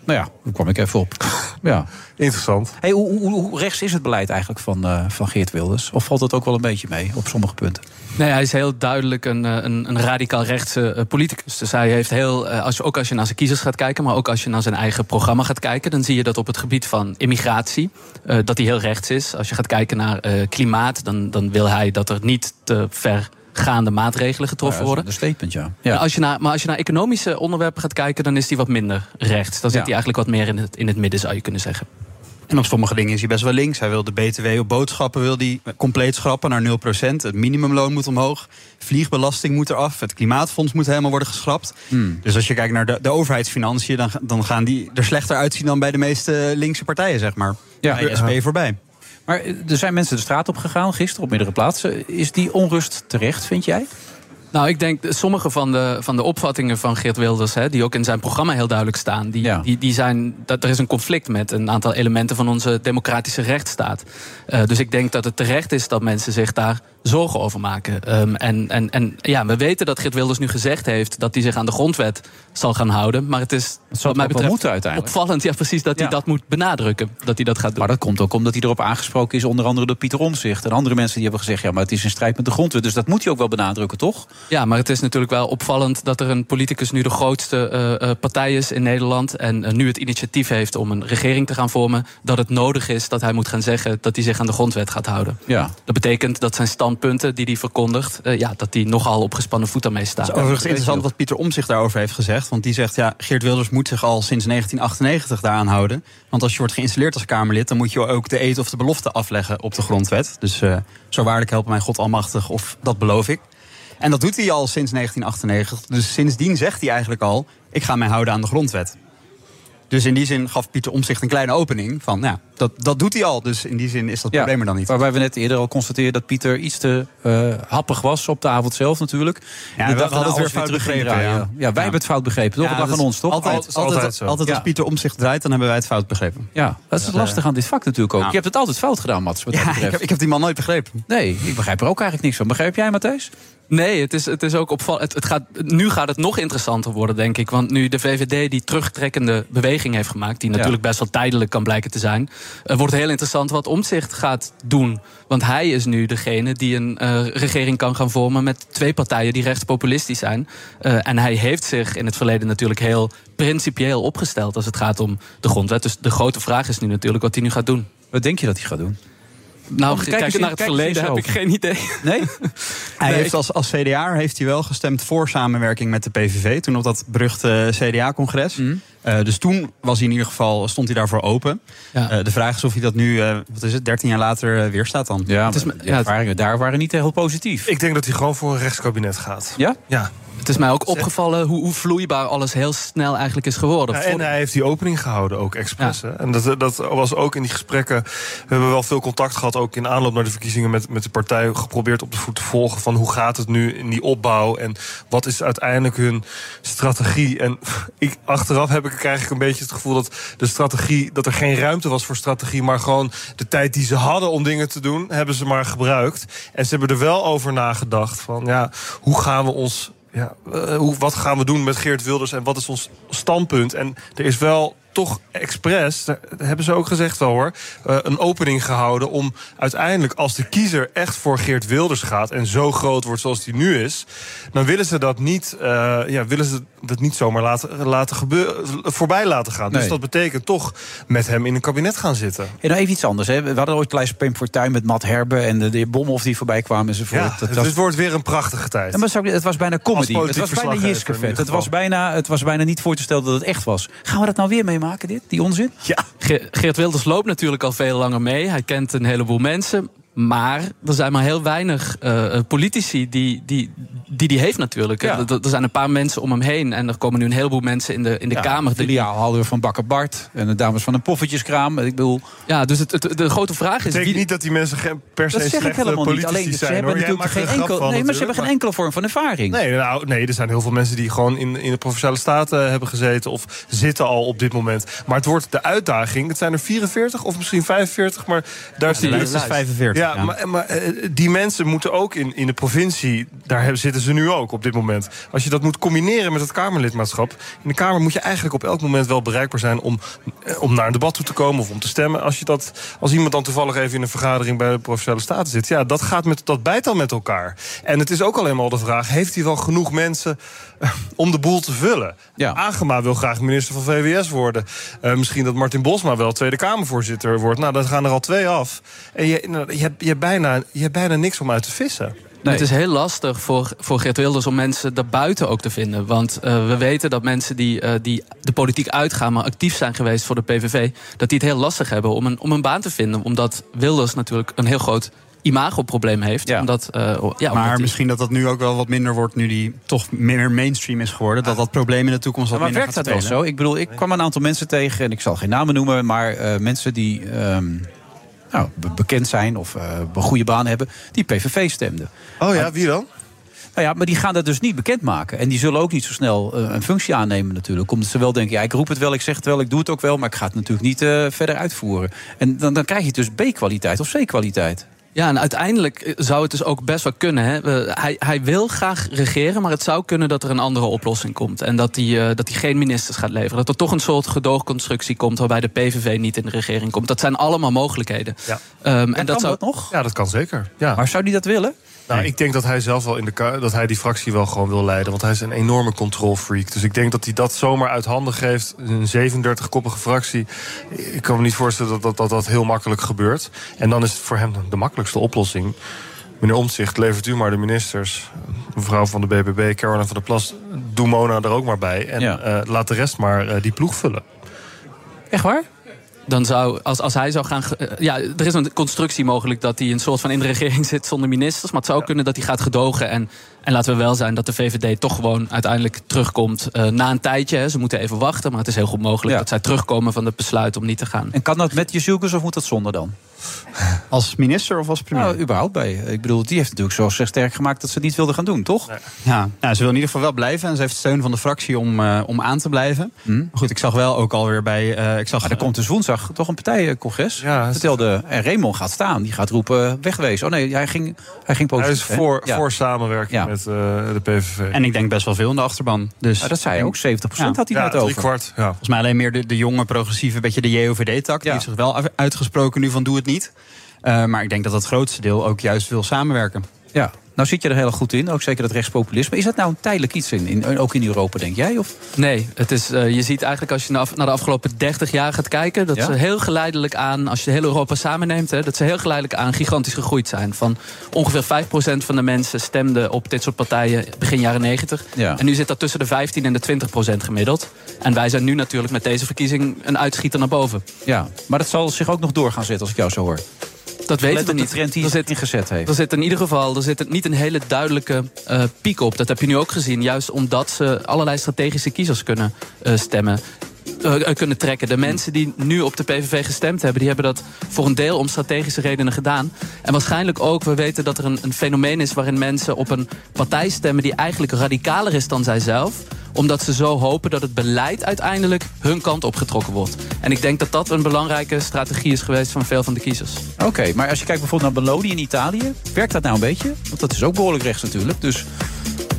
Speaker 8: Nou ja, hoe kwam ik even op? ja.
Speaker 9: Interessant.
Speaker 8: Hey, hoe, hoe, hoe rechts is het beleid eigenlijk van, eh, van Geert Wilders? Of valt dat ook wel een beetje mee op sommige punten?
Speaker 16: Nee, hij is heel duidelijk een, eh, een, een radicaal rechtse eh, politicus. Dus hij heeft heel, eh, als je, ook als je naar zijn kiezers gaat kijken, maar ook als je naar zijn eigen programma gaat kijken, dan zie je dat op het gebied van immigratie, eh, dat hij heel rechts is. Als je gaat kijken naar eh, klimaat, dan, dan wil hij dat er niet te vergaande maatregelen getroffen
Speaker 8: Ja, dat
Speaker 16: worden.
Speaker 8: is Een statement, ja.
Speaker 16: En Als je naar, maar als je naar economische onderwerpen gaat kijken, dan is hij wat minder rechts. Dan zit hij eigenlijk wat meer in het, in het midden, zou je kunnen zeggen.
Speaker 15: En op sommige dingen is hij best wel links. Hij wil de BTW op boodschappen wil die compleet schrappen naar 0%. Het minimumloon moet omhoog. Vliegbelasting moet eraf. Het klimaatfonds moet helemaal worden geschrapt. Dus als je kijkt naar de, de overheidsfinanciën... Dan, ga- dan gaan die er slechter uitzien dan bij de meeste linkse partijen, zeg maar. Ja, de SP voorbij.
Speaker 8: Maar eh, er zijn mensen de straat op gegaan gisteren op meerdere plaatsen. Is die onrust terecht, vind jij?
Speaker 16: Nou, ik denk eh, sommige van de, van de opvattingen van Geert Wilders, hè, die ook in zijn programma heel duidelijk staan, die, die, die zijn, dat, er is een conflict met een aantal elementen van onze democratische rechtsstaat. Eh, dus ik denk dat het terecht is dat mensen zich daar zorgen over maken. Um, en en, en ja, we weten dat Geert Wilders nu gezegd heeft dat hij zich aan de grondwet zal gaan houden. Maar het is wat mij
Speaker 8: ook wel
Speaker 16: betreft
Speaker 8: moeten uiteindelijk.
Speaker 16: opvallend ja, precies, dat hij dat moet benadrukken. Dat hij dat gaat doen.
Speaker 8: Maar dat komt ook omdat hij erop aangesproken is, onder andere door Pieter Omzicht. En andere mensen die hebben gezegd: ja, maar het is in strijd met de grondwet. Dus dat moet hij ook wel benadrukken, toch?
Speaker 16: Ja, maar het is natuurlijk wel opvallend dat er een politicus nu de grootste eh, eh, partij is in Nederland. En eh, nu het initiatief heeft om een regering te gaan vormen. Dat het nodig is dat hij moet gaan zeggen dat hij zich aan de grondwet gaat houden.
Speaker 8: Ja.
Speaker 16: Dat betekent dat zijn standpunten die hij verkondigt, eh, ja, dat die nogal op gespannen voet daarmee
Speaker 15: Het
Speaker 16: staat.
Speaker 15: is overigens interessant wat Pieter Omtzigt daarover heeft gezegd. Want die zegt, ja, Geert Wilders moet zich al sinds 1998 daaraan houden. Want als je wordt geïnstalleerd als Kamerlid... dan moet je ook de eed of de belofte afleggen op de grondwet. Dus eh, zo waarlijk helpen mij God almachtig, of dat beloof ik. En dat doet hij al sinds 1998. Dus sindsdien zegt hij eigenlijk al, ik ga mij houden aan de grondwet. Dus in die zin gaf Pieter Omtzigt een kleine opening van, nou ja, dat, dat doet hij al. Dus in die zin is dat probleem er dan niet.
Speaker 8: Waarbij we net eerder al constateerden dat Pieter iets te eh, happig was op de avond zelf natuurlijk.
Speaker 15: Ja,
Speaker 8: De
Speaker 15: we hadden
Speaker 8: dag daarna
Speaker 15: het weer
Speaker 8: nou, alles
Speaker 15: fout
Speaker 8: terug
Speaker 15: begrepen,
Speaker 8: indraaien.
Speaker 15: ja.
Speaker 8: Ja, wij hebben het fout begrepen, toch?
Speaker 15: Ja,
Speaker 8: het lag
Speaker 15: dat
Speaker 8: aan
Speaker 15: is
Speaker 8: ons, toch?
Speaker 15: Altijd,
Speaker 8: Al-
Speaker 15: altijd, altijd, als Pieter Omtzigt draait, dan hebben wij het fout begrepen.
Speaker 8: Ja, dat is het
Speaker 15: Ja.
Speaker 8: lastig aan dit vak natuurlijk ook.
Speaker 15: Ja.
Speaker 8: Je hebt het altijd fout gedaan, Mats. Wat dat
Speaker 15: ik,
Speaker 8: betreft.
Speaker 15: heb, ik heb die man nooit begrepen.
Speaker 8: Nee, ik begrijp er ook eigenlijk niks van. Begrijp jij, Matthijs?
Speaker 16: Nee, het is, het is ook opvallend. Het, het gaat, nu gaat het nog interessanter worden, denk ik. Want nu de VVD die terugtrekkende beweging heeft gemaakt... die natuurlijk best wel tijdelijk kan blijken te zijn... eh, wordt heel interessant wat Omtzigt gaat doen. Want hij is nu degene die een eh, regering kan gaan vormen... met twee partijen die rechtspopulistisch zijn. Eh, en hij heeft zich in het verleden natuurlijk heel principieel opgesteld... als het gaat om de grondwet. Dus de grote vraag is nu natuurlijk wat hij nu gaat doen.
Speaker 8: Wat denk je dat hij gaat doen?
Speaker 16: Nou,
Speaker 8: Want kijk eens
Speaker 16: kijkend
Speaker 8: in-
Speaker 16: naar het
Speaker 8: kijk eens in
Speaker 16: verleden
Speaker 8: zijn
Speaker 16: heb ik
Speaker 8: hoofd.
Speaker 16: geen idee.
Speaker 8: Nee?
Speaker 15: Hij heeft als, als CDA heeft hij wel gestemd voor samenwerking met de PVV. Toen op dat beruchte CDA-congres.
Speaker 9: Mhm.
Speaker 15: Eh, dus toen was hij in ieder geval, stond hij daarvoor open. Eh, de vraag is of hij dat nu, eh, wat is het, 13 jaar later eh, weer staat dan.
Speaker 8: Ja, de ervaringen daar waren niet heel positief.
Speaker 9: Ik denk dat hij gewoon voor een rechtskabinet gaat.
Speaker 8: Ja?
Speaker 9: Ja.
Speaker 16: Het is mij ook opgevallen hoe, hoe vloeibaar alles heel snel eigenlijk is geworden.
Speaker 9: Ja,
Speaker 16: Voor-
Speaker 9: en hij heeft die opening gehouden ook expres. hè. En dat, dat was ook in die gesprekken. We hebben wel veel contact gehad, ook in aanloop naar de verkiezingen met, met de partij. Geprobeerd op de voet te volgen van hoe gaat het nu in die opbouw. En wat is uiteindelijk hun strategie. En ik, achteraf heb ik eigenlijk een beetje het gevoel dat de strategie. dat er geen ruimte was voor strategie. Maar gewoon de tijd die ze hadden om dingen te doen, hebben ze maar gebruikt. En ze hebben er wel over nagedacht van ja, hoe gaan we ons ja, eh, hoe, wat gaan we doen met Geert Wilders en wat is ons standpunt? En er is wel toch expres, daar hebben ze ook gezegd wel hoor, eh, een opening gehouden om uiteindelijk als de kiezer echt voor Geert Wilders gaat en zo groot wordt zoals die nu is, dan willen ze dat niet, eh, ja, willen ze dat niet zomaar laten, laten gebeuren, voorbij laten gaan. Dus
Speaker 8: Nee.
Speaker 9: dat betekent toch met hem in een kabinet gaan zitten.
Speaker 8: En dan nou, even iets anders. Hè. We hadden ooit Kleis Pim Fortuyn met Matt Herbe en de, de Bomhoff die voorbij kwamen enzovoort.
Speaker 9: Ja,
Speaker 8: Dat
Speaker 9: het
Speaker 8: was-
Speaker 9: wordt weer een prachtige tijd.
Speaker 8: Ja, maar zou ik- het was bijna comedy.
Speaker 9: Als
Speaker 8: Het
Speaker 9: politiek
Speaker 8: was bijna
Speaker 9: verslaggever in
Speaker 8: Jiskevet.
Speaker 9: ieder
Speaker 8: Het was bijna, het was bijna niet voor te stellen dat het echt was. Gaan we dat nou weer meemaken, dit? Die onzin?
Speaker 9: Ja.
Speaker 16: Ge- Geert Wilders loopt natuurlijk al veel langer mee. Hij kent een heleboel mensen. Maar er zijn maar heel weinig eh, politici die die, die, die heeft natuurlijk. Er, er zijn een paar mensen om hem heen. En er komen nu een heleboel mensen in de, in de Kamer. die-
Speaker 8: Filiaal hadden we van Bakker Bart en de dames van een poffertjeskraam. Ik bedoel...
Speaker 16: Ja, dus het, het- de grote vraag is...
Speaker 9: betekent niet dat die mensen geen- per se
Speaker 8: Dat zeg ik
Speaker 9: slechte
Speaker 8: helemaal niet.
Speaker 9: politici
Speaker 8: Alleen dus ze
Speaker 9: zijn.
Speaker 8: hebben
Speaker 9: hoor. Jij
Speaker 8: natuurlijk
Speaker 9: maakt er
Speaker 8: geen
Speaker 9: een grap
Speaker 8: enkel,
Speaker 9: van,
Speaker 8: nee, maar ze
Speaker 9: natuurlijk,
Speaker 8: hebben geen enkele vorm van ervaring.
Speaker 9: Nee, nou, nee, er zijn heel veel mensen die gewoon in, in de provinciale staten eh, hebben gezeten of zitten al op dit moment. Maar het wordt de uitdaging. Het zijn er 44 of misschien 45, maar daar
Speaker 15: de
Speaker 9: de
Speaker 15: lijst is 45,
Speaker 9: Ja,
Speaker 15: ja.
Speaker 9: maar, maar eh, die mensen moeten ook in, in de provincie, daar hebben- zitten ze nu ook op dit moment. Als je dat moet combineren met het Kamerlidmaatschap, in de Kamer moet je eigenlijk op elk moment wel bereikbaar zijn om, eh, om naar een debat toe te komen of om te stemmen. Als, je dat, als iemand dan toevallig even in een vergadering bij de provinciale staten zit, ja, dat, gaat met, dat bijt dan met elkaar. En het is ook alleen maar de vraag: heeft hij wel genoeg mensen eh, om de boel te vullen? Agema wil graag minister van VWS worden. Eh, misschien dat Martin Bosma wel Tweede Kamervoorzitter wordt. Nou, dan gaan er al twee af. En je, nou, je, hebt, je, hebt, bijna, je hebt bijna niks om uit te vissen.
Speaker 16: Het is heel lastig voor, voor Geert Wilders om mensen daarbuiten ook te vinden. Want eh, we weten dat mensen die, eh, die de politiek uitgaan, maar actief zijn geweest voor de PVV, dat die het heel lastig hebben om een, om een baan te vinden. Omdat Wilders natuurlijk een heel groot imagoprobleem heeft. Omdat, eh, ja, omdat
Speaker 15: maar
Speaker 16: hij-
Speaker 15: misschien dat dat nu ook wel wat minder wordt, nu die toch meer mainstream is geworden. Dat dat probleem in de toekomst wat
Speaker 8: maar
Speaker 15: minder
Speaker 8: werkt
Speaker 15: gaat
Speaker 8: dat wel
Speaker 15: spelen.
Speaker 8: zo? Ik bedoel, ik kwam een aantal mensen tegen, en ik zal geen namen noemen, maar eh, mensen die ehm, nou, be- bekend zijn of eh, een goede baan hebben, die PVV stemden.
Speaker 9: Oh ja, wie dan?
Speaker 8: Nou ja, maar die gaan dat dus niet bekendmaken. En die zullen ook niet zo snel eh, een functie aannemen natuurlijk. Omdat ze wel denken, ja, ik roep het wel, ik zeg het wel, ik doe het ook wel... maar ik ga het natuurlijk niet eh, verder uitvoeren. En dan, dan krijg je dus B-kwaliteit of C-kwaliteit.
Speaker 16: Ja, en uiteindelijk zou het dus ook best wel kunnen. Hè? We- hij, hij wil graag regeren, maar het zou kunnen dat er een andere oplossing komt. En dat hij, eh, dat hij geen ministers gaat leveren. Dat er toch een soort gedoogconstructie komt waarbij de PVV niet in de regering komt. Dat zijn allemaal mogelijkheden. Ehm, en dat zou...
Speaker 9: nog? Ja, dat kan zeker. Ja.
Speaker 8: Maar zou die dat willen?
Speaker 9: Nou, ik denk dat hij zelf wel in de ka- dat hij die fractie wel gewoon wil leiden. Want hij is een enorme controlfreak. Dus ik denk dat hij dat zomaar uit handen geeft. Een 37-koppige fractie. Ik kan me niet voorstellen dat dat, dat dat heel makkelijk gebeurt. En dan is het voor hem de makkelijkste oplossing. Meneer Omtzigt, levert u maar de ministers. Mevrouw van de BBB, Caroline van der Plas. Doe Mona er ook maar bij. En eh, laat de rest maar eh, die ploeg vullen.
Speaker 16: Echt waar? Dan zou, als, als hij zou gaan. ge- eh, Ja, er is een constructie mogelijk dat hij een soort van in de regering zit zonder ministers. Maar het zou ook kunnen dat hij gaat gedogen. En, en laten we wel zijn dat de VVD toch gewoon uiteindelijk terugkomt. eh, na een tijdje. Hè. Ze moeten even wachten. Maar het is heel goed mogelijk dat zij terugkomen van het besluit om niet te gaan.
Speaker 8: En kan dat met Jezielkes of moet dat zonder dan?
Speaker 15: Als minister of als premier?
Speaker 8: Nou, überhaupt bij. Ik bedoel, die heeft natuurlijk zo zich sterk gemaakt dat ze het niet wilde gaan doen, toch?
Speaker 15: Ja, nou, ze wil in ieder geval wel blijven. En ze heeft steun van de fractie om, eh, om aan te blijven.
Speaker 9: Mhm.
Speaker 15: Maar goed, ik zag wel ook alweer bij... eh,
Speaker 9: Ah,
Speaker 15: ik zag,
Speaker 8: Maar er komt dus woensdag toch een partijencongres. Vertelde, en Raymond gaat staan. Die gaat roepen, wegwezen. Oh nee, hij ging, hij ging
Speaker 9: Hij
Speaker 8: positief.
Speaker 9: is voor,
Speaker 8: hè? Ja.
Speaker 9: voor samenwerking met eh, de PVV.
Speaker 15: En ik denk best wel veel in de achterban. Dus,
Speaker 8: Nou, dat zei hij ook, 70% had hij
Speaker 15: Ja,
Speaker 8: net over.
Speaker 15: driekwart,
Speaker 9: ja.
Speaker 15: Volgens mij alleen meer de, de jonge progressieve, een beetje de JOVD-tak. Die heeft zich wel af- uitgesproken nu van doe het niet. Eh, maar ik denk dat dat grootste deel ook juist wil samenwerken.
Speaker 8: Ja, nou zit je er heel goed in. Ook zeker dat rechtspopulisme. Is dat nou een tijdelijk iets in, in- ook in Europa, denk jij? Of?
Speaker 16: Nee, het is, eh, je ziet eigenlijk als je naar, naar de afgelopen 30 jaar gaat kijken... dat
Speaker 8: Ja?
Speaker 16: ze heel geleidelijk aan, als je heel Europa samenneemt... Hè, dat ze heel geleidelijk aan gigantisch gegroeid zijn. Van ongeveer 5% van de mensen stemden op dit soort partijen begin jaren 90.
Speaker 8: Ja.
Speaker 16: En nu zit dat tussen de 15 en de 20% gemiddeld. En wij zijn nu natuurlijk met deze verkiezing een uitschieter naar boven.
Speaker 8: Ja, maar dat zal zich ook nog door gaan zetten als ik jou zo hoor.
Speaker 16: Dat weten
Speaker 8: Let
Speaker 16: we
Speaker 8: op de
Speaker 16: niet.
Speaker 8: trend die
Speaker 16: Er zit-
Speaker 8: ingezet heeft.
Speaker 16: Er zit in ieder geval er zit een- niet een hele duidelijke eh, piek op. Dat heb je nu ook gezien. Juist omdat ze allerlei strategische kiezers kunnen eh, stemmen. eh, eh, kunnen trekken. De mensen die nu op de PVV gestemd hebben, die hebben dat voor een deel om strategische redenen gedaan. En waarschijnlijk ook, we weten dat er een, een fenomeen is waarin mensen op een partij stemmen die eigenlijk radicaler is dan zijzelf. Omdat ze zo hopen dat het beleid uiteindelijk hun kant opgetrokken wordt. En ik denk dat dat een belangrijke strategie is geweest van veel van de kiezers.
Speaker 8: Oké, maar als je kijkt bijvoorbeeld naar Belloni in Italië, werkt dat nou een beetje? Want dat is ook behoorlijk rechts natuurlijk. Dus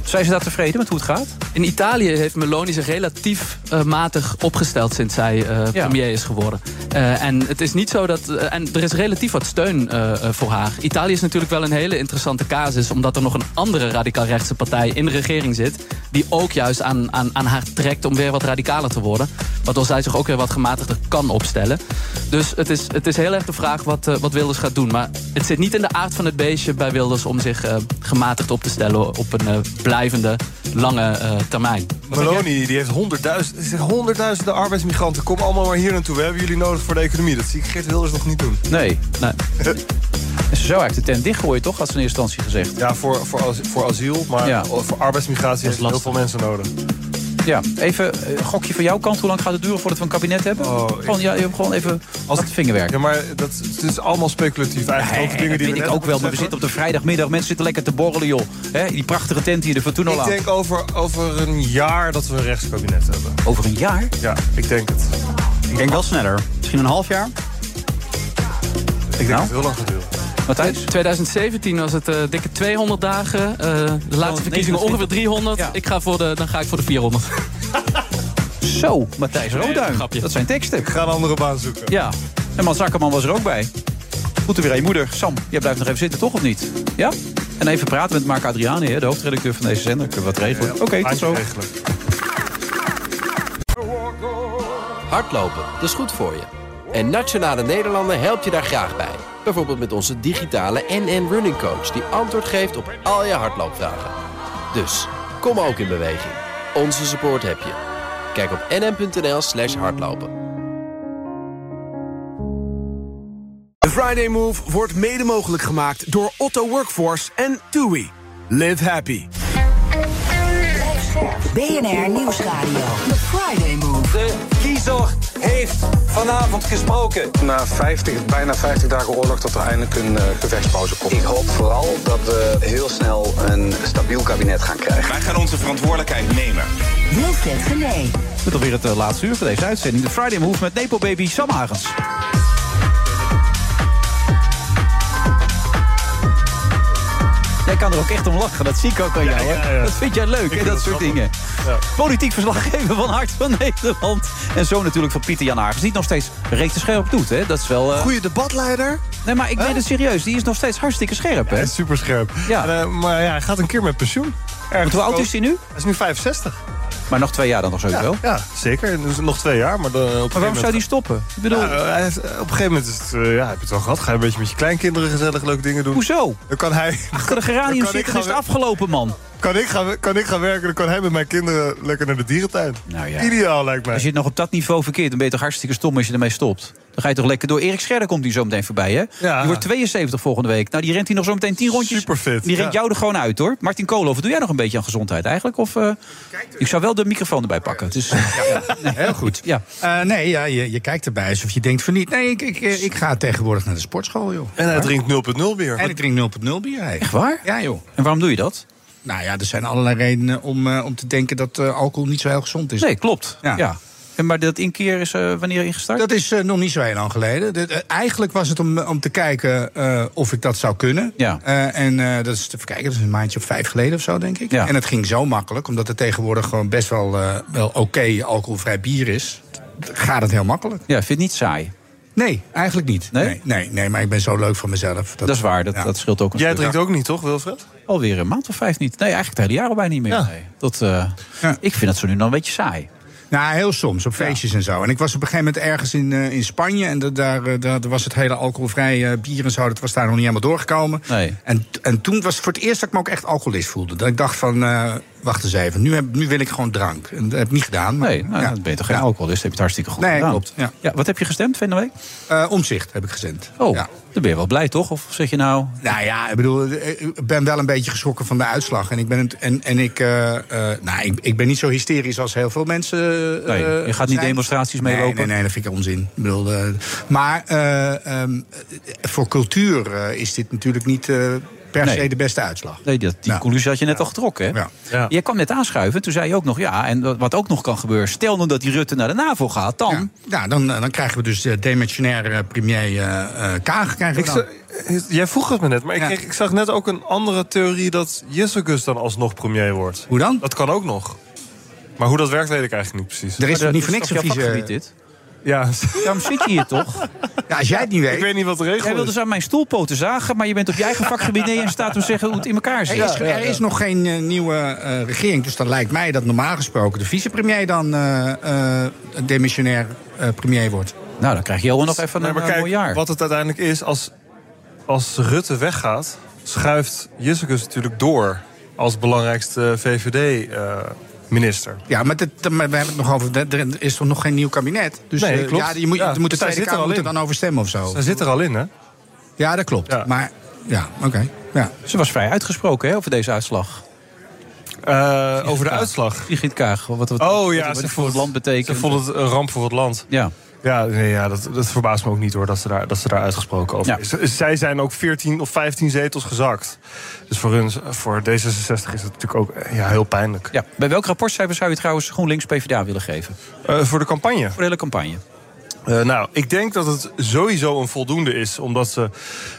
Speaker 8: zijn ze daar tevreden met hoe het gaat?
Speaker 16: In Italië heeft Meloni zich relatief eh, matig opgesteld sinds zij eh,
Speaker 8: Ja.
Speaker 16: premier is geworden. Eh, en het is niet zo dat. eh, en er is relatief wat steun eh, eh, voor haar. Italië is natuurlijk wel een hele interessante casus, omdat er nog een andere radicaal-rechtse partij in de regering zit. die ook juist aan, aan, aan haar trekt om weer wat radicaler te worden. Waardoor zij zich ook weer wat gematigder kan opstellen. Dus het is, het is heel erg de vraag wat, eh, wat Wilders gaat doen. Maar het zit niet in de aard van het beestje bij Wilders om zich eh, gematigd op te stellen op een eh, blijvende, lange eh, termijn.
Speaker 9: Meloni die heeft honderdduizenden, zegt honderdduizenden arbeidsmigranten. Kom allemaal maar hier naartoe. We hebben jullie nodig voor de economie. Dat zie ik Geert Wilders nog niet doen.
Speaker 8: Nee. nee. en ze zou eigenlijk de tent dichtgooien, toch? Had ze in eerste instantie gezegd.
Speaker 9: Ja, voor, voor, as- voor asiel, maar
Speaker 8: Ja.
Speaker 9: voor arbeidsmigratie heeft heel veel mensen nodig.
Speaker 8: Ja, even eh, een gokje van jouw kant. Hoe lang gaat het duren voordat we een kabinet hebben? gewoon, ja, je- gewoon even als het vingerwerk.
Speaker 9: Oh, Ja, maar dat, het is allemaal speculatief. Eigenlijk
Speaker 8: Nee,
Speaker 9: ook dingen
Speaker 8: dat
Speaker 9: die we
Speaker 8: weet
Speaker 9: net
Speaker 8: ik ook wel, maar we
Speaker 9: hebben
Speaker 8: zitten op de vrijdagmiddag. Mensen zitten lekker te borrelen, joh. Hè, die prachtige tent hier, de Fortuna
Speaker 9: gezegd.
Speaker 8: Lounge.
Speaker 9: Ik denk over, over een jaar dat we een rechtskabinet hebben.
Speaker 8: Over een jaar?
Speaker 9: Ja, ik denk het.
Speaker 15: Ik denk wel sneller. Misschien een half jaar. Nou?
Speaker 9: Ik denk dat het heel lang gaat duren.
Speaker 8: Matthijs?
Speaker 16: 2017 was het eh, dikke 200 dagen. Eh, de laatste verkiezingen
Speaker 8: 29.
Speaker 16: ongeveer 300. Ik ga voor de, dan ga ik voor de 400.
Speaker 8: Zo, Matthijs
Speaker 16: Nee,
Speaker 8: Roduin.
Speaker 16: grapje.
Speaker 8: dat zijn teksten. Ik
Speaker 9: ga een andere baan zoeken.
Speaker 8: Ja. En Man Zakkerman was er ook bij. Goed er weer een moeder. Sam, jij blijft nog even zitten, toch of niet? Ja? En even praten met Mark Adriani, hè, de hoofdredacteur van deze zender. Kunnen we wat regelen? Oké, tot zo.
Speaker 1: Hardlopen, dat is goed voor je. En Nationale Nederlanden helpt je daar graag bij. Bijvoorbeeld met onze digitale NN Running Coach... die antwoord geeft op al je hardloopvragen. Dus, kom ook in beweging. Onze support heb je. Kijk op nn.nl slash hardlopen.
Speaker 2: De Friday Move wordt mede mogelijk gemaakt door Otto Workforce en TUI. Live happy.
Speaker 14: BNR Nieuwsradio. The Friday Move.
Speaker 6: De kiezer heeft vanavond gesproken.
Speaker 10: Na 50, bijna 50 dagen oorlog dat er eindelijk een eh, gevechtspauze komt. Ik hoop vooral dat we heel snel een stabiel kabinet gaan krijgen.
Speaker 7: Wij gaan onze verantwoordelijkheid nemen.
Speaker 14: Wilfred Genee.
Speaker 8: Dit alweer het eh, laatste uur van deze uitzending. De Friday Move met Nepo Baby Sam Hagens. Jij kan er ook echt om lachen. Dat zie ik ook aan jou. hè?
Speaker 17: ja, ja.
Speaker 8: Dat vind jij leuk,
Speaker 17: Ik
Speaker 8: hè?
Speaker 17: vind
Speaker 8: Dat
Speaker 17: het
Speaker 8: soort
Speaker 17: grappig.
Speaker 8: dingen. Politiek verslaggever van Hart van Nederland. En zo natuurlijk van Pieter Jan Hagens. Die het nog steeds recht scherp doet, hè? Dat is wel... eh,
Speaker 17: Goede debatleider.
Speaker 8: Nee, maar ik weet het serieus. Die is nog steeds hartstikke scherp, hè?
Speaker 9: Hij is super scherp. maar ja, hij gaat een keer met pensioen.
Speaker 8: Want hoe oud is hij nu? Oh,
Speaker 9: Hij is nu 65.
Speaker 8: Maar nog twee jaar dan nog
Speaker 9: ja,
Speaker 8: sowieso.
Speaker 9: Ja, zeker. Dus nog twee jaar. Maar, dan, op een gegeven
Speaker 8: waarom
Speaker 9: moment-
Speaker 8: zou die stoppen? Ik bedoel-
Speaker 9: Ja, Nou, hij heeft- op een gegeven moment is het, eh, ja, heb je het wel gehad. Ga je een beetje met je kleinkinderen gezellig leuke dingen doen.
Speaker 8: Hoezo?
Speaker 9: Dan kan hij...
Speaker 8: Achter de geranium zitten, dan is het afgelopen, man.
Speaker 9: Kan ik, gaan, kan ik gaan werken, dan kan hij met mijn kinderen lekker naar de dierentuin.
Speaker 8: Nou ja.
Speaker 9: Ideaal lijkt mij.
Speaker 8: Als je het nog op dat niveau verkeert, dan ben je toch hartstikke stom als je ermee stopt. Dan ga je toch lekker door. Erik Scherder komt hier zo meteen voorbij, hè? Die wordt 72 volgende week. Nou, die rent hier nog zo meteen 10 rondjes. Superfit. Die rent
Speaker 9: ja.
Speaker 8: jou er gewoon uit, hoor. Martin Koolhoven, doe jij nog een beetje aan gezondheid eigenlijk? Of, eh, ik zou wel de microfoon erbij pakken. Dus,
Speaker 18: Heel goed.
Speaker 8: Ja.
Speaker 18: Eh, nee, ja, je, je kijkt erbij alsof je denkt van niet. Nee, ik, ik, ik ga tegenwoordig naar de sportschool, joh.
Speaker 9: En hij drinkt 0.0 bier.
Speaker 18: En ik drink 0.0 bier. Hey. Echt
Speaker 8: waar?
Speaker 18: Ja, joh.
Speaker 8: En waarom doe je dat?
Speaker 18: Nou ja, er zijn allerlei redenen om, eh, om te denken dat eh, alcohol niet zo heel gezond is.
Speaker 8: Nee, klopt.
Speaker 18: Ja.
Speaker 8: En maar dat inkeer is wanneer ingestart?
Speaker 18: Dat is eh, nog niet zo heel lang geleden. Dit, eh, eigenlijk was het om, om te kijken eh, of ik dat zou kunnen.
Speaker 8: Ja.
Speaker 18: Eh, en eh, dat is te verkijken, dat is een maandje of vijf geleden of zo, denk ik.
Speaker 8: Ja.
Speaker 18: En het ging zo makkelijk, omdat er tegenwoordig gewoon best wel, eh, wel oké alcoholvrij bier is. Gaat het heel makkelijk.
Speaker 8: Ja, vind je het niet saai?
Speaker 18: Nee, eigenlijk niet. Nee? Nee, nee, maar ik ben zo leuk van mezelf.
Speaker 8: Dat is waar, dat, dat scheelt ook een
Speaker 9: Jij
Speaker 8: stuk.
Speaker 9: drinkt ook niet, toch, Wilfred?
Speaker 8: Alweer een maand of vijf niet. Nee, eigenlijk het hele jaar al bijna niet meer.
Speaker 18: Ja.
Speaker 8: Nee. Dat, eh, Ik vind dat zo nu en dan een beetje saai.
Speaker 18: Nou, heel soms, op feestjes en zo. En ik was op een gegeven moment ergens in, eh, in Spanje. En da- daar, eh, daar was het hele alcoholvrij eh, bier en zo. Dat was daar nog niet helemaal doorgekomen. En, t- en toen was het voor het eerst dat ik me ook echt alcoholist voelde. Dat ik dacht van, eh, wacht eens even. Nu, heb, nu wil ik gewoon drank. En dat heb ik niet gedaan. Maar,
Speaker 8: Nee, nou, dan ben je toch geen alcoholist? Heb je het hartstikke goed
Speaker 18: nee,
Speaker 8: gedaan.
Speaker 18: klopt. Ja. Eh,
Speaker 8: Ja, wat heb je gestemd, van de week?
Speaker 18: omzicht heb ik gestemd.
Speaker 8: Oh, dan ben je wel blij, toch? Of zeg je nou...
Speaker 18: Nou ja, ik bedoel, ik ben wel een beetje geschrokken van de uitslag. En ik ben, het, en, en ik, eh, eh, nou, ik, ik ben niet zo hysterisch als heel veel mensen. eh,
Speaker 8: Nee, je gaat niet
Speaker 18: zijn.
Speaker 8: demonstraties
Speaker 18: Nee,
Speaker 8: meelopen?
Speaker 18: Nee, nee, dat vind ik onzin. Ik bedoel, eh, maar eh, ehm, voor cultuur eh, is dit natuurlijk niet eh, per
Speaker 8: Nee.
Speaker 18: se de beste uitslag.
Speaker 8: Nee, dat, die coulissen had je net al getrokken, hè? Jij kwam net aanschuiven, toen zei je ook nog... ja, en wat- wat ook nog kan gebeuren... stel nou dat die Rutte naar de NAVO gaat, dan...
Speaker 18: Ja, dan, eh, dan krijgen we dus de demissionaire premier eh eh Kaag. Krijgen
Speaker 9: Ik
Speaker 18: we dan.
Speaker 9: z- Eh, Jij vroeg het me net, maar ik, kreeg- ik zag net ook een andere theorie... dat Jessicus dan alsnog premier wordt.
Speaker 18: Hoe dan?
Speaker 9: Dat kan ook nog. Maar hoe dat werkt, weet ik eigenlijk niet precies.
Speaker 18: Er is toch niet voor niks een vieze...
Speaker 9: Ja.
Speaker 8: Daarom zit je hier toch?
Speaker 18: Ja, als jij het niet weet...
Speaker 9: Ik weet niet wat de regel
Speaker 8: Jij wilde
Speaker 9: is.
Speaker 8: dus aan mijn stoelpoten zagen... maar je bent op je eigen vakgebied niet in staat om te zeggen hoe het in elkaar zit.
Speaker 18: Er is, er is nog geen eh, nieuwe eh, regering, dus dan lijkt mij dat normaal gesproken de vicepremier dan eh, eh, demissionair eh, premier wordt.
Speaker 8: Nou, dan krijg je Johan nog even
Speaker 9: Nee,
Speaker 8: een
Speaker 9: maar
Speaker 8: eh,
Speaker 9: kijk,
Speaker 8: mooi jaar.
Speaker 9: wat het uiteindelijk is, als, als Rutte weggaat... schuift Jessicus natuurlijk door als belangrijkste eh, VVD-minister.
Speaker 18: Ja, maar, dit, maar we hebben het nog over. Er er is toch nog geen nieuw kabinet? Dus
Speaker 9: Nee,
Speaker 18: eh,
Speaker 9: klopt.
Speaker 18: ja, je moet,
Speaker 9: Ja,
Speaker 18: je moet de
Speaker 9: zij
Speaker 18: Tweede
Speaker 9: zit er
Speaker 18: Kamer
Speaker 9: al
Speaker 18: moet er
Speaker 9: in.
Speaker 18: dan over stemmen of zo.
Speaker 9: Zij zit er al in, hè?
Speaker 18: Ja, dat klopt. Maar ja, oké. Ja.
Speaker 8: Ze was vrij uitgesproken hè, over deze uitslag.
Speaker 9: Eh, over de uitslag?
Speaker 8: Sigrid Kaag. Wat, wat,
Speaker 9: Oh
Speaker 8: wat-
Speaker 9: ja,
Speaker 8: wat
Speaker 9: ze
Speaker 8: het voor
Speaker 9: vond-
Speaker 8: het land betekent.
Speaker 9: Ze vond het een ramp voor het land.
Speaker 8: Ja.
Speaker 9: Ja, nee, ja dat, dat verbaast me ook niet hoor, dat ze daar, dat ze daar uitgesproken over
Speaker 8: Ja.
Speaker 9: is. Z- Zij zijn ook 14 of 15 zetels gezakt. Dus voor, hun, voor D66 is het natuurlijk ook eh, ja, heel pijnlijk.
Speaker 8: Ja. Bij welk rapportcijfer zou je trouwens GroenLinks PvdA willen geven?
Speaker 9: Eh, voor de campagne? Voor
Speaker 8: de hele campagne.
Speaker 9: Eh, nou, ik denk dat het sowieso een voldoende is. Omdat ze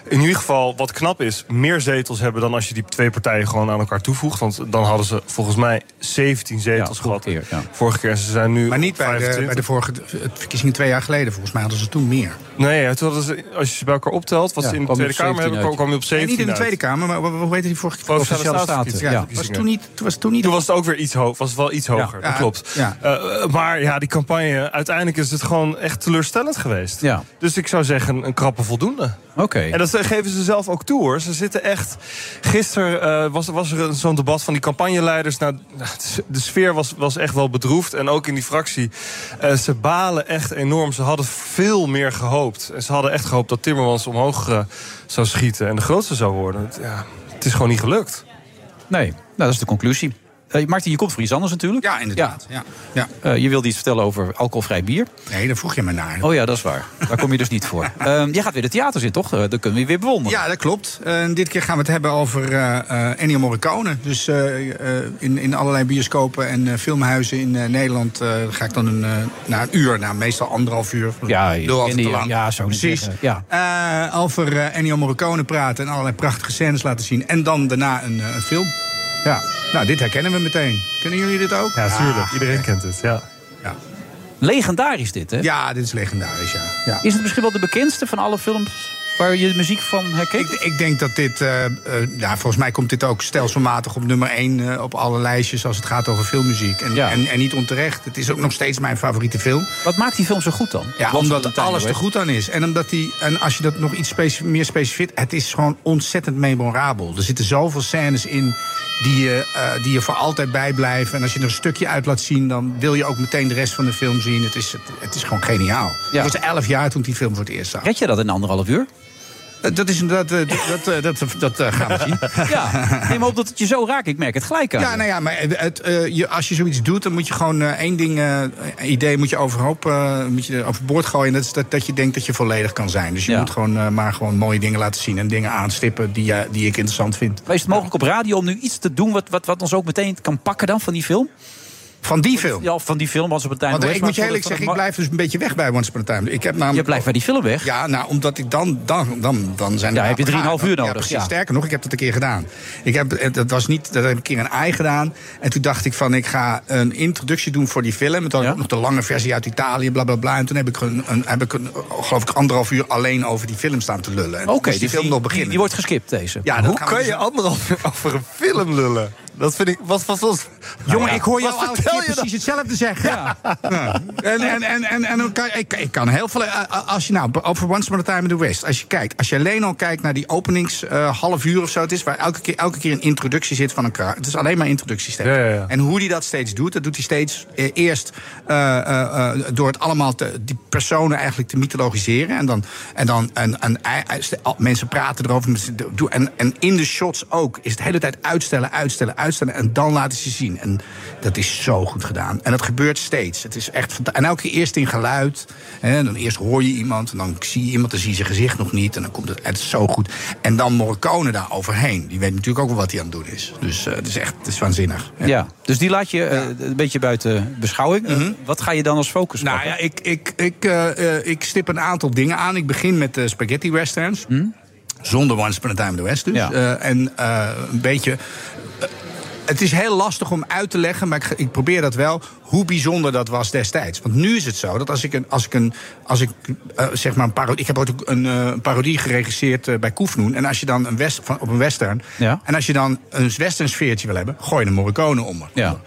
Speaker 9: in ieder geval, wat knap is, meer zetels hebben dan als je die twee partijen gewoon aan elkaar toevoegt. Want dan hadden ze volgens mij 17 zetels gehad. Vorige keer, ze zijn nu.
Speaker 18: Eh, Maar niet bij de,
Speaker 9: 25.
Speaker 18: bij de vorige de verkiezingen twee jaar geleden. Volgens mij hadden ze toen meer.
Speaker 9: Nee, ja, toen hadden ze, als je ze bij elkaar optelt, wat
Speaker 18: Ja,
Speaker 9: ze in de
Speaker 18: kwam je
Speaker 9: Tweede
Speaker 18: op
Speaker 9: Kamer
Speaker 18: 17
Speaker 9: hebben, kwam-
Speaker 18: uit.
Speaker 9: kwam je op
Speaker 18: Nee,
Speaker 9: 17.
Speaker 18: niet in de
Speaker 9: uit.
Speaker 18: Tweede Kamer, maar hoe heet die vorige keer?
Speaker 9: Provinciale Staten.
Speaker 18: Ja, was toen niet, toen was het toen niet.
Speaker 9: Toen was het ook weer iets hoog, was het wel iets hoger.
Speaker 18: Ja.
Speaker 9: dat klopt.
Speaker 18: Ja.
Speaker 9: Eh, maar ja, die campagne, uiteindelijk is het gewoon echt teleurstellend geweest.
Speaker 8: Ja.
Speaker 9: Dus ik zou zeggen, een krappe voldoende.
Speaker 8: Oké.
Speaker 9: En
Speaker 18: eh,
Speaker 9: dat geven ze zelf ook toe hoor. Ze zitten echt. Gisteren eh, was, was er een- zo'n debat van die campagneleiders. Nou, de sfeer was, was echt wel bedroefd. En ook in die fractie. Eh, ze balen echt enorm. Ze hadden veel meer gehoopt. En ze hadden echt gehoopt dat Timmermans omhoog eh, zou schieten. En de grootste zou worden. Het- Ja, het is gewoon niet gelukt.
Speaker 8: Nee, nou, dat is de conclusie. Eh, Martin, je komt voor iets anders natuurlijk.
Speaker 18: Ja, inderdaad. Ja. Ja.
Speaker 8: Eh, je wilde iets vertellen over alcoholvrij bier.
Speaker 18: Nee, daar vroeg je me naar.
Speaker 8: Oh ja, dat is waar. Daar kom je dus niet voor. Ehm, jij gaat weer de theater in, toch? Eh, Dat kunnen we weer bewonderen.
Speaker 18: Ja, dat klopt. Eh, En dit keer gaan we het hebben over eh eh, Ennio Morricone. Dus eh, eh, in, in allerlei bioscopen en eh, filmhuizen in eh, Nederland eh, ga ik dan een, eh, na een uur, nou, meestal anderhalf uur.
Speaker 8: Ja, je
Speaker 18: Door altijd
Speaker 8: kent
Speaker 18: te
Speaker 8: die-
Speaker 18: lang.
Speaker 8: ja, zou ik niet
Speaker 18: Precies.
Speaker 8: zeggen. Ja.
Speaker 18: Eh, over eh, Ennio Morricone praten en allerlei prachtige scènes laten zien. En dan daarna een, eh, een film. Ja, nou, dit herkennen we meteen. Kennen jullie dit ook?
Speaker 9: Ja, tuurlijk.
Speaker 18: Iedereen kent het, ja.
Speaker 8: Legendarisch dit, hè?
Speaker 18: Ja, dit is legendarisch, ja. ja.
Speaker 8: Is het misschien wel de bekendste van alle films waar je de muziek van herkent?
Speaker 18: Ik, ik denk dat dit, eh, eh, ja, volgens mij komt dit ook stelselmatig op nummer 1 op alle lijstjes als het gaat over filmmuziek. En, en, en niet onterecht. Het is ook nog steeds mijn favoriete film.
Speaker 8: Wat maakt die film zo goed dan?
Speaker 18: Ja,
Speaker 8: Wat
Speaker 18: omdat
Speaker 8: voor
Speaker 18: het
Speaker 8: Tijmen,
Speaker 18: alles
Speaker 8: hè?
Speaker 18: er goed aan is. En, omdat die, en als je dat nog iets specif- meer specifiek... Het is gewoon ontzettend memorabel. Er zitten zoveel scènes in die je, eh, die je voor altijd bijblijven. En als je er een stukje uit laat zien... dan wil je ook meteen de rest van de film zien. Het is, het, het is gewoon geniaal.
Speaker 8: Ja.
Speaker 18: Ik was elf jaar toen ik die film voor het eerst zag.
Speaker 8: Red je dat in anderhalf uur?
Speaker 18: Dat is inderdaad, eh, dat, dat, eh, dat, dat eh, gaan we zien.
Speaker 8: Ja, neem op dat het je zo raakt. Ik merk het gelijk aan.
Speaker 18: Ja, nou ja, maar het, eh, je, als je zoiets doet, dan moet je gewoon eh, één ding, eh, een idee moet je overhoop, eh, moet je overboord gooien. En dat is dat, dat je denkt dat je volledig kan zijn. Dus je moet gewoon eh, maar gewoon mooie dingen laten zien en dingen aanstippen die, eh, die ik interessant vind.
Speaker 8: Maar is het mogelijk op radio om nu iets te doen wat, wat, wat ons ook meteen kan pakken dan van die film?
Speaker 18: Van die film?
Speaker 8: Ja, van die film. Als we het
Speaker 18: Want eh, ik moet je eerlijk zeggen, ik blijf dus een beetje weg bij Once Upon a Time. Ik heb namelijk
Speaker 8: Je blijft bij die film weg?
Speaker 18: Ja, nou, omdat ik dan, dan, dan, dan zijn er
Speaker 8: Ja, heb je
Speaker 18: raar-
Speaker 8: drieënhalf uur nodig,
Speaker 18: Ja, precies.
Speaker 8: ja.
Speaker 18: Sterker nog, ik heb dat een keer gedaan. Ik heb, eh, dat was niet, dat heb ik een keer een ei gedaan. En toen dacht ik van, ik ga een introductie doen voor die film. En toen had ik ook nog de lange versie uit Italië, bla bla bla. En toen heb ik, een, een- heb ik een, geloof ik, anderhalf uur alleen over die film staan te lullen. En toen
Speaker 8: Oké,
Speaker 18: moest die
Speaker 8: dus
Speaker 18: film
Speaker 8: die-
Speaker 18: nog beginnen.
Speaker 8: Die wordt geskipt, deze.
Speaker 18: Ja, dat
Speaker 9: Hoe
Speaker 18: gaan we
Speaker 9: kan
Speaker 18: dus-
Speaker 9: je anderhalf uur over een film lullen? Dat vind ik. Wat, wat, wat,
Speaker 18: Jongen, ik hoor jou
Speaker 9: Wat
Speaker 18: elke
Speaker 9: vertel
Speaker 18: keer
Speaker 9: je dan?
Speaker 18: precies hetzelfde zeggen. Ja. En, en, en, en, en dan kan, ik, ik kan heel veel... eh, Als je nou, over Once Upon a Time in the West... Als je, kijkt, als je alleen al kijkt naar die openings eh, half uur of zo... Het is waar elke keer, elke keer een introductie zit van een kaart. Het is alleen maar introductiestem. En hoe die dat steeds doet, dat doet hij steeds eh, eerst... eh, eh, eh, door het allemaal, te, die personen eigenlijk te mythologiseren. En dan... En dan en, en, en- al- mensen praten erover. mensen doen- En, en in de shots ook is het de hele tijd uitstellen, uitstellen, uitstellen. En dan laten ze zien. En dat is zo goed gedaan. En dat gebeurt steeds. Het is echt fanta- en elke keer eerst in geluid. Hè, dan eerst hoor je iemand. En dan zie je iemand. Dan zie je zijn gezicht nog niet. En dan komt het. Het is zo goed. En dan Morricone daar overheen. Die weet natuurlijk ook wel wat hij aan het doen is. Dus eh, het is echt het is waanzinnig.
Speaker 8: Ja. dus die laat je eh, een beetje buiten beschouwing. Eh, Wat ga je dan als focus
Speaker 18: Mhm. Nou
Speaker 8: pakken?
Speaker 18: ja, ik, ik, ik, eh, eh, ik stip een aantal dingen aan. Ik begin met de spaghetti westerns. Zonder Once Upon a Time in the West dus. Eh, en eh, een beetje... eh, het is heel lastig om uit te leggen, maar ik, ik probeer dat wel. Hoe bijzonder dat was destijds. Want nu is het zo dat als ik een. Als ik een. Als ik eh, zeg maar een parodie. Ik heb ook een eh, parodie geregisseerd eh, bij Koefnoen. En als je dan een west, van, op een western.
Speaker 8: Ja.
Speaker 18: En als je dan een western sfeertje wil hebben. gooi je een Morricone onder.
Speaker 8: Ja.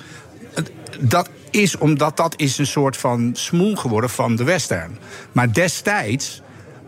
Speaker 18: Dat is omdat dat is een soort van smoel geworden van de western. Maar destijds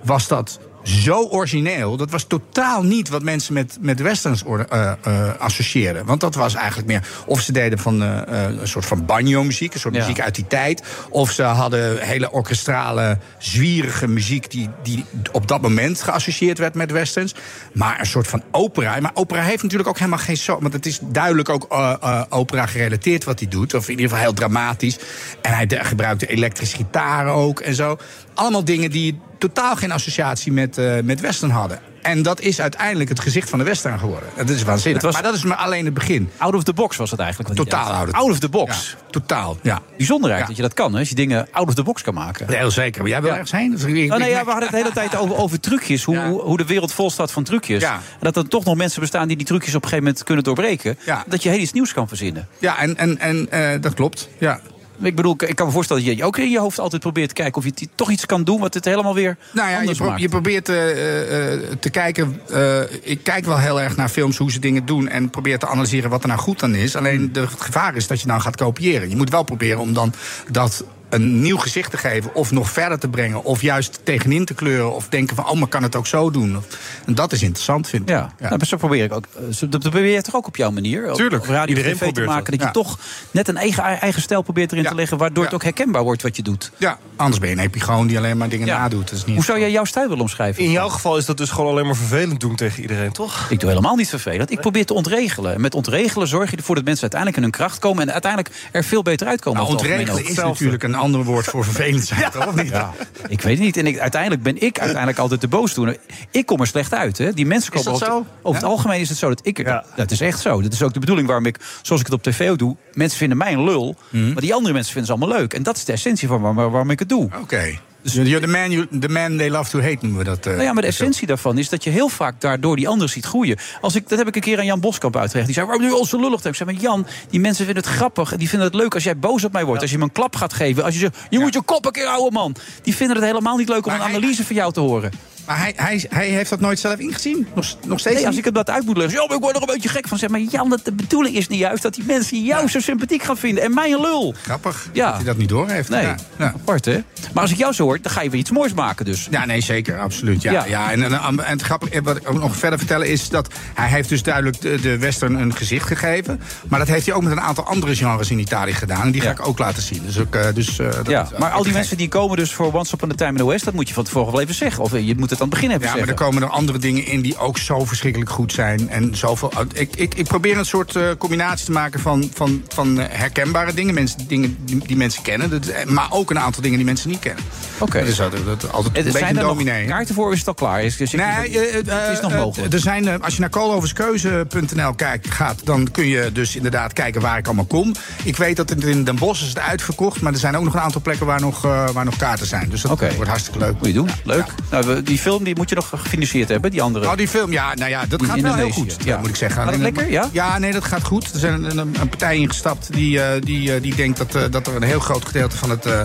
Speaker 18: was dat zo origineel. Dat was totaal niet wat mensen met, met westerns or- eh, eh, associeerden. Want dat was eigenlijk meer... of ze deden van eh, eh, een soort van banjo-muziek... een soort
Speaker 8: Ja.
Speaker 18: muziek uit die tijd... of ze hadden hele orkestrale, zwierige muziek... Die, die op dat moment geassocieerd werd met westerns. Maar een soort van opera. Maar opera heeft natuurlijk ook helemaal geen... zo- want het is duidelijk ook eh, eh, opera gerelateerd wat hij doet. Of in ieder geval heel dramatisch. En hij de- gebruikte elektrische gitaar ook en zo. Allemaal dingen die totaal geen associatie met, eh, met western hadden. En dat is uiteindelijk het gezicht van de western geworden. Dat is waanzinnig.
Speaker 8: Het was-
Speaker 18: Maar dat is maar alleen het begin.
Speaker 8: Out of the box was het eigenlijk. wat je
Speaker 18: Totaal
Speaker 8: deed.
Speaker 18: out of-
Speaker 8: out of the box.
Speaker 18: totaal, ja.
Speaker 8: Bijzonder eigenlijk dat je dat kan, hè, als je dingen out of the box kan maken.
Speaker 18: Heel zeker. Maar jij wil ergens heen? Dus ik- ik-
Speaker 8: Oh, nee,
Speaker 18: ik-
Speaker 8: ja, we hadden het de hele tijd over, over trucjes. Hoe, hoe- hoe de wereld vol staat van trucjes.
Speaker 18: Ja.
Speaker 8: En dat er toch nog mensen bestaan die die trucjes op een gegeven moment kunnen doorbreken. Dat je heel iets nieuws kan verzinnen.
Speaker 18: Ja, en, en, en eh, dat klopt. Ja.
Speaker 8: Ik bedoel, ik ik kan me voorstellen dat je ook in je hoofd altijd probeert te kijken... of je t- toch iets kan doen wat het helemaal weer
Speaker 18: Nou ja, je,
Speaker 8: anders
Speaker 18: pro-
Speaker 8: maakt.
Speaker 18: je probeert eh, eh, eh, te kijken. eh, ik kijk wel heel erg naar films hoe ze dingen doen. En probeer te
Speaker 8: Hmm.
Speaker 18: analyseren wat er nou goed aan is. Alleen de, het gevaar is dat je nou gaat kopiëren. Je moet wel proberen om dan dat een nieuw gezicht te geven. Of nog verder te brengen. Of juist tegenin te kleuren. Of denken van, oh, maar kan het ook zo doen. Of- En dat is interessant, vind ik.
Speaker 8: Ja, Nou, maar zo probeer ik ook. zo- Dat probeer je toch ook op jouw manier? Op-
Speaker 18: Tuurlijk,
Speaker 8: Op radio
Speaker 18: iedereen
Speaker 8: tv te
Speaker 18: probeert
Speaker 8: maken.
Speaker 18: dat.
Speaker 8: Dat, je
Speaker 18: Ja.
Speaker 8: toch net een eigen, eigen stijl probeert erin te leggen. Waardoor het ook herkenbaar wordt wat je doet.
Speaker 18: Ja, anders ben je een epigoon die alleen maar dingen nadoet. Dat is dus niet...
Speaker 8: Hoe zou jij jouw stijl willen omschrijven?
Speaker 9: In jouw geval is dat dus gewoon alleen maar vervelend doen tegen iedereen, toch?
Speaker 8: Ik doe helemaal niet vervelend. Ik probeer te ontregelen. En met ontregelen zorg je ervoor dat mensen uiteindelijk in hun kracht komen. En uiteindelijk er veel beter uitkomen.
Speaker 18: Nou,
Speaker 8: over het algemeen
Speaker 18: ontregelen
Speaker 8: ook.
Speaker 18: is natuurlijk een ander woord voor vervelend zijn, toch? Of niet?
Speaker 8: Ik weet het niet. En ik, uiteindelijk ben ik uiteindelijk altijd de boosdoener. Ik kom er slecht uit. Hè. Die mensen
Speaker 18: Is
Speaker 8: komen
Speaker 18: dat
Speaker 8: over,
Speaker 18: zo?
Speaker 8: over het
Speaker 18: Ja?
Speaker 8: algemeen is het zo dat ik er. Dat is echt zo. Dat is ook de bedoeling waarom ik, zoals ik het op tv ook doe, mensen vinden mij een lul.
Speaker 18: Mhm.
Speaker 8: Maar die andere mensen vinden ze allemaal leuk. En dat is de essentie van waar- waar- waarom ik het doe. Oké.
Speaker 18: Dus you're the man, you- the man they love to hate noemen we dat. eh.
Speaker 8: Nou ja, maar de essentie daarvan is dat je heel vaak daardoor die anderen ziet groeien. Als ik, dat heb ik een keer aan Jan Boskamp uitgelegd. Die zei, waarom nu al zo lullig? Ik zei, maar Jan, die mensen vinden het grappig. Die vinden het leuk als jij boos op mij wordt. Als je me een klap gaat geven. Als je zegt, je moet je kop een keer houden, man. Die vinden het helemaal niet leuk om een analyse van jou te horen.
Speaker 18: Maar hij, hij, hij heeft dat nooit zelf ingezien? Nog, nog steeds
Speaker 8: Nee, als
Speaker 18: niet?
Speaker 8: ik hem dat uit moet leggen. Ja, maar ik word er een beetje gek van. Zeg maar, Jan, dat de bedoeling is niet juist dat die mensen jou zo sympathiek gaan vinden. En mij een lul.
Speaker 18: Grappig
Speaker 8: ja.
Speaker 18: dat hij dat niet doorheeft.
Speaker 8: Nee,
Speaker 18: Ja.
Speaker 8: apart hè? Maar als ik jou zo hoor, dan ga je weer iets moois maken dus.
Speaker 18: Ja, nee, zeker, absoluut. Ja,
Speaker 8: Ja.
Speaker 18: ja. en, en, en het grappige, eh, wat ik ook nog verder vertellen is dat hij heeft dus duidelijk de, de western een gezicht gegeven. Maar dat heeft hij ook met een aantal andere genres in Italië gedaan. En die ga ik ook laten zien. Dus ook, eh, dus, eh, dat
Speaker 8: Ja,
Speaker 18: is-
Speaker 8: maar al die mensen die komen dus voor Once Upon a Time in the West... dat moet je van tevoren wel even zeggen. Of eh, je moet het aan het begin even
Speaker 18: Ja, maar er
Speaker 8: zeggen.
Speaker 18: komen er andere dingen in die ook zo verschrikkelijk goed zijn. En zoveel. Oh, Ik, ik, ik probeer een soort eh, combinatie te maken van, van, van eh, herkenbare dingen, mensen, dingen die, die mensen kennen, dat- eh, maar ook een aantal dingen die mensen niet kennen.
Speaker 8: Oké.
Speaker 18: Dus dat, dat altijd
Speaker 8: Eh,
Speaker 18: een beetje
Speaker 8: zijn er
Speaker 18: dominee.
Speaker 8: nog kaarten voor of is het al klaar? Is, is-
Speaker 18: Nee,
Speaker 8: is-
Speaker 18: eh, eh,
Speaker 8: het is nog
Speaker 18: eh,
Speaker 8: mogelijk.
Speaker 18: Er zijn, eh, als je naar kooloverskeuze.nl kijkt, gaat, dan kun je dus inderdaad kijken waar ik allemaal kom. Ik weet dat het in Den Bosch is het uitverkocht, maar er zijn ook nog een aantal plekken waar nog, eh, waar nog kaarten zijn. Dus dat eh, wordt hartstikke leuk.
Speaker 8: Moet je doen, leuk. Nou, we- die film die moet je nog gefinancierd hebben, die andere.
Speaker 18: Nou, die film, ja, nou ja, dat
Speaker 8: In
Speaker 18: gaat wel heel
Speaker 8: Indonesië,
Speaker 18: goed,
Speaker 8: ja.
Speaker 18: ja. moet ik zeggen.
Speaker 8: Gaat het
Speaker 18: Alleen,
Speaker 8: lekker, ja?
Speaker 18: Ja, nee, dat gaat goed. Er zijn een, een- een partij ingestapt die, eh, die, eh, die denkt dat, eh, dat er een heel groot gedeelte van het, eh,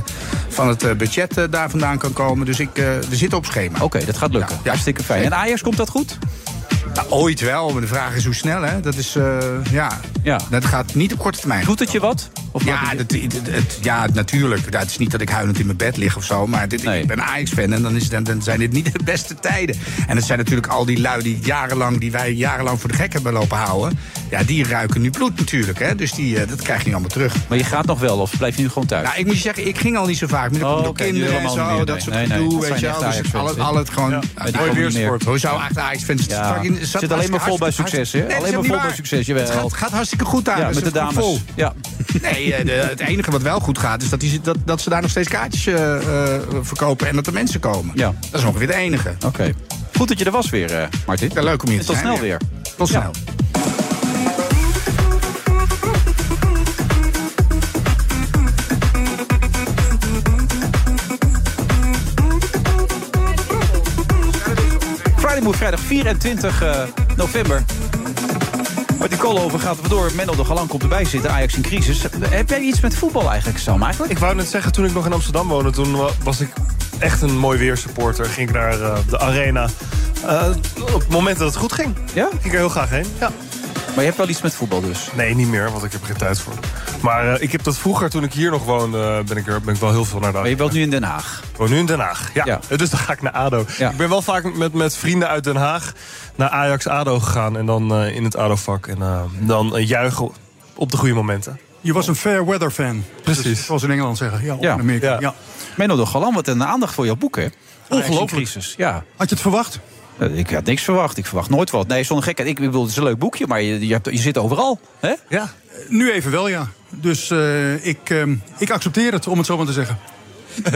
Speaker 18: van het eh, budget eh, daar vandaan kan komen. Dus ik, eh we zitten op schema. Oké,
Speaker 8: dat gaat lukken. Hartstikke fijn. En Ajax, komt dat goed?
Speaker 18: ooit wel, maar de vraag is hoe snel, hè? Dat is, eh, ja.
Speaker 8: ja.
Speaker 18: Dat gaat niet op korte termijn.
Speaker 8: Doet het je wat?
Speaker 18: ja, dat, het- het- ja, natuurlijk. Ja, het is niet dat ik huilend in mijn bed lig of zo. Maar dit, ik ben Ajax-fan en dan, is, dan, dan zijn dit niet de beste tijden. En het zijn natuurlijk al die lui die, jarenlang, die wij jarenlang voor de gek hebben lopen houden. Ja, die ruiken nu bloed natuurlijk. Hè? Dus die, eh, dat krijg je niet allemaal terug.
Speaker 8: Maar je gaat nog wel of blijf je nu gewoon thuis?
Speaker 18: Nou, ik moet je zeggen, ik ging al niet zo vaak. Maar dan
Speaker 8: Oh,
Speaker 18: komt door
Speaker 8: oké, nu
Speaker 18: kinderen en
Speaker 8: helemaal
Speaker 18: zo,
Speaker 8: niet meer,
Speaker 18: dat
Speaker 8: nee.
Speaker 18: soort
Speaker 8: Nee, nee,
Speaker 18: gedoe.
Speaker 8: dat
Speaker 18: weet
Speaker 8: zijn
Speaker 18: je
Speaker 8: echt
Speaker 18: wel. Dus ik-
Speaker 8: Ajax-fans,
Speaker 18: al,
Speaker 8: hè?
Speaker 18: al het gewoon...
Speaker 8: Ja, die komen niet meer.
Speaker 18: Hoe zou echt Ajax-fans... het
Speaker 8: Ja.
Speaker 18: fucking-
Speaker 8: Zit alleen maar vol bij
Speaker 18: hartstikke-
Speaker 8: succes, hè?
Speaker 18: Nee, dat
Speaker 8: Alleen
Speaker 18: is
Speaker 8: maar
Speaker 18: niet
Speaker 8: vol bij
Speaker 18: waar.
Speaker 8: succes, jawel.
Speaker 18: Het gaat, gaat hartstikke goed daar.
Speaker 8: Ja,
Speaker 18: dus
Speaker 8: met de
Speaker 18: het komt
Speaker 8: dames.
Speaker 18: vol.
Speaker 8: Ja.
Speaker 18: Nee, eh, de- het enige wat wel goed gaat is dat, die, dat, dat ze daar nog steeds kaartjes eh, eh, verkopen en dat er mensen komen.
Speaker 8: Ja.
Speaker 18: Dat is ongeveer het enige.
Speaker 8: Oké. Goed dat je er was weer, eh, Martin.
Speaker 18: Ja, leuk om je
Speaker 8: En
Speaker 18: te
Speaker 8: tot
Speaker 18: zijn
Speaker 8: snel weer.
Speaker 18: weer. Tot snel.
Speaker 8: Friday Move, vrijdag 24 eh, november. Maar die over gaat er door. Menno de Galan komt erbij zitten. Ajax in crisis. Dus, eh, Heb jij iets met voetbal eigenlijk, Sam? Eigenlijk?
Speaker 9: Ik wou net zeggen, toen ik nog in Amsterdam woonde, toen wa- was ik echt een mooi weersupporter. Ging ik naar eh, de arena. Eh, op het moment dat het goed ging.
Speaker 8: Ja?
Speaker 9: Ging ik er heel graag heen. Ja.
Speaker 8: Maar je hebt wel iets met voetbal dus?
Speaker 9: Nee, niet meer, want ik heb er geen tijd voor. Maar eh, ik heb dat vroeger, toen ik hier nog woonde, eh, ben ik, er, ben ik wel heel veel naar de Maar je
Speaker 8: woont nu in Den Haag?
Speaker 9: Ik woon nu in Den Haag, ja. Dus dan ga ik naar ADO. Ik ben wel vaak met, met vrienden uit Den Haag naar Ajax-ADO gegaan. En dan eh, in het ADO-vak. En eh, dan eh, juichen op de goede momenten.
Speaker 17: Je was een fair weather fan. Dus
Speaker 9: Precies.
Speaker 17: Zoals in Engeland zeggen. Ja, of in Amerika. Ja.
Speaker 8: Menno de Galan, wat een aandacht voor jouw boek, hè?
Speaker 17: Ongelooflijk.
Speaker 8: Ajax in crisis, ja.
Speaker 17: Had je het verwacht?
Speaker 8: Eh, Ik had niks verwacht. Ik verwacht nooit wat. Nee, zonder gekheid. Ik bedoel, het is een leuk boekje, maar je, je, hebt, je zit overal. Hè?
Speaker 17: Ja. Nu even wel, ja. Dus eh, ik, ehm, ik accepteer het, om het zo maar te zeggen.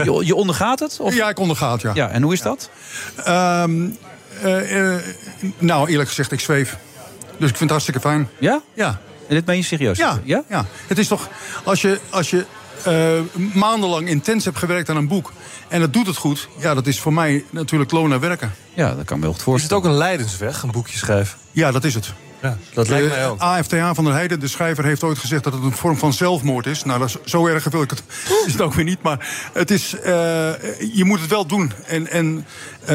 Speaker 8: Je, je ondergaat het? Of?
Speaker 17: Ja, ik onderga het, ja. Ehm,
Speaker 8: Ja, en hoe is dat?
Speaker 17: nou, eerlijk gezegd, ik zweef. Dus ik vind het hartstikke fijn.
Speaker 8: Ja?
Speaker 17: Ja.
Speaker 8: En dit meen je serieus?
Speaker 17: Ja, ja? Het is toch, als je, als je eh, maandenlang intens hebt gewerkt aan een boek... en dat doet het goed, ja, dat is voor mij natuurlijk loon naar werken.
Speaker 8: Ja, dat kan me heel goed voorstellen.
Speaker 9: Is het ook een leidensweg, een boekje schrijven?
Speaker 17: Ja, dat is het.
Speaker 9: Ja, dat lijkt mij
Speaker 17: Eh,
Speaker 9: ook.
Speaker 17: AFTA van der Heijden, de schrijver, heeft ooit gezegd dat het een vorm van zelfmoord is. Nou, dat is, zo erg wil ik het, is het ook weer niet. Maar het is, eh, je moet het wel doen. En, en eh,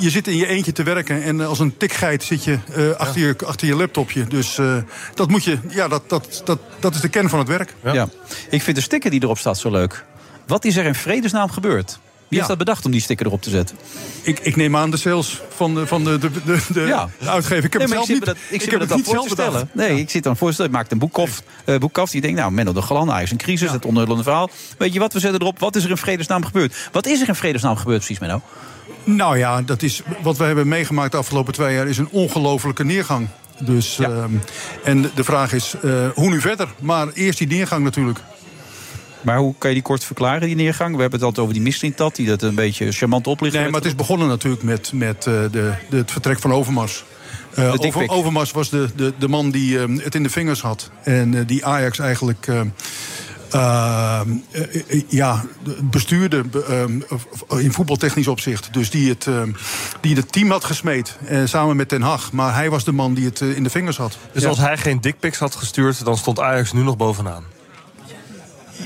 Speaker 17: je zit in je eentje te werken. En eh, als een tikgeit zit je, eh, achter, je achter je laptopje. Dus eh, dat moet je, ja, dat, dat, dat, dat is de kern van het werk.
Speaker 8: Ja. Ik vind de sticker die erop staat zo leuk. Wat is er in vredesnaam gebeurd? Wie heeft dat bedacht om die sticker erop te zetten?
Speaker 17: Ik, ik neem aan de sales van de, van de, de, de, de uitgever. Ik heb
Speaker 8: Nee,
Speaker 17: het
Speaker 8: maar
Speaker 17: zelf
Speaker 8: zit
Speaker 17: niet,
Speaker 8: me dat, ik zit
Speaker 17: heb
Speaker 8: me
Speaker 17: het
Speaker 8: dat
Speaker 17: niet
Speaker 8: dan
Speaker 17: zelf
Speaker 8: voor te stellen.
Speaker 17: bedacht.
Speaker 8: Nee, ik zit dan voor te stellen. Ik maak een boek af. eh, boek af die denkt, nou, Menno de Galan, hij is een crisis, het onderhullende verhaal. Weet je wat, we zetten erop, wat is er in vredesnaam gebeurd? Wat is er in vredesnaam gebeurd precies, Menno?
Speaker 17: Nou ja, dat is, wat we hebben meegemaakt de afgelopen twee jaar is een ongelofelijke neergang. Dus, ehm, en de- de vraag is, eh, hoe nu verder? Maar eerst die neergang natuurlijk.
Speaker 8: Maar hoe kan je die kort verklaren, die neergang? We hebben het altijd over die mislintat, die dat een beetje charmant oplicht.
Speaker 17: Nee, maar het is begonnen natuurlijk met, met eh, de, de, het vertrek van Overmars. Eh,
Speaker 8: De dikpik.
Speaker 17: Over- Overmars was de, de, de man die eh, het in de vingers had. En eh, die Ajax eigenlijk eh, eh, eh, eh, ja, bestuurde be- eh, in voetbaltechnisch opzicht. Dus die het, eh, die het team had gesmeed eh, samen met Ten Hag. Maar hij was de man die het eh, in de vingers had.
Speaker 9: Dus als hij geen dickpics had gestuurd, dan stond Ajax nu nog bovenaan.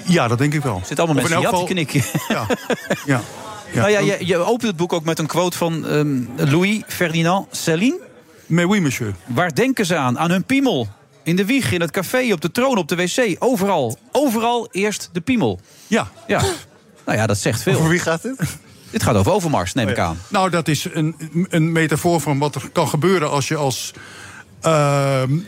Speaker 17: Ja, dat denk ik wel.
Speaker 8: zit allemaal
Speaker 17: Of in
Speaker 8: mensen die had
Speaker 17: elk
Speaker 8: knikken.
Speaker 17: Ja. ja.
Speaker 8: Nou ja, je, je opent het boek ook met een quote van ehm, Louis Ferdinand Céline.
Speaker 17: Mais oui, monsieur.
Speaker 8: Waar denken ze aan? Aan hun piemel. In de wieg, in het café, op de troon, op de wc. Overal. Overal eerst de piemel.
Speaker 17: Ja.
Speaker 8: ja. Nou ja, dat zegt veel.
Speaker 17: Over
Speaker 9: wie gaat dit?
Speaker 8: Dit gaat over Overmars, neem ik aan.
Speaker 17: Nou, dat is een, een metafoor van wat er kan gebeuren als je als. ehm,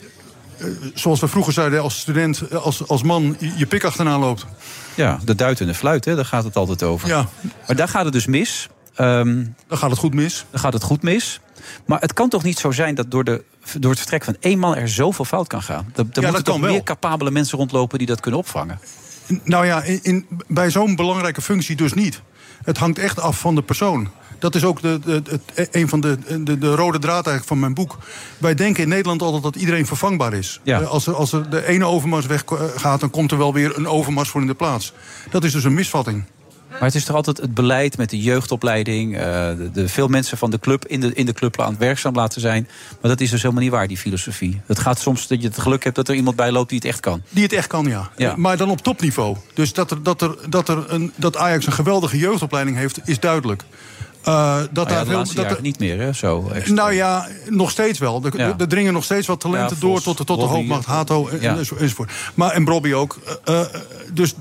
Speaker 17: eh, zoals we vroeger zeiden, als student, eh, als, als man, je, je pik achterna loopt.
Speaker 8: Ja, de duit en de fluit, hè, daar gaat het altijd over.
Speaker 17: Ja.
Speaker 8: Maar daar gaat het dus mis. Ehm,
Speaker 17: dan gaat het goed mis.
Speaker 8: Dan gaat het goed mis. Maar het kan toch niet zo zijn dat door, de, door het vertrek van één man er zoveel fout kan gaan? Er, er moeten
Speaker 17: dat
Speaker 8: toch
Speaker 17: kan wel.
Speaker 8: meer capabele mensen rondlopen die dat kunnen opvangen?
Speaker 17: N- Nou ja, in, in- bij zo'n belangrijke functie dus niet. Het hangt echt af van de persoon. Dat is ook de, de, het, eh, een van de, de, de rode draad eigenlijk van mijn boek. Wij denken in Nederland altijd dat iedereen vervangbaar is.
Speaker 8: Ja.
Speaker 17: Eh, Als, er, als er de ene overmars weggaat, dan komt er wel weer een overmars voor in de plaats. Dat is dus een misvatting.
Speaker 8: Maar het is toch altijd het beleid met de jeugdopleiding, eh, de, de veel mensen van de club in de, in de club aan het werkzaam laten zijn. Maar dat is dus helemaal niet waar, die filosofie. Het gaat soms dat je het geluk hebt dat er iemand bij loopt die het echt kan.
Speaker 17: Die het echt kan, ja. Eh,
Speaker 8: Ja.
Speaker 17: Maar dan op topniveau. Dus dat, er, dat, er, dat, er een, dat Ajax een geweldige jeugdopleiding heeft, is duidelijk. Eh, dat
Speaker 8: Maar Ah ja,
Speaker 17: daar
Speaker 8: de
Speaker 17: heel-
Speaker 8: laatste
Speaker 17: dat
Speaker 8: jaren
Speaker 17: er-
Speaker 8: niet meer, hè? Zo. extra.
Speaker 17: nou ja, nog steeds wel. Er,
Speaker 8: eh, Ja.
Speaker 17: er dringen nog steeds wat talenten
Speaker 8: Ja,
Speaker 17: door
Speaker 8: Vos,
Speaker 17: tot, de- tot de
Speaker 8: Robbie. eh,
Speaker 17: hoofdmacht, Hato en,
Speaker 8: Ja.
Speaker 17: en- enzovoort. Maar, en Robbie ook. Eh, eh, dus d-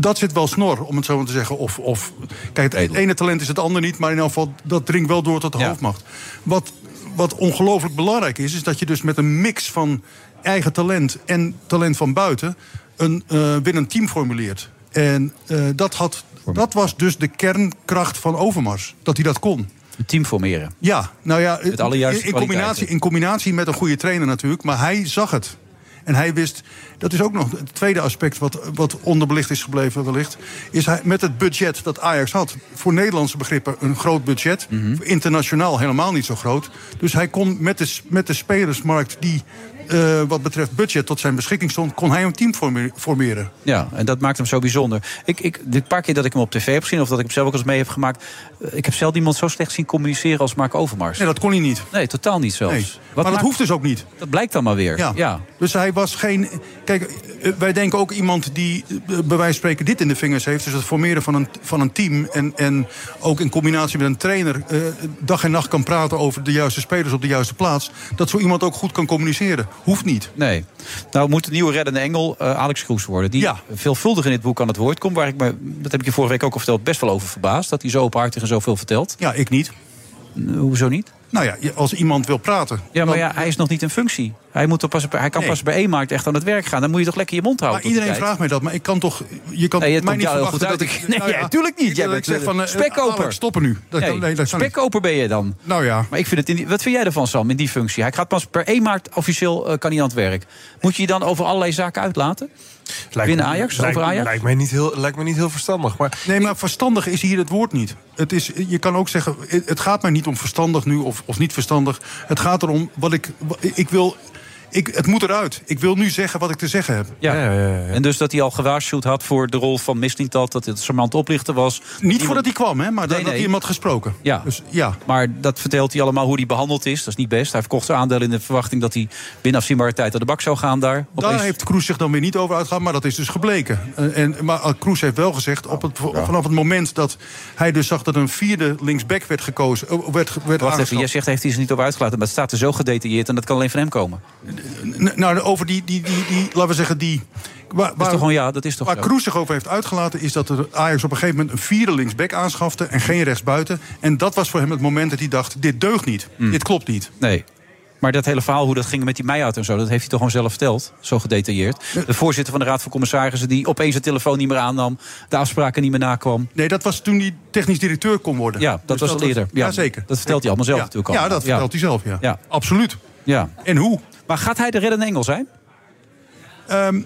Speaker 17: dat zit wel snor, om het zo maar te zeggen. Of, of, kijk, het ene talent is het andere niet, maar in elk geval, dat dringt wel door tot de hoofdmacht. Wat, wat ongelooflijk belangrijk is, is dat je dus met een mix van eigen talent en talent van buiten een eh winnend team formuleert. En eh, dat, had, dat was dus de kernkracht van Overmars, dat hij dat kon.
Speaker 8: Een team formeren.
Speaker 17: Ja, nou ja,
Speaker 8: Met alle juiste
Speaker 17: in- in, combinatie,
Speaker 8: kwaliteiten.
Speaker 17: in combinatie met een goede trainer natuurlijk. Maar hij zag het. En hij wist, dat is ook nog het tweede aspect wat, wat onderbelicht is gebleven wellicht... is hij met het budget dat Ajax had. Voor Nederlandse begrippen een groot budget. Voor Internationaal helemaal niet zo groot. Dus hij kon met de, s- met de spelersmarkt die eh, wat betreft budget tot zijn beschikking stond... kon hij een team forme- formeren.
Speaker 8: Ja, en dat maakt hem zo bijzonder. Ik, ik, de paar keer dat ik hem op tv heb gezien, of dat ik hem zelf ook eens mee heb gemaakt... eh, ik heb zelf iemand zo slecht zien communiceren als Mark Overmars.
Speaker 17: Nee, dat kon hij niet.
Speaker 8: Nee, totaal niet zelfs.
Speaker 17: Nee.
Speaker 8: Wat
Speaker 17: maar dat
Speaker 8: maakt-
Speaker 17: hoeft dus ook niet.
Speaker 8: Dat blijkt dan maar weer.
Speaker 17: Ja.
Speaker 8: ja.
Speaker 17: Dus hij was geen. Kijk, eh, wij denken ook iemand die eh, bij wijze van spreken dit in de vingers heeft. Dus het formeren van een, van een team. En, en ook in combinatie met een trainer. eh, dag en nacht kan praten over de juiste spelers op de juiste plaats. Dat zo iemand ook goed kan communiceren. Hoeft niet.
Speaker 8: Nee. Nou moet de nieuwe reddende engel eh, Alex Kroes worden. Die veelvuldig in dit boek aan het woord komt. Waar ik me, dat heb ik je vorige week ook al verteld, best wel over verbaasd. Dat hij zo openhartig en zoveel vertelt.
Speaker 17: Ja, ik niet.
Speaker 8: hoezo niet?
Speaker 17: Nou ja, je- als iemand wil praten.
Speaker 8: Ja, maar ja, hij is nog niet in functie. Hij, moet er pas, op- hij kan
Speaker 17: Nee.
Speaker 8: pas bij één markt echt aan het werk gaan. Dan moet je toch lekker je mond houden.
Speaker 17: Maar iedereen
Speaker 8: tot die tijd.
Speaker 17: vraagt mij dat. Maar ik kan toch. Je kan
Speaker 8: Nee, het
Speaker 17: mij
Speaker 8: komt
Speaker 17: niet
Speaker 8: jou heel
Speaker 17: verwachten
Speaker 8: goed uit.
Speaker 17: dat ik.
Speaker 8: Nee,
Speaker 17: nou ja,
Speaker 8: natuurlijk niet. Jij
Speaker 17: dat ik
Speaker 8: bent
Speaker 17: zeg van, eh,
Speaker 8: spekkoper.
Speaker 17: Alex, stoppen nu. Dat
Speaker 8: Nee,
Speaker 17: kan- nee, dat kan niet.
Speaker 8: spekkoper ben je dan.
Speaker 17: Nou ja.
Speaker 8: Maar ik vind het in, die- wat vind jij ervan, Sam, in die functie? Hij gaat pas per 1 maart officieel eh, kan hij aan het werk. Moet je je dan over allerlei zaken uitlaten? Binnen Ajax?
Speaker 9: lijkt,
Speaker 8: over Ajax?
Speaker 9: Lijkt mij niet heel, lijkt mij niet heel verstandig. Maar
Speaker 17: Nee, maar verstandig is hier het woord niet. Het is, je kan ook zeggen, het gaat mij niet om verstandig nu of, of niet verstandig. Het gaat erom wat ik, wat- ik wil. Ik, het moet eruit. Ik wil nu zeggen wat ik te zeggen heb.
Speaker 8: Ja. En dus dat hij al gewaarschuwd had voor de rol van Mislintat, dat het charmant oplichter was.
Speaker 17: Niet voordat hij kwam, hè, maar dat,
Speaker 8: Nee,
Speaker 17: dat
Speaker 8: nee.
Speaker 17: iemand gesproken.
Speaker 8: Ja.
Speaker 17: ja.
Speaker 8: Maar dat vertelt hij allemaal hoe hij behandeld is. Dat is niet best. Hij verkocht zijn aandeel in de verwachting dat hij binnen afzienbare tijd aan de bak zou gaan daar.
Speaker 17: Daar heeft Kroes zich dan weer niet over uitgegaan, maar dat is dus gebleken. En, en- maar eh, Kroes heeft wel gezegd, op het, vanaf het moment dat hij dus zag dat een vierde linksback werd gekozen, eh, werd, ge- werd
Speaker 8: Wacht
Speaker 17: aangeschaft.
Speaker 8: even, jij zegt heeft hij zich niet over uitgelaten. Maar het staat er zo gedetailleerd en dat kan alleen van hem komen.
Speaker 17: N- Nou, over die, die, die, die, laten we zeggen, die Waar,
Speaker 8: is toch gewoon- ja, dat is toch
Speaker 17: Waar
Speaker 8: zo.
Speaker 17: Kroes zich over heeft uitgelaten is dat er Ajax op een gegeven moment een vierde linksback aanschafte en geen rechtsbuiten. En dat was voor hem het moment dat hij dacht: dit deugt niet, dit klopt niet.
Speaker 8: Nee. Maar dat hele verhaal, hoe dat ging met die Meijhout en zo... dat heeft hij toch gewoon zelf verteld, zo gedetailleerd. De voorzitter van de Raad van Commissarissen... die opeens de telefoon niet meer aannam, de afspraken niet meer nakwam.
Speaker 17: Nee, dat was toen hij technisch directeur kon worden.
Speaker 8: Ja, dat
Speaker 17: Dus
Speaker 8: was
Speaker 17: dat
Speaker 8: al eerder.
Speaker 17: was- ja, zeker.
Speaker 8: Dat vertelt hij allemaal zelf
Speaker 17: Ja.
Speaker 8: natuurlijk al.
Speaker 17: Ja, dat vertelt hij zelf, ja. Absoluut.
Speaker 8: Ja.
Speaker 17: En hoe?
Speaker 8: Maar gaat hij de reddende engel zijn?
Speaker 17: Ehm,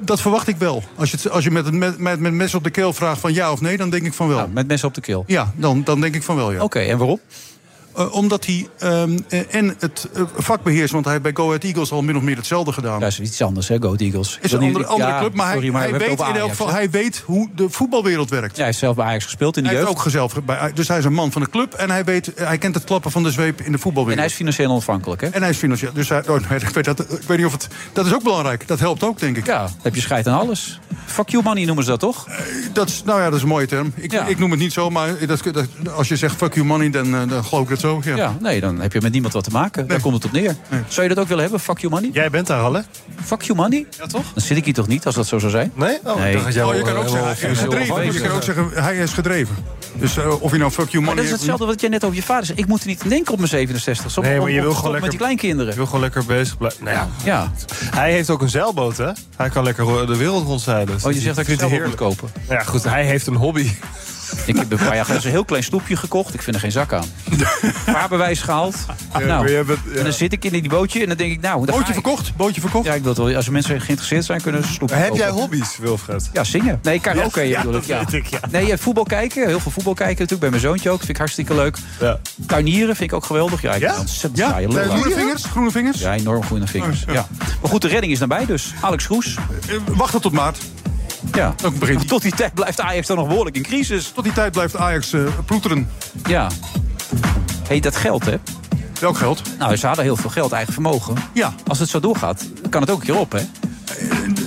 Speaker 17: dat verwacht ik wel. Als je, het- als je met, het met, met, met mes op de keel vraagt van ja of nee, dan denk ik van wel.
Speaker 8: met mes op de keel?
Speaker 17: Ja, dan, dan denk ik van wel, ja. Oké,
Speaker 8: en waarom?
Speaker 17: omdat hij ehm, eh, en het eh, vak beheerst, want hij heeft bij Go Ahead Eagles al min of meer hetzelfde gedaan.
Speaker 8: Dat is iets anders, hè, Go Ahead Eagles.
Speaker 17: is een
Speaker 8: Dan-
Speaker 17: andere, andere
Speaker 8: ja,
Speaker 17: club, maar, hij-
Speaker 8: sorry, we
Speaker 17: hij,
Speaker 8: hebben
Speaker 17: weet
Speaker 8: het over
Speaker 17: in elk
Speaker 8: Ajax,
Speaker 17: geval
Speaker 8: hè.
Speaker 17: hij weet hoe de voetbalwereld werkt.
Speaker 8: Ja, hij heeft zelf bij Ajax gespeeld in de
Speaker 17: Hij heeft
Speaker 8: jeugd.
Speaker 17: ook gezelf bij, dus hij is een man van de club en hij, weet, hij kent het klappen van de zweep in de voetbalwereld. En hij
Speaker 8: is financieel onafhankelijk, hè?
Speaker 17: En hij is financieel. Dus hij, oh, nee, ik, weet dat, ik weet niet of het. Dat is ook belangrijk. Dat helpt ook, denk ik. Eh,
Speaker 8: Ja, heb je scheid aan alles. Fuck you money noemen ze dat toch?
Speaker 17: Dat is, nou ja, dat is een mooie term. Ik, ik noem het niet zo, maar dat, dat- als je zegt fuck you money, dan, eh, dan geloof ik dat zo. Ja.
Speaker 8: Ja, nee, dan heb je met niemand wat te maken. Daar komt het op neer. Zou je dat ook willen hebben, fuck you money?
Speaker 9: Jij bent daar al, hè?
Speaker 8: Fuck you money? Ja,
Speaker 9: toch?
Speaker 8: Dan zit ik hier toch niet, als dat zo zou zijn?
Speaker 9: Nee?
Speaker 17: Oh, ik dacht dat jij Oh, je
Speaker 9: eh,
Speaker 17: wel- kan ook wel zeggen, hij is functioneel gedreven. Je kan ook zeggen, hij is gedreven. Dus eh, of je nou fuck you
Speaker 8: Maar
Speaker 17: money
Speaker 8: dat is
Speaker 17: hebt-
Speaker 8: hetzelfde wat jij net over je vader zei. Ik moet er niet in denken op mijn 67. Soms
Speaker 9: nee, maar je wil
Speaker 8: stop
Speaker 9: gewoon lekker
Speaker 8: met die kleinkinderen.
Speaker 9: Je wil gewoon lekker bezig blijven. Nou ja.
Speaker 8: Ja.
Speaker 9: Hij heeft ook een zeilboot, hè? Hij kan lekker ro- de wereld rondzeilen.
Speaker 8: Oh, je zegt dat ik een zeilboot moet kopen.
Speaker 9: Ja, goed, hij heeft een hobby.
Speaker 8: Ik heb een paar jaar geleden zo'n heel klein snoepje gekocht. Ik vind er geen zak aan. Vaarbewijs gehaald. nou,
Speaker 9: maar jij bent-
Speaker 8: En dan zit ik in die bootje en dan denk ik, nou... Bootje
Speaker 17: verkocht? Bootje verkocht?
Speaker 8: Ja, ik wil het wel. Als er mensen geïnteresseerd zijn, kunnen ze snoepje
Speaker 9: Heb jij
Speaker 8: kopen.
Speaker 9: hobby's, Wilfred?
Speaker 8: Ja, zingen. Nee, karaoke
Speaker 9: Ja, ja,
Speaker 8: bedoel ik.
Speaker 9: dat weet ik, ja.
Speaker 8: Nee, eh, voetbal kijken. Heel veel voetbal kijken natuurlijk. Bij mijn zoontje ook. Vind ik hartstikke leuk.
Speaker 9: Ja.
Speaker 8: Tuinieren vind ik ook geweldig. Ja, ik ben
Speaker 17: Ja?
Speaker 8: ontzettend
Speaker 17: Ja?
Speaker 8: saaie lul
Speaker 17: Eh, Groene
Speaker 8: eigenlijk.
Speaker 17: vingers? Groene vingers?
Speaker 8: Ja, enorm groene vingers.
Speaker 9: Oh,
Speaker 8: Ja. Maar goed, de redding is nabij dus. Alex Groes.
Speaker 9: Eh,
Speaker 17: Wachten tot maart.
Speaker 8: Ja.
Speaker 17: Ook begint.
Speaker 8: Tot die tijd blijft Ajax dan nog behoorlijk in crisis.
Speaker 17: Tot die tijd blijft Ajax eh, ploeteren.
Speaker 8: Ja. hey, dat geld hè?
Speaker 17: Welk geld?
Speaker 8: Nou, ze hadden heel veel geld, eigen vermogen.
Speaker 17: Ja. Eh,
Speaker 8: Als het zo doorgaat, kan het ook een keer op hè?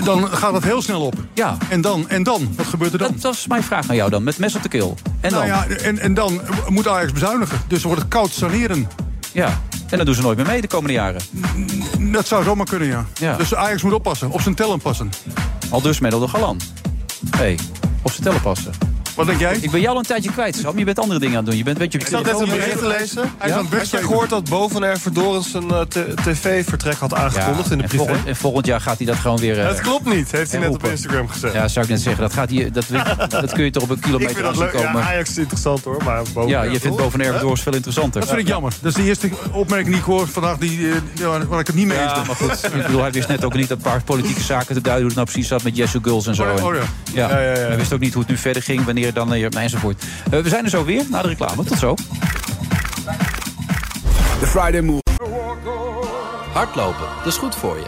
Speaker 17: Dan gaat het heel snel op.
Speaker 8: Ja.
Speaker 17: En dan? En dan? Wat gebeurt er dan?
Speaker 8: Dat is mijn vraag aan jou dan, met mes op de keel. En dan?
Speaker 17: Nou ja, en, en dan moet Ajax bezuinigen. Dus wordt het koud saneren.
Speaker 8: Ja. En dat doen ze nooit meer mee de komende jaren.
Speaker 17: Dat zou zomaar kunnen, ja.
Speaker 8: Ja.
Speaker 17: Dus Ajax moet oppassen. Op zijn tellen passen.
Speaker 8: Al dus Medel de Galan. Hé, hey, op zijn tellen passen.
Speaker 17: Wat denk jij?
Speaker 8: Ik ben jou al een tijdje kwijt, Sam. Je bent andere dingen aan het doen. Je bent een beetje...
Speaker 9: Ik zat net een bericht te lezen.
Speaker 8: Hij is aan het
Speaker 9: Had je gehoord dat Bovenair Verdorens een eh, t- tv-vertrek had aangekondigd in de
Speaker 8: en
Speaker 9: privé?
Speaker 8: volgend, en volgend jaar gaat hij dat gewoon weer... eh,
Speaker 9: Het klopt niet, heeft hij net op
Speaker 8: herroepen.
Speaker 9: Instagram gezegd.
Speaker 8: Ja, zou ik net zeggen. Dat, gaat hier, dat, dat kun je toch op een
Speaker 9: Ik
Speaker 8: kilometer
Speaker 9: vind dat
Speaker 8: aan zien
Speaker 9: leuk. Ja,
Speaker 8: komen.
Speaker 9: Ajax is interessant hoor, maar boven
Speaker 8: Ja, je vindt Bovenair
Speaker 9: Hè?
Speaker 8: Verdorens veel interessanter.
Speaker 17: Dat vind ik jammer. Dat is de eerste opmerking die ik hoor vandaag die, eh, ja, waar ik het niet mee eens
Speaker 8: Ja,
Speaker 17: ben.
Speaker 8: maar goed. Ik bedoel, hij wist net ook niet een paar politieke zaken te duiden... hoe het nou precies zat met Yes You Girls en zo.
Speaker 17: Oh, oh ja.
Speaker 8: En- ja. Hij wist ook niet hoe het nu verder ging, wanneer dan... eh, enzovoort. Eh, we zijn er zo weer, na de reclame. Tot zo.
Speaker 1: De Friday Move. Hardlopen, dat is goed voor je.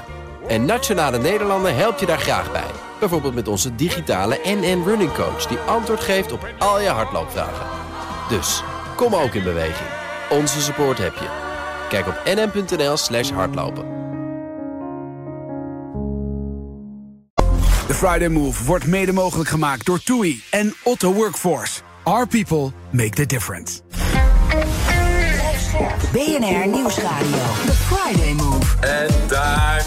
Speaker 1: En Nationale Nederlanden helpt je daar graag bij. Bijvoorbeeld met onze digitale NN Running Coach... die antwoord geeft op al je hardloopvragen. Dus, kom ook in beweging. Onze support heb je. Kijk op nn.nl slash hardlopen.
Speaker 2: De Friday Move wordt mede mogelijk gemaakt door TUI en Otto Workforce. Our people make the difference.
Speaker 14: BNR Nieuwsradio. The Friday Move.
Speaker 6: En daar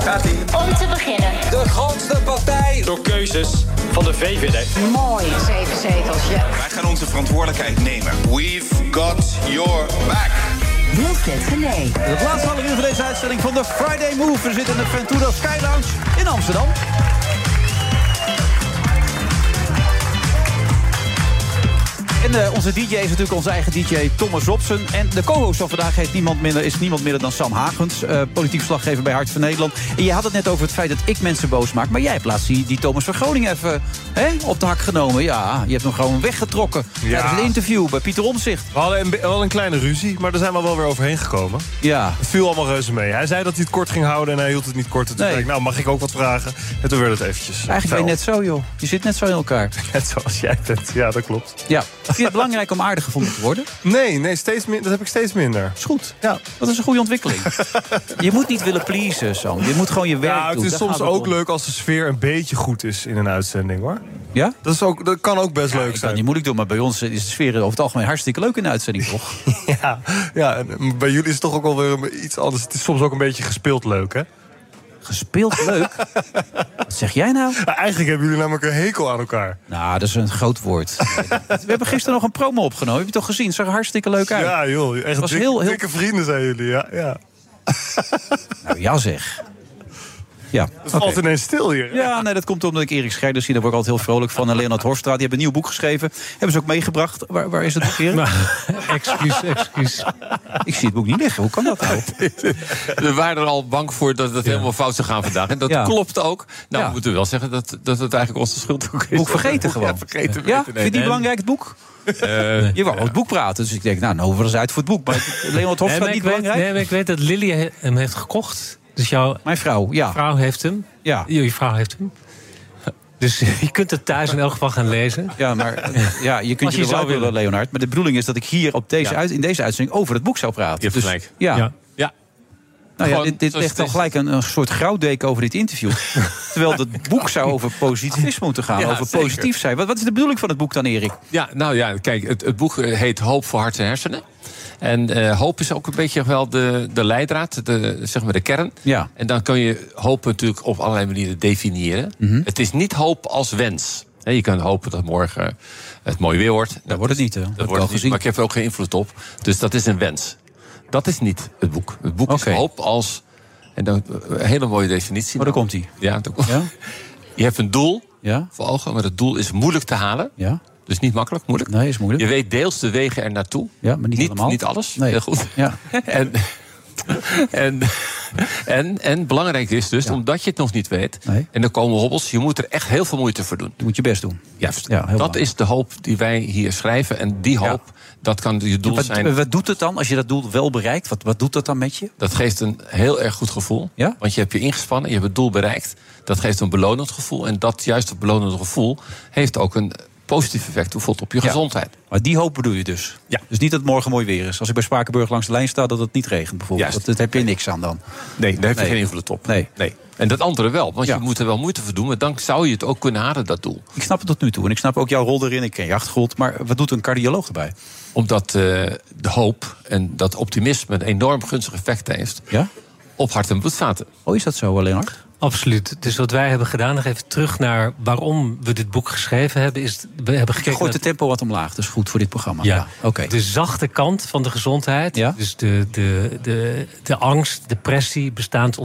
Speaker 6: gaat hij. Om te beginnen. De grootste partij. Door keuzes van de VVD.
Speaker 14: Mooi. Zeven zetels, ja.
Speaker 7: Wij gaan onze verantwoordelijkheid nemen. We've got your back.
Speaker 14: Wilfred Genee.
Speaker 8: Het laatste half uur van deze uitzending van de Friday Move. We zitten in de Ventura Sky Lounge in Amsterdam. En eh, onze DJ is natuurlijk onze eigen DJ Thomas Robson. En de co-host van vandaag heet niemand minder, is niemand minder dan Sam Hagens. eh, politiek verslaggever bij Hart van Nederland. En je had het net over het feit dat ik mensen boos maak. Maar jij hebt laatst die, die Thomas van Groningen even hè, op de hak genomen. Ja, je hebt hem gewoon weggetrokken. Ja. een interview bij Pieter Omzicht.
Speaker 9: We hadden een, be- wel een kleine ruzie, maar daar zijn we wel weer overheen gekomen.
Speaker 8: Ja.
Speaker 9: Het viel allemaal reuze mee. Hij zei dat hij het kort ging houden en hij hield het niet kort. En toen zei ik, nou mag ik ook wat vragen? En toen werd het eventjes. eh,
Speaker 8: Eigenlijk ben je
Speaker 9: fel.
Speaker 8: net zo, joh. Je zit net zo in elkaar.
Speaker 9: Net zoals jij bent, ja dat klopt.
Speaker 8: Ja. Vind je het belangrijk om aardig gevonden te worden?
Speaker 9: Nee, nee steeds min- dat heb ik steeds minder.
Speaker 8: Is goed. Ja. Dat is een goede ontwikkeling. je moet niet willen pleasen, Sam. Je moet gewoon je werk
Speaker 9: Ja,
Speaker 8: doen.
Speaker 9: Nou, het is
Speaker 8: Daar
Speaker 9: soms
Speaker 8: gaat het
Speaker 9: ook
Speaker 8: om.
Speaker 9: leuk als de sfeer een beetje goed is in een uitzending hoor.
Speaker 8: Ja?
Speaker 9: Dat, is ook, dat kan ook best leuk
Speaker 8: Ik kan het niet moeilijk doen, maar bij ons is de sfeer over het algemeen hartstikke leuk in de uitzending, toch?
Speaker 9: eh, Ja, ja en bij jullie is het toch ook alweer een- iets anders. Het is soms ook een beetje gespeeld leuk, hè?
Speaker 8: Gespeeld leuk? Wat zeg jij nou?
Speaker 9: Eigenlijk hebben jullie namelijk een hekel aan elkaar.
Speaker 8: Nou, dat is een groot woord. We hebben gisteren nog een promo opgenomen. Heb je toch gezien? Het zag er hartstikke leuk uit.
Speaker 9: Ja, joh. Echt
Speaker 8: was
Speaker 9: dik-
Speaker 8: heel, heel...
Speaker 9: dikke vrienden zijn jullie. Ja, ja.
Speaker 8: Nou, ja zeg. Ja.
Speaker 9: Het valt ineens stil hier.
Speaker 8: Ja, nee, dat komt omdat ik Erik Scheiders zie. Daar word ik altijd heel vrolijk van. En Leonard Hofstra, die hebben een nieuw boek geschreven. Hebben ze ook meegebracht. Waar, waar is het boek, Erik?
Speaker 19: excuus, excuus.
Speaker 8: Ik zie het boek niet liggen. Hoe kan dat nou?
Speaker 19: We waren er al bang voor dat het helemaal fout zou gaan vandaag. En dat
Speaker 8: Ja.
Speaker 19: klopt ook. Nou,
Speaker 8: Ja.
Speaker 19: we moeten wel zeggen dat, dat het eigenlijk onze schuld ook is.
Speaker 8: Boek vergeten gewoon.
Speaker 19: Ja, vergeten
Speaker 8: Ja?
Speaker 19: we
Speaker 8: Vind je die belangrijk, het boek? Eh, Je wou over het boek praten. Dus ik denk, nou, nou, we eens uit voor het boek. Maar Leonard Hofstra
Speaker 19: maar
Speaker 8: niet
Speaker 19: ik weet-
Speaker 8: belangrijk?
Speaker 19: nee,
Speaker 8: maar
Speaker 19: ik weet dat Lily he- hem heeft gekocht. Dus jouw
Speaker 8: Mijn vrouw, ja.
Speaker 19: vrouw heeft hem.
Speaker 8: Ja.
Speaker 19: Jullie vrouw heeft hem. Dus je kunt het thuis in elk geval gaan lezen.
Speaker 8: Ja, maar ja,
Speaker 19: Als
Speaker 8: je kunt je,
Speaker 19: je
Speaker 8: er wel
Speaker 19: zou
Speaker 8: uit willen,
Speaker 19: willen.
Speaker 8: Leonard. Maar de bedoeling is dat ik hier op deze
Speaker 19: Ja.
Speaker 8: uit, in deze uitzending over het boek zou praten.
Speaker 19: Je hebt
Speaker 8: Dus,
Speaker 19: gelijk.
Speaker 8: Ja.
Speaker 19: Ja.
Speaker 8: Nou ja,
Speaker 19: Gewoon
Speaker 8: dit, dit
Speaker 19: zoals
Speaker 8: legt
Speaker 19: het
Speaker 8: al
Speaker 19: is.
Speaker 8: gelijk een, een soort grauwdeken over dit interview. Terwijl het boek zou over positivisme moeten gaan.
Speaker 19: Ja,
Speaker 8: over
Speaker 19: zeker.
Speaker 8: positief zijn. Wat, wat is de bedoeling van het boek dan, Erik?
Speaker 19: Ja, nou ja, kijk, het, het boek eh, heet Hoop voor Hart en Hersenen. En eh, hoop is ook een beetje wel de, de leidraad, de, zeg maar de kern.
Speaker 8: Ja.
Speaker 19: En dan kun je hoop natuurlijk op allerlei manieren definiëren.
Speaker 8: Mhm.
Speaker 19: Het is niet hoop als wens. Hè, je kan hopen dat morgen het mooi weer wordt. Dat wordt het niet, hè? Dat, wordt het niet, maar ik heb er ook geen invloed op. Dus dat is een wens. Dat is niet het boek. Het boek is hoop als... En dan, eh, een hele mooie definitie. Maar
Speaker 8: Oh, daar komt hij.
Speaker 19: Ja, daar komt Je hebt een doel voor ogen, maar het doel is moeilijk te halen.
Speaker 8: Ja.
Speaker 19: Dus niet makkelijk, moeilijk.
Speaker 8: Nee, is moeilijk.
Speaker 19: Je weet deels de wegen er naartoe.
Speaker 8: Ja, maar niet helemaal.
Speaker 19: Niet alles.
Speaker 8: Nee.
Speaker 19: Heel goed.
Speaker 8: Ja.
Speaker 19: En, en, en, en belangrijk is dus, omdat je het nog niet weet... en er komen hobbels, je moet er echt heel veel moeite voor doen.
Speaker 8: Je moet je best doen.
Speaker 19: Juist.
Speaker 8: Ja, heel
Speaker 19: dat
Speaker 8: belangrijk.
Speaker 19: is de hoop die wij hier schrijven. En die hoop, dat kan je doel
Speaker 8: Wat,
Speaker 19: zijn.
Speaker 8: wat doet het dan als je dat doel wel bereikt? Wat, wat doet dat dan met je?
Speaker 19: Dat geeft een heel erg goed gevoel. Want je hebt je ingespannen, je hebt het doel bereikt. Dat geeft een belonend gevoel. En dat juist dat belonend gevoel heeft ook een positief effect bijvoorbeeld op je gezondheid.
Speaker 8: Maar die hoop bedoel je dus? Ja. Dus niet dat het morgen mooi weer is. Als ik bij Spakenburg langs de lijn sta, dat het niet regent bijvoorbeeld. Dat, dat heb je niks aan dan.
Speaker 19: Nee, daar heb je
Speaker 8: Nee.
Speaker 19: geen invloed op. Nee. nee. En dat andere wel, want je moet er wel moeite voor doen. Maar dan zou je het ook kunnen halen, dat doel.
Speaker 8: Ik snap het tot nu toe. En ik snap ook jouw rol erin. Ik ken je achtergrond. Maar wat doet een cardioloog erbij?
Speaker 19: Omdat eh, de hoop en dat optimisme een enorm gunstig effect heeft op hart- en bloedvaten.
Speaker 8: Oh, is dat zo, Leonard?
Speaker 19: Absoluut.
Speaker 20: Dus wat wij hebben gedaan, nog even terug naar waarom we dit boek geschreven hebben, is we hebben
Speaker 8: Je
Speaker 20: gekeken
Speaker 8: gooit de
Speaker 20: naar-
Speaker 8: tempo wat omlaag. Dat is goed voor dit programma.
Speaker 20: Ja.
Speaker 8: Oké.
Speaker 20: De zachte kant van de gezondheid. Dus de, de, de, de angst, depressie,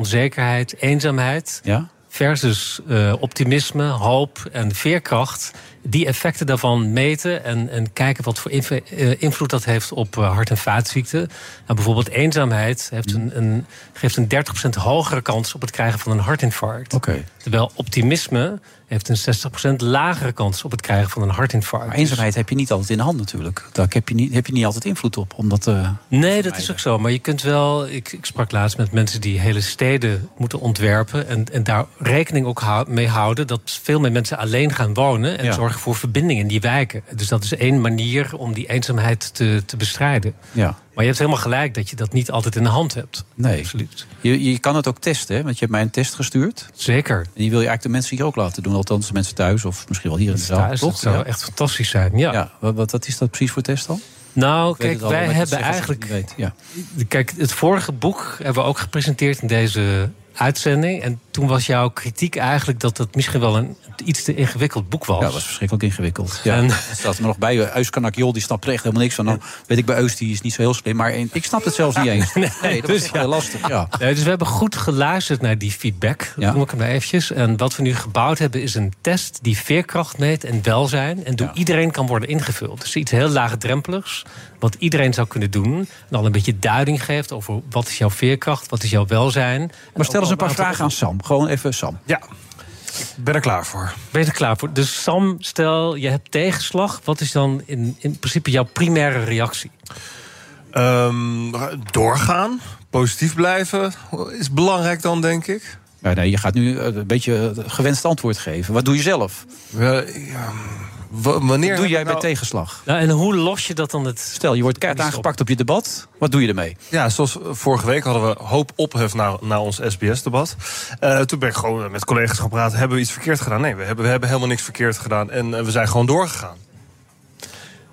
Speaker 20: bestaansonzekerheid, eenzaamheid.
Speaker 8: Ja.
Speaker 20: Versus eh, optimisme, hoop en veerkracht. Die effecten daarvan meten en, en kijken wat voor inv- eh, invloed dat heeft op eh, hart- en vaatziekten. Nou, bijvoorbeeld eenzaamheid heeft een, een, geeft een 30% hogere kans op het krijgen van een hartinfarct. Terwijl optimisme heeft een 60% lagere kans op het krijgen van een hartinfarct. Dus
Speaker 8: Maar eenzaamheid heb je niet altijd in de hand natuurlijk. Daar heb je niet, heb je niet altijd invloed op. Omdat, eh,
Speaker 20: Nee, dat is ook zo. Maar je kunt wel. Ik, ik sprak laatst met mensen die hele steden moeten ontwerpen. En, en daar rekening ook hou- mee houden dat veel meer mensen alleen gaan wonen. En
Speaker 8: Ja.
Speaker 20: zorgen voor verbinding in die wijken. Dus dat is één manier om die eenzaamheid te, te bestrijden.
Speaker 8: ja.
Speaker 20: Maar je hebt helemaal gelijk dat je dat niet altijd in de hand hebt.
Speaker 8: Nee. Absoluut. Je, je kan het ook testen, hè? want je hebt mij een test gestuurd.
Speaker 20: Zeker.
Speaker 8: En die wil je eigenlijk de mensen hier ook laten doen. Althans, de mensen thuis of misschien wel hier in de zaal.
Speaker 20: Thuis,
Speaker 8: toch?
Speaker 20: dat zou
Speaker 8: Ja.
Speaker 20: echt fantastisch zijn. Ja.
Speaker 8: Ja, wat, wat- wat is dat precies voor test dan?
Speaker 20: Nou,
Speaker 8: Ik weet
Speaker 20: kijk,
Speaker 8: het al,
Speaker 20: wij
Speaker 8: maar ik
Speaker 20: hebben
Speaker 8: zeg als ik het
Speaker 20: eigenlijk.
Speaker 8: niet weet,
Speaker 20: Kijk, het vorige boek hebben we ook gepresenteerd in deze uitzending. En toen was jouw kritiek eigenlijk dat het misschien wel een iets te ingewikkeld boek was.
Speaker 8: Ja, dat was verschrikkelijk ingewikkeld. Ja.
Speaker 20: En-
Speaker 8: Er staat er nog bij. eh, Eus Kanakjol, die snapt er echt helemaal niks van. Nou, weet ik bij Eus, die is niet zo heel slim. Maar een- ik snap het zelfs niet eens. Nee, dat is
Speaker 20: dus
Speaker 8: echt heel lastig. Ja.
Speaker 20: Nee, dus we hebben goed geluisterd naar die feedback.
Speaker 8: Ja.
Speaker 20: Dat noem ik hem nou eventjes. En wat we nu gebouwd hebben is een test die veerkracht meet en welzijn. En door iedereen kan worden ingevuld. Dus iets heel laagdrempeligs. Wat iedereen zou kunnen doen. En al een beetje duiding geeft over wat is jouw veerkracht, wat is jouw welzijn.
Speaker 8: Maar stel eens een paar vragen aan Sam. Gewoon even Sam.
Speaker 20: Ja.
Speaker 8: Ik ben er klaar voor.
Speaker 20: Ben je er klaar voor? Dus Sam, stel je hebt tegenslag. Wat is dan in, in principe jouw primaire reactie?
Speaker 8: Ehm,
Speaker 9: Mm, doorgaan, positief blijven is belangrijk dan, denk ik.
Speaker 8: Ja, nee, je gaat nu eh, een beetje eh, gewenst antwoord geven. Wat doe je zelf?
Speaker 9: wanneer
Speaker 8: Wat
Speaker 9: heb
Speaker 8: doe
Speaker 9: ik
Speaker 8: jij bij
Speaker 9: nou-
Speaker 8: tegenslag?
Speaker 20: Nou, en hoe los je dat dan het...
Speaker 8: Stel, je wordt kaart aangepakt op je debat. Wat doe je ermee?
Speaker 9: Ja, zoals vorige week hadden we hoop ophef na, na ons SBS-debat. Eh, toen ben ik gewoon met collega's gaan praten. Hebben we iets verkeerd gedaan? Nee, we hebben, we hebben helemaal niks verkeerd gedaan. En eh, we zijn gewoon doorgegaan.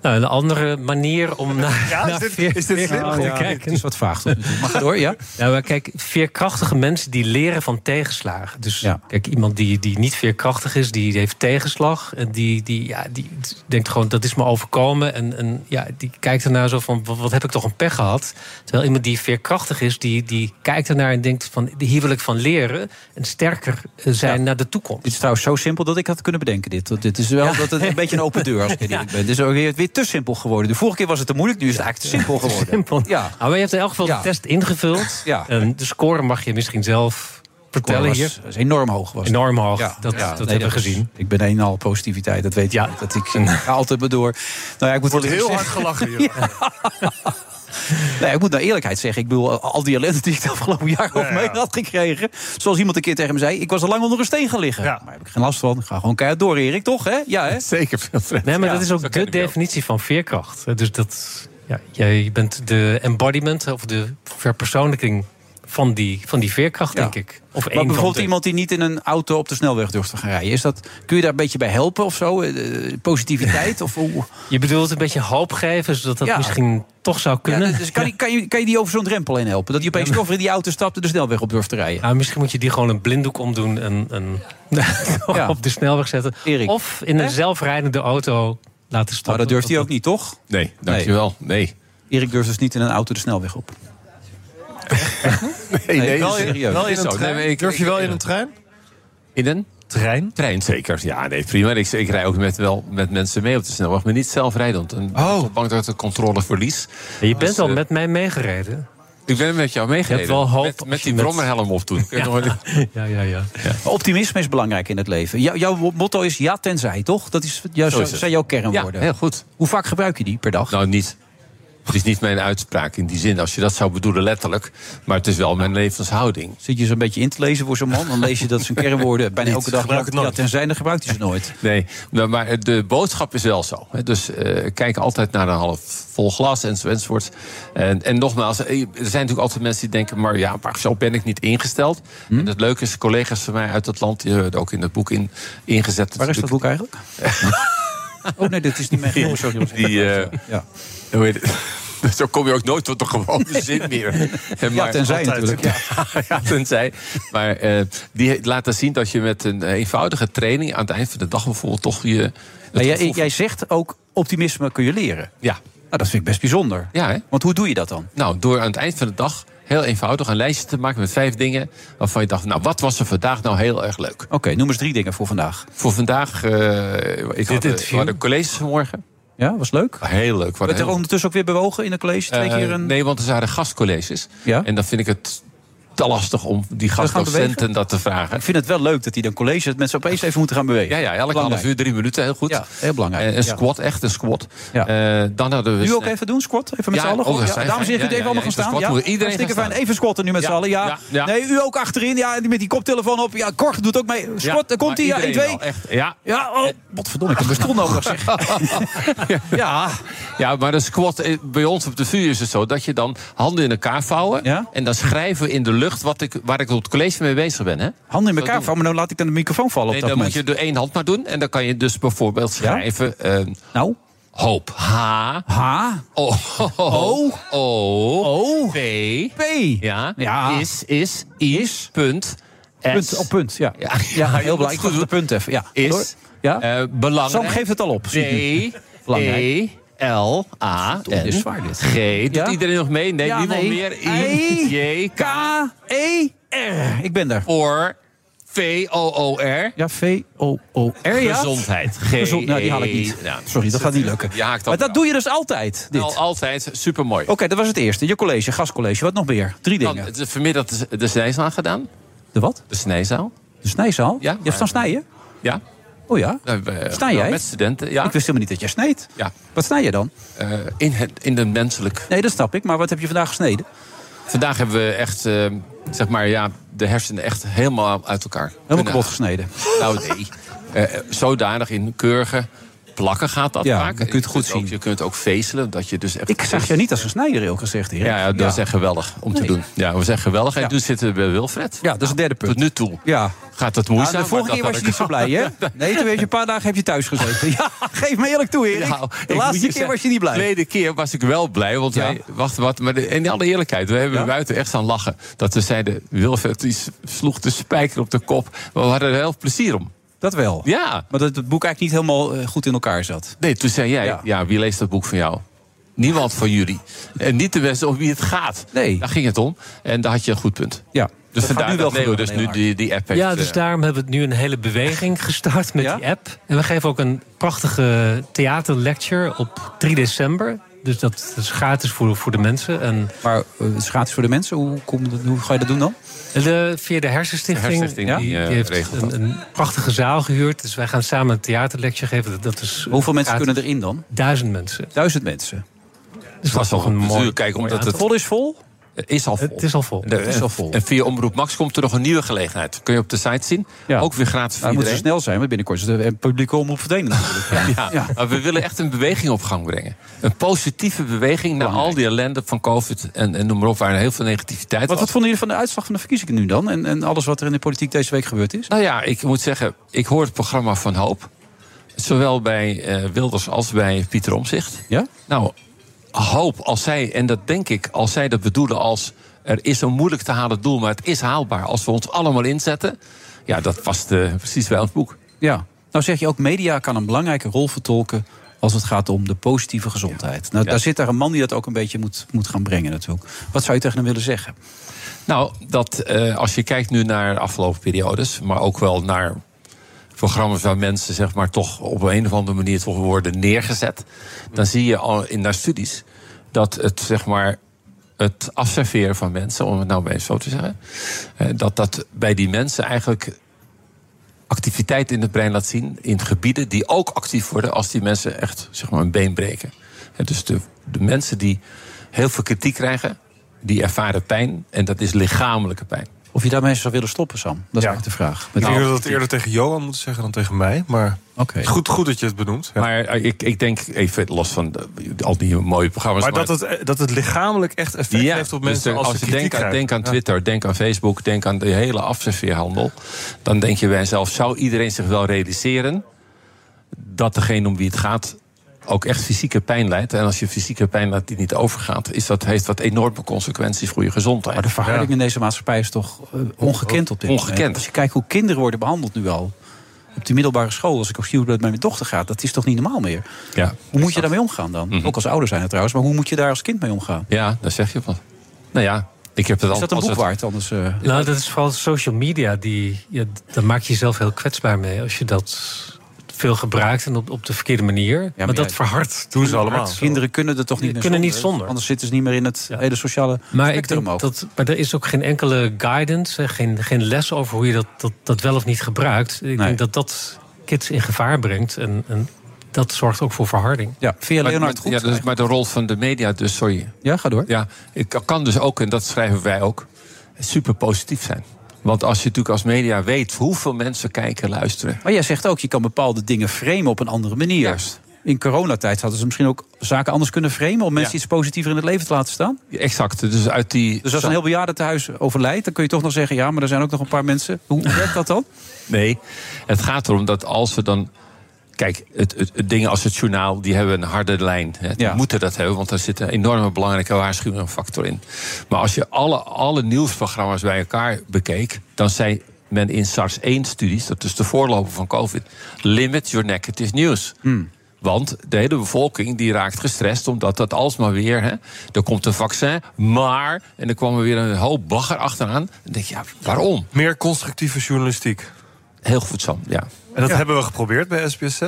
Speaker 20: Nou, een andere manier om naar,
Speaker 9: Ja, is
Speaker 20: naar
Speaker 9: dit-
Speaker 20: veer-
Speaker 9: is dit
Speaker 20: veerkracht
Speaker 9: slim?
Speaker 20: te
Speaker 9: Ja,
Speaker 20: kijken.
Speaker 9: het is wat vaag, toch?
Speaker 20: Mag door, ja? Nou, maar kijk, veerkrachtige mensen die leren van tegenslagen. Dus kijk, iemand die, die niet veerkrachtig is, die heeft tegenslag. En die, die, ja, die denkt gewoon, dat is me overkomen. En, en ja, die kijkt ernaar zo van, wat, wat heb ik toch een pech gehad? Terwijl iemand die veerkrachtig is, die, die kijkt ernaar en denkt van, hier wil ik van leren. En sterker eh, zijn naar de toekomst.
Speaker 8: Dit is trouwens zo simpel dat ik had kunnen bedenken. Dit, dit is wel dat het een beetje een open deur als ik eerlijk ben. Het is ook weer, weer te simpel geworden. De vorige keer was het te moeilijk, nu is het eigenlijk te simpel geworden.
Speaker 20: Simpel.
Speaker 8: Ja.
Speaker 20: Nou, maar je hebt in elk geval
Speaker 8: Ja.
Speaker 20: de test ingevuld.
Speaker 8: Ja.
Speaker 20: En de score mag je misschien zelf vertellen
Speaker 8: was-
Speaker 20: hier.
Speaker 8: is enorm hoog. Was het.
Speaker 20: enorm hoog. dat
Speaker 8: Ja,
Speaker 20: dat
Speaker 8: nee,
Speaker 20: hebben we
Speaker 8: is-
Speaker 20: gezien.
Speaker 8: Ik ben een en al positiviteit, dat weet je. Dat ik ga altijd maar door. Nou ja, ik moet
Speaker 9: Wordt heel
Speaker 8: eerlijk
Speaker 9: hard
Speaker 8: zeggen-
Speaker 9: gelachen hier.
Speaker 8: Nee, ik moet naar eerlijkheid zeggen. Ik bedoel, al die ellende die ik het afgelopen jaar over mee had gekregen. Zoals iemand een keer tegen me zei, ik was al lang onder een steen gaan liggen. Maar daar heb ik geen last van. Ik ga gewoon keihard door, Erik, toch? Hè? Ja, hè?
Speaker 9: Zeker, Wilfred.
Speaker 20: Nee, maar dat is ook de definitie van veerkracht. Eh, Dus dat, ja, jij bent de embodiment of de verpersoonlijking van die, van die veerkracht, denk ik. Of één
Speaker 8: maar
Speaker 20: van
Speaker 8: bijvoorbeeld
Speaker 20: de-
Speaker 8: iemand die niet in een auto op de snelweg durft te gaan rijden. Is dat, kun je daar een beetje bij helpen of zo? Eh, eh, Positiviteit? of hoe?
Speaker 20: Je bedoelt een beetje hoop geven, zodat dat
Speaker 8: Ja.
Speaker 20: misschien toch zou kunnen.
Speaker 8: Ja, dus kan, je- kan, je, kan je die over zo'n drempel heen helpen? Dat je opeens toch weer in die auto stapt en de snelweg op durft te rijden.
Speaker 20: Ah, misschien moet je die gewoon een blinddoek omdoen en, en op de snelweg zetten. Of in een zelfrijdende auto laten stappen.
Speaker 8: Maar dat durft hij ook niet, toch?
Speaker 19: Nee, dankjewel. Nee.
Speaker 8: Erik durft dus niet in een auto de snelweg op.
Speaker 9: Nee,
Speaker 8: Nee,
Speaker 9: nee,
Speaker 8: wel-
Speaker 9: serieus.
Speaker 8: wel in
Speaker 9: Is
Speaker 8: een
Speaker 9: ook.
Speaker 8: trein?
Speaker 19: maar ik- Nou.
Speaker 9: Durf je
Speaker 19: ik-
Speaker 9: wel in een trein?
Speaker 19: In een? Trein? Trein, zeker. Ja, nee, prima. Ik, ik rij ook met, wel met mensen mee op de snelweg, maar niet zelfrijdend. En oh. bang dat ik de controle verlies.
Speaker 20: Je bent al met mij meegereden.
Speaker 19: eh, Ik ben met jou meegereden.
Speaker 8: Je hebt wel hoop
Speaker 19: met, met
Speaker 8: als
Speaker 19: die
Speaker 8: je met-
Speaker 19: brommerhelm op toen. Kun je nog wel-
Speaker 20: Ja, ja, ja.
Speaker 8: Optimisme is belangrijk in het leven. Jou- jouw motto is ja tenzij, toch? Dat is, jou,
Speaker 19: Zo is het.
Speaker 8: zijn jouw kernwoorden.
Speaker 19: Ja, heel goed.
Speaker 8: Hoe vaak gebruik je die per dag?
Speaker 19: Nou, niet. Het is niet mijn uitspraak in die zin, als je dat zou bedoelen letterlijk. Maar het is wel mijn levenshouding.
Speaker 8: Zit je zo'n beetje in te lezen voor zo'n man? Dan lees je dat zijn kernwoorden bijna
Speaker 19: Niet.
Speaker 8: elke dag.
Speaker 19: Gebruik het nooit.
Speaker 8: Ja, tenzij, dan gebruikt hij ze nooit.
Speaker 19: Nee, nou, maar de boodschap is wel zo. hè. Dus eh, kijk altijd naar een half vol glas enzo- enzovoort. En, en nogmaals, eh, er zijn natuurlijk altijd mensen die denken... maar ja, maar zo ben ik niet ingesteld.
Speaker 8: Hm?
Speaker 19: En het leuke is, collega's van mij uit dat land... die hebben het ook in dat boek in, ingezet. Waar is dat
Speaker 8: boek eigenlijk? Oh nee, dit is niet mijn
Speaker 19: Die,
Speaker 8: oh, sorry. jongens.
Speaker 19: die, eh,
Speaker 8: Ja.
Speaker 19: hoe heet het? Zo kom je ook nooit tot de gewone zin meer.
Speaker 8: Ja, tenzij natuurlijk,
Speaker 19: Ja. tenzij. Maar eh, die laten zien dat je met een eh, eenvoudige training... aan het eind van de dag bijvoorbeeld toch je... het
Speaker 8: Maar jij,
Speaker 19: gevoel
Speaker 8: jij zegt ook optimisme kun je leren.
Speaker 19: Ja.
Speaker 8: Nou, dat vind ik best bijzonder.
Speaker 19: Ja, hè?
Speaker 8: Want hoe doe je dat dan?
Speaker 19: Nou, door aan het eind van de dag heel eenvoudig een lijstje te maken met vijf dingen. waarvan je dacht, nou, wat was er vandaag nou heel erg leuk?
Speaker 8: Oké, noem eens drie dingen voor vandaag.
Speaker 19: Voor vandaag, eh ik had, eh, we hadden colleges vanmorgen.
Speaker 8: Ja, was leuk.
Speaker 19: Heel leuk.
Speaker 8: Wordt er ondertussen ook weer bewogen in een college? Twee
Speaker 19: Eh,
Speaker 8: keer een...
Speaker 19: Nee, want er waren gastcolleges.
Speaker 8: Ja?
Speaker 19: En dan vind ik het te lastig om die gastdocenten
Speaker 8: bewegen?
Speaker 19: dat te vragen.
Speaker 8: Ik vind het wel leuk dat hij dan college... dat mensen opeens even moeten gaan bewegen.
Speaker 19: Ja, ja elke half
Speaker 8: Belangrijk.
Speaker 19: uur, drie minuten, heel goed.
Speaker 8: Ja, heel belangrijk.
Speaker 19: Eh, een
Speaker 8: Ja.
Speaker 19: squat, echt een squat. Eh, dan hadden we...
Speaker 8: Nu ook even doen, squat? Even met
Speaker 19: Ja,
Speaker 8: z'n allen?
Speaker 19: oh,
Speaker 8: goed?
Speaker 19: dat
Speaker 8: Ja,
Speaker 19: is
Speaker 8: dames en heren,
Speaker 19: fijn.
Speaker 8: kunt u even
Speaker 19: Ja,
Speaker 8: allemaal
Speaker 19: ja, ja,
Speaker 8: gaan staan?
Speaker 19: even squat.
Speaker 8: Ja,
Speaker 19: Moet iedereen
Speaker 8: Hartstikke
Speaker 19: gaan
Speaker 8: fijn.
Speaker 19: staan.
Speaker 8: Even squatten nu met z'n
Speaker 19: Ja,
Speaker 8: allen, ja.
Speaker 19: ja, ja.
Speaker 8: Nee, u ook achterin. Ja, die met die koptelefoon op. Ja, Cor doet ook mee. Squat, daar komt hij. Ja, 1, 2.
Speaker 19: Ja.
Speaker 8: Ja,
Speaker 19: Eh.
Speaker 8: oh, godverdomme, ik heb mijn stoel nodig, zeg. ja.
Speaker 19: Ja, maar een squat, eh, bij ons op de vuur is het zo dat je dan handen in elkaar vouwen. En dan schrijven we in de lucht wat ik, waar ik op het college mee bezig ben. Hè?
Speaker 8: Handen in elkaar vouwen, maar dan laat ik dan de microfoon vallen op
Speaker 19: Nee,
Speaker 8: dat
Speaker 19: dan moet
Speaker 8: moment.
Speaker 19: je door één hand maar doen. En dan kan je dus bijvoorbeeld schrijven. eh,
Speaker 8: nou?
Speaker 19: Hoop. H.
Speaker 8: H.
Speaker 19: O.
Speaker 8: O.
Speaker 19: O.
Speaker 8: O.
Speaker 19: P.
Speaker 8: P.
Speaker 19: Ja.
Speaker 8: Ja.
Speaker 19: Is, is, is. Punt. S.
Speaker 8: Punt, op punt, ja. Ja, heel
Speaker 19: moet
Speaker 8: belangrijk. Ik dacht, punt even, ja. Door.
Speaker 19: Is.
Speaker 8: Ja.
Speaker 19: eh, belangrijk.
Speaker 8: Sam geeft het al op,
Speaker 19: D.
Speaker 8: zie ik nu. Belangrijk.
Speaker 19: E. L. A.
Speaker 8: Verdomme,
Speaker 19: N.
Speaker 8: dit is zwaar, dit.
Speaker 19: G. Doet iedereen nog mee? Nee,
Speaker 8: Ja,
Speaker 19: niemand
Speaker 8: nee.
Speaker 19: meer. I.
Speaker 8: I,
Speaker 19: J. K.
Speaker 8: E. R. Ik ben daar.
Speaker 19: Or. V. O. O. R.
Speaker 8: Ja, V-O-O-R, ja.
Speaker 19: Gezondheid. G.
Speaker 8: Gezond- nou, die haal ik niet.
Speaker 19: Nou,
Speaker 8: Sorry, dat gaat niet lukken.
Speaker 19: Je haakt
Speaker 8: Maar dat doe je dus altijd, dit.
Speaker 19: al altijd supermooi.
Speaker 8: Oké, dat was het eerste. Je college, gastcollege, wat nog meer? Drie
Speaker 19: Dan,
Speaker 8: dingen.
Speaker 19: eh, vanmiddag de, de snijzaal gedaan.
Speaker 8: De wat?
Speaker 19: De snijzaal.
Speaker 8: De snijzaal?
Speaker 19: Ja,
Speaker 8: Je hebt staan snijden?
Speaker 19: Ja.
Speaker 8: Oh ja? Snij
Speaker 19: Snij
Speaker 8: jij?
Speaker 19: Met studenten, ja.
Speaker 8: Ik wist helemaal niet dat jij snijdt.
Speaker 19: Ja.
Speaker 8: Wat snij je dan?
Speaker 19: Eh, in, het, in de menselijk.
Speaker 8: Nee, dat snap ik. Maar wat heb je vandaag gesneden?
Speaker 19: Vandaag hebben we echt, eh, zeg maar, ja, de hersenen echt helemaal uit elkaar.
Speaker 8: Helemaal
Speaker 19: kunnen
Speaker 8: kapot gesneden.
Speaker 19: Nou, nee. Eh, eh, zodanig in keurige plakken gaat dat
Speaker 8: Ja,
Speaker 19: vaak.
Speaker 8: dan kun je het goed
Speaker 19: kunt ook-
Speaker 8: zien.
Speaker 19: je kunt ook vezelen. Dat je dus echt
Speaker 8: Ik zag je niet als een snijder, heel gezegd, Erik.
Speaker 19: Ja, ja, dat is echt geweldig om te doen. Ja, we zijn geweldig. En toen zitten we bij Wilfred.
Speaker 8: Ja, dat is het derde punt.
Speaker 19: Tot nu toe.
Speaker 8: Ja.
Speaker 19: gaat dat
Speaker 8: Nou,
Speaker 19: moeizaam.
Speaker 8: de vorige
Speaker 19: maar
Speaker 8: keer
Speaker 19: dat
Speaker 8: was je
Speaker 19: had
Speaker 8: niet zo blij, hè? Nee, toen heb je een paar dagen heb je thuis gezeten. Ja, geef me eerlijk toe, Erik.
Speaker 19: Nou, ik
Speaker 8: de
Speaker 19: moet
Speaker 8: laatste keer
Speaker 19: zeggen,
Speaker 8: was je niet blij.
Speaker 19: De tweede keer was ik wel blij. Want wij, wacht wat, maar de- in alle eerlijkheid, we hebben buiten echt aan lachen. Dat we zeiden, Wilfred die s- sloeg de spijker op de kop. Maar we hadden er heel veel plezier om.
Speaker 8: Dat wel.
Speaker 19: Ja.
Speaker 8: Maar dat het boek eigenlijk niet helemaal eh, goed in elkaar zat.
Speaker 19: Nee, toen zei jij, ja. wie leest dat boek van jou? Niemand van jullie. En niet de mensen om wie het gaat. Nee. Daar ging het om. En daar had je een goed punt.
Speaker 8: Ja.
Speaker 19: Dus
Speaker 8: Dat
Speaker 19: vandaar
Speaker 8: gaat nu wel
Speaker 19: dat Leo
Speaker 8: gebeuren,
Speaker 19: dus nu
Speaker 8: Leonard.
Speaker 19: die, die app heeft.
Speaker 20: Ja, dus
Speaker 19: eh,
Speaker 20: daarom hebben we nu een hele beweging gestart met die app. En we geven ook een prachtige theaterlecture op 3 december. Dus dat is gratis voor, voor de mensen. En
Speaker 8: maar eh, het is gratis voor de mensen? Hoe, kom, hoe ga je dat doen dan?
Speaker 20: De, via de Hersenstichting.
Speaker 8: De Hersenstichting,
Speaker 20: ja,
Speaker 8: die,
Speaker 20: die,
Speaker 8: eh,
Speaker 20: heeft
Speaker 8: regelt dat.
Speaker 20: een, een prachtige zaal gehuurd. Dus wij gaan samen een theaterlecture geven. Dat- Dat is
Speaker 8: Hoeveel mensen kunnen erin dan?
Speaker 20: Duizend mensen.
Speaker 8: Duizend mensen.
Speaker 20: Dus dat is toch een mooi
Speaker 19: Natuurlijk, kijk, omdat
Speaker 20: mooi
Speaker 19: het
Speaker 20: aantal.
Speaker 8: is vol.
Speaker 19: Is al vol.
Speaker 20: Het is al vol.
Speaker 19: En- En via Omroep Max komt er nog een nieuwe gelegenheid. Kun je op de site zien. Ook weer gratis voor
Speaker 8: Nou, moet ze
Speaker 19: iedereen.
Speaker 8: snel zijn, want binnenkort is de publieke omroep verdwenen natuurlijk.
Speaker 19: Ja, maar we willen echt een beweging op gang brengen. Een positieve beweging naar al die ellende van COVID en, en noem maar op, waar heel veel negativiteit
Speaker 8: Wat,
Speaker 19: was.
Speaker 8: wat vonden jullie van de uitslag van de verkiezingen nu dan? En, en alles wat er in de politiek deze week gebeurd is?
Speaker 19: Nou ja, ik moet zeggen, ik hoor het programma van Hoop. Zowel bij eh, Wilders als bij Pieter Omzicht.
Speaker 8: Ja?
Speaker 19: Nou, Hoop, als zij, en dat denk ik, als zij dat bedoelen als... er is een moeilijk te halen doel, maar het is haalbaar als we ons allemaal inzetten. Ja, dat past eh, precies bij ons boek.
Speaker 8: Ja. Nou zeg je ook, media kan een belangrijke rol vertolken als het gaat om de positieve gezondheid. Nou, daar zit daar een man die dat ook een beetje moet, moet gaan brengen natuurlijk. Wat zou je tegen hem willen zeggen?
Speaker 19: Nou, dat, eh, als je kijkt nu naar de afgelopen periodes, maar ook wel naar programma's waar mensen zeg maar, toch op een of andere manier toch worden neergezet, dan zie je al in naar studies dat het, zeg maar, het afserveren van mensen, om het nou maar even zo te zeggen, eh, dat dat bij die mensen eigenlijk activiteit in het brein laat zien in gebieden die ook actief worden als die mensen echt zeg maar, een been breken. Hè, Dus de, de mensen die heel veel kritiek krijgen, die ervaren pijn en dat is lichamelijke pijn.
Speaker 8: Of je daarmee zou willen stoppen, Sam? Dat is eigenlijk de vraag.
Speaker 9: Ik denk
Speaker 19: Nou,
Speaker 9: dat we dat eerder tegen Johan moeten zeggen dan tegen mij. Maar goed, goed dat je het benoemt. Ja.
Speaker 19: Maar eh, ik, ik denk, even los van de- al die mooie programma's...
Speaker 9: Maar dat het, eh, dat het lichamelijk echt effect
Speaker 19: Ja,
Speaker 9: heeft op
Speaker 19: dus
Speaker 9: mensen
Speaker 19: er-
Speaker 9: als, ze
Speaker 19: je
Speaker 9: kritiek
Speaker 19: denkt aan,
Speaker 9: krijgen.
Speaker 19: denk aan
Speaker 9: Ja.
Speaker 19: Twitter, denk aan Facebook, denk aan de hele afserveerhandel... dan denk je bij jezelf, zou iedereen zich wel realiseren... dat degene om wie het gaat ook echt fysieke pijn leidt. En als je fysieke pijn leidt die niet overgaat... Is dat, heeft dat enorme consequenties voor je gezondheid. Maar
Speaker 8: de verharding in deze maatschappij is toch eh, ongekend op dit moment.
Speaker 19: Ongekend.
Speaker 8: Als je kijkt hoe kinderen worden behandeld nu al. Op die middelbare school, als ik op zie hoe dat bij mijn dochter gaat, dat is toch niet normaal meer.
Speaker 19: Ja.
Speaker 8: Hoe moet je daarmee omgaan dan?
Speaker 19: Mhm.
Speaker 8: Ook als ouder zijn het trouwens, maar hoe moet je daar als kind mee omgaan?
Speaker 19: Ja, daar zeg je wat. Nou ja, ik heb het al...
Speaker 8: Is dat een
Speaker 19: als
Speaker 8: boek
Speaker 19: het-
Speaker 8: waard anders? eh?
Speaker 20: Nou, dat is vooral social media. Die, ja, d- daar maak je jezelf heel kwetsbaar mee als je dat veel gebruikt en op, op de verkeerde manier. maar,
Speaker 8: ja,
Speaker 20: dat verhardt. verhardt zo.
Speaker 8: Kinderen kunnen er toch niet
Speaker 20: Die
Speaker 8: meer
Speaker 20: kunnen niet
Speaker 8: zonder.
Speaker 20: zonder.
Speaker 8: Anders zitten ze niet meer in het hele sociale
Speaker 20: Maar, ik
Speaker 8: spectrum
Speaker 20: denk
Speaker 8: ook.
Speaker 20: dat, maar er is ook geen enkele guidance, hè, geen, geen les over hoe je dat, dat, dat wel of niet gebruikt. Ik denk dat dat kids in gevaar brengt. En, en dat zorgt ook voor verharding.
Speaker 8: Ja,
Speaker 19: Maar- maar- Ja, dat is maar de rol van de media, dus sorry.
Speaker 8: Ja, ga door.
Speaker 19: Ja, ik kan dus ook, en dat schrijven wij ook, super positief zijn. Want als je natuurlijk als media weet hoeveel mensen kijken, luisteren.
Speaker 8: Maar jij zegt ook, je kan bepaalde dingen framen op een andere manier. In coronatijd hadden ze misschien ook zaken anders kunnen framen... om mensen iets positiever in het leven te laten staan?
Speaker 19: Exact. Dus uit die.
Speaker 8: Dus als een heel bejaarde thuis overlijdt... dan kun je toch nog zeggen, ja, maar er zijn ook nog een paar mensen. Hoe werkt dat dan?
Speaker 19: Nee, het gaat erom dat als we dan. Kijk, het, het, het dingen als het journaal, die hebben een harde lijn. Hè. Die moeten dat hebben, want daar zit een enorme belangrijke waarschuwingsfactor in. Maar als je alle, alle nieuwsprogramma's bij elkaar bekeek... dan zei men in SARS-1-studies, dat is de voorloper van COVID... limit your negative news.
Speaker 9: Hmm.
Speaker 19: Want de hele bevolking die raakt gestrest, omdat dat alsmaar weer. Hè, er komt een vaccin, maar. En er kwam er weer een hoop bagger achteraan. Dan denk je, ja, waarom?
Speaker 9: Meer constructieve journalistiek.
Speaker 19: Heel goed, Sam, ja.
Speaker 9: En dat hebben we geprobeerd bij SBS6.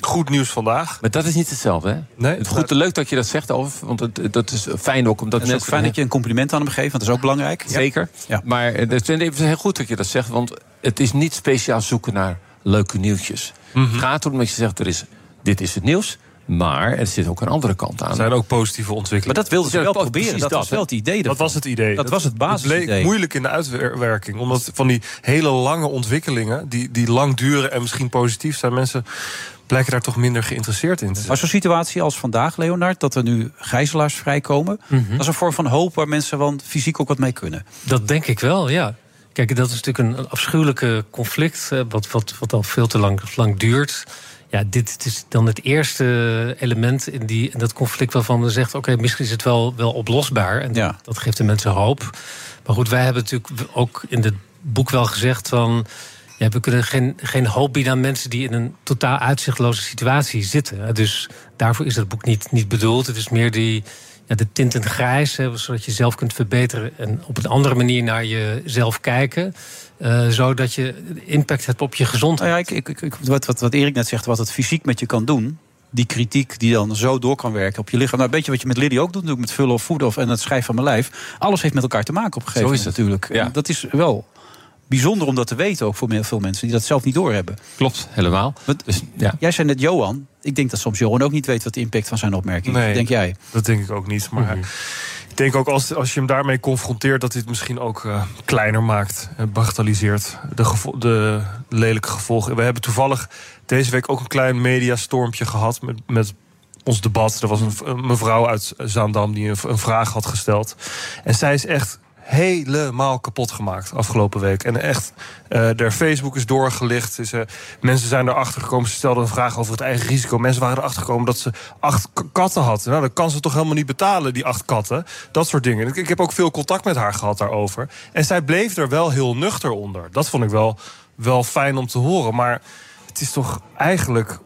Speaker 9: Goed nieuws vandaag.
Speaker 19: Maar dat is niet hetzelfde, hè?
Speaker 9: Nee.
Speaker 19: Het goed, leuk dat je dat zegt, over, want het- dat is fijn ook. Omdat
Speaker 8: Het is ook
Speaker 19: mensen-
Speaker 8: fijn dat je een compliment aan hem geeft, want dat is ook belangrijk.
Speaker 19: Zeker. Maar eh, het is heel goed dat je dat zegt, want het is niet speciaal zoeken naar leuke nieuwtjes.
Speaker 8: Mhm.
Speaker 19: Het gaat erom dat je zegt, er is, dit is het nieuws, maar er zit ook een andere kant aan.
Speaker 9: Er zijn ook positieve ontwikkelingen.
Speaker 8: Maar dat wilden ze
Speaker 9: Ja,
Speaker 8: wel
Speaker 9: precies
Speaker 8: proberen. Dat was
Speaker 9: hè.
Speaker 8: wel het idee
Speaker 9: Dat
Speaker 8: ervan.
Speaker 9: was het idee.
Speaker 8: Dat was het basisidee.
Speaker 9: bleek moeilijk in de uitwerking. Omdat van die hele lange ontwikkelingen, die, die lang duren en misschien positief zijn, mensen blijken daar toch minder geïnteresseerd in te zijn.
Speaker 8: Maar zo'n situatie als vandaag, Leonard, dat er nu gijzelaars
Speaker 19: Mhm.
Speaker 8: vrijkomen... dat is een vorm van hoop waar mensen van fysiek ook wat mee kunnen.
Speaker 20: Dat denk ik wel, ja. Kijk, dat is natuurlijk een afschuwelijke conflict, eh, wat, wat, wat al veel te lang, lang duurt. Ja, dit is dan het eerste element in, die, in dat conflict waarvan men zegt: oké, misschien is het wel, wel oplosbaar. En dat, dat geeft de mensen hoop. Maar goed, wij hebben natuurlijk ook in het boek wel gezegd van. Ja, we kunnen geen, geen hoop bieden aan mensen die in een totaal uitzichtloze situatie zitten. Dus daarvoor is dat boek niet, niet bedoeld. Het is meer die, ja, de tinten grijs, hè, zodat je zelf kunt verbeteren en op een andere manier naar jezelf kijken. eh, zodat je impact hebt op je gezondheid.
Speaker 8: Nou ja, ik, ik, ik, wat, wat, wat Erik net zegt, wat het fysiek met je kan doen. Die kritiek die dan zo door kan werken op je lichaam. Nou, een beetje wat je met Liddy ook doet, doe ik met vullen of voeden of en het schrijven van mijn lijf. Alles heeft met elkaar te maken op een gegeven
Speaker 19: Zo is
Speaker 8: moment. natuurlijk. En dat is wel bijzonder om dat te weten, ook voor heel veel mensen die dat zelf niet doorhebben.
Speaker 19: Klopt, helemaal.
Speaker 8: Jij zei net Johan. Ik denk dat soms Johan ook niet weet wat de impact van zijn opmerking is.
Speaker 9: Nee,
Speaker 8: denk jij?
Speaker 9: Dat denk ik ook niet. Maar ik denk ook als, als je hem daarmee confronteert, dat dit misschien ook eh, kleiner maakt. eh, Bagatelliseert. De, gevo- de lelijke gevolgen. We hebben toevallig deze week ook een klein mediastormpje gehad met. met ons debat. Er was een, v- een mevrouw uit Zaandam die een, v- een vraag had gesteld. En zij is echt helemaal kapot gemaakt afgelopen week. En echt, eh haar Facebook is doorgelicht. Dus, eh, mensen zijn erachter gekomen. Ze stelden een vraag over het eigen risico. Mensen waren erachter gekomen dat ze acht k- katten had. Nou, dat kan ze toch helemaal niet betalen, die acht katten. Dat soort dingen. Ik, ik heb ook veel contact met haar gehad daarover. En zij bleef er wel heel nuchter onder. Dat vond ik wel, wel fijn om te horen. Maar het is toch eigenlijk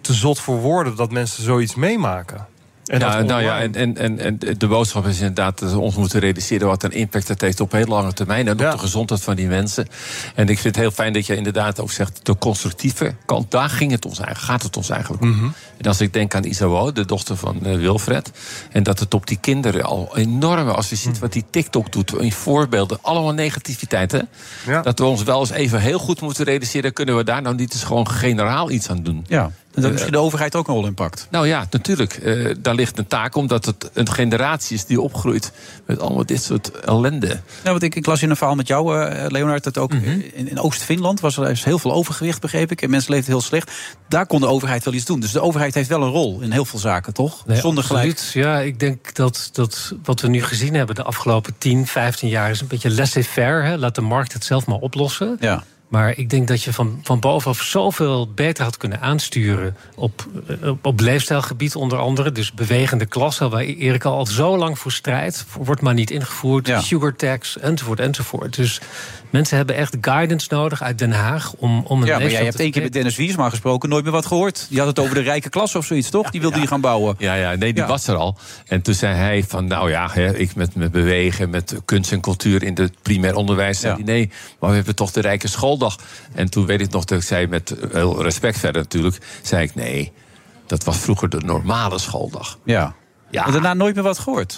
Speaker 9: te zot voor woorden dat mensen zoiets meemaken. dat
Speaker 19: ja, nou
Speaker 9: online.
Speaker 19: ja, en, en, en, en de boodschap is inderdaad dat we ons moeten realiseren wat een impact dat heeft op heel lange termijn en op de gezondheid van die mensen. En ik vind het heel fijn dat je inderdaad ook zegt de constructieve kant, daar ging het ons, eigenlijk- gaat het ons eigenlijk om.
Speaker 8: Mhm.
Speaker 19: En als ik denk aan Isawo, de dochter van eh, Wilfred, en dat het op die kinderen al enorme, als je
Speaker 8: Mhm.
Speaker 19: ziet wat die TikTok doet, in voorbeelden, allemaal negativiteit, hè? dat we ons wel eens even heel goed moeten realiseren, kunnen we daar nou niet eens gewoon generaal iets aan doen?
Speaker 8: Ja. En dat
Speaker 19: Eh,
Speaker 8: misschien de overheid ook een rol in pakt.
Speaker 19: nou ja, natuurlijk. Eh, daar ligt een taak, omdat het een generatie is die opgroeit met allemaal dit soort ellende.
Speaker 8: Nou, want ik, ik las in een verhaal met jou, eh, Leonard, dat ook in, in Oost-Finland was er is heel veel overgewicht, begreep ik. En mensen leefden heel slecht. Daar kon de overheid wel iets doen. Dus de overheid heeft wel een rol in heel veel zaken, toch?
Speaker 20: Nee,
Speaker 8: Zonder gelijk.
Speaker 20: absoluut. Ja, ik denk dat, dat wat we nu gezien hebben de afgelopen 10, 15 jaar is een beetje laissez-faire. hè. Laat de markt het zelf maar oplossen.
Speaker 8: Ja.
Speaker 20: Maar ik denk dat je van, van bovenaf zoveel beter had kunnen aansturen. Op, eh, op, op leefstijlgebied onder andere. Dus bewegende klassen, waar E- Erik al zo lang voor strijdt. Wordt maar niet ingevoerd. Sugar tax, enzovoort, enzovoort. Dus mensen hebben echt guidance nodig uit Den Haag. Om, om
Speaker 8: Ja, maar
Speaker 20: een
Speaker 8: jij
Speaker 20: leefstijl
Speaker 8: hebt
Speaker 20: te
Speaker 8: één keer met Dennis Wiersma gesproken, nooit meer wat gehoord. Die had het over de rijke klasse of zoiets, toch? Die wilde die gaan bouwen.
Speaker 19: Ja, ja, nee, die was er al. En toen zei hij van, nou ja, hè, ik met, met bewegen, met kunst en cultuur in het primair onderwijs. Zei hij, nee, maar we hebben toch de rijke schooldag. En toen weet ik nog dat ik zei, met heel respect verder natuurlijk, zei ik, nee, dat was vroeger de normale schooldag.
Speaker 8: Ja. ja. En daarna nooit meer wat gehoord.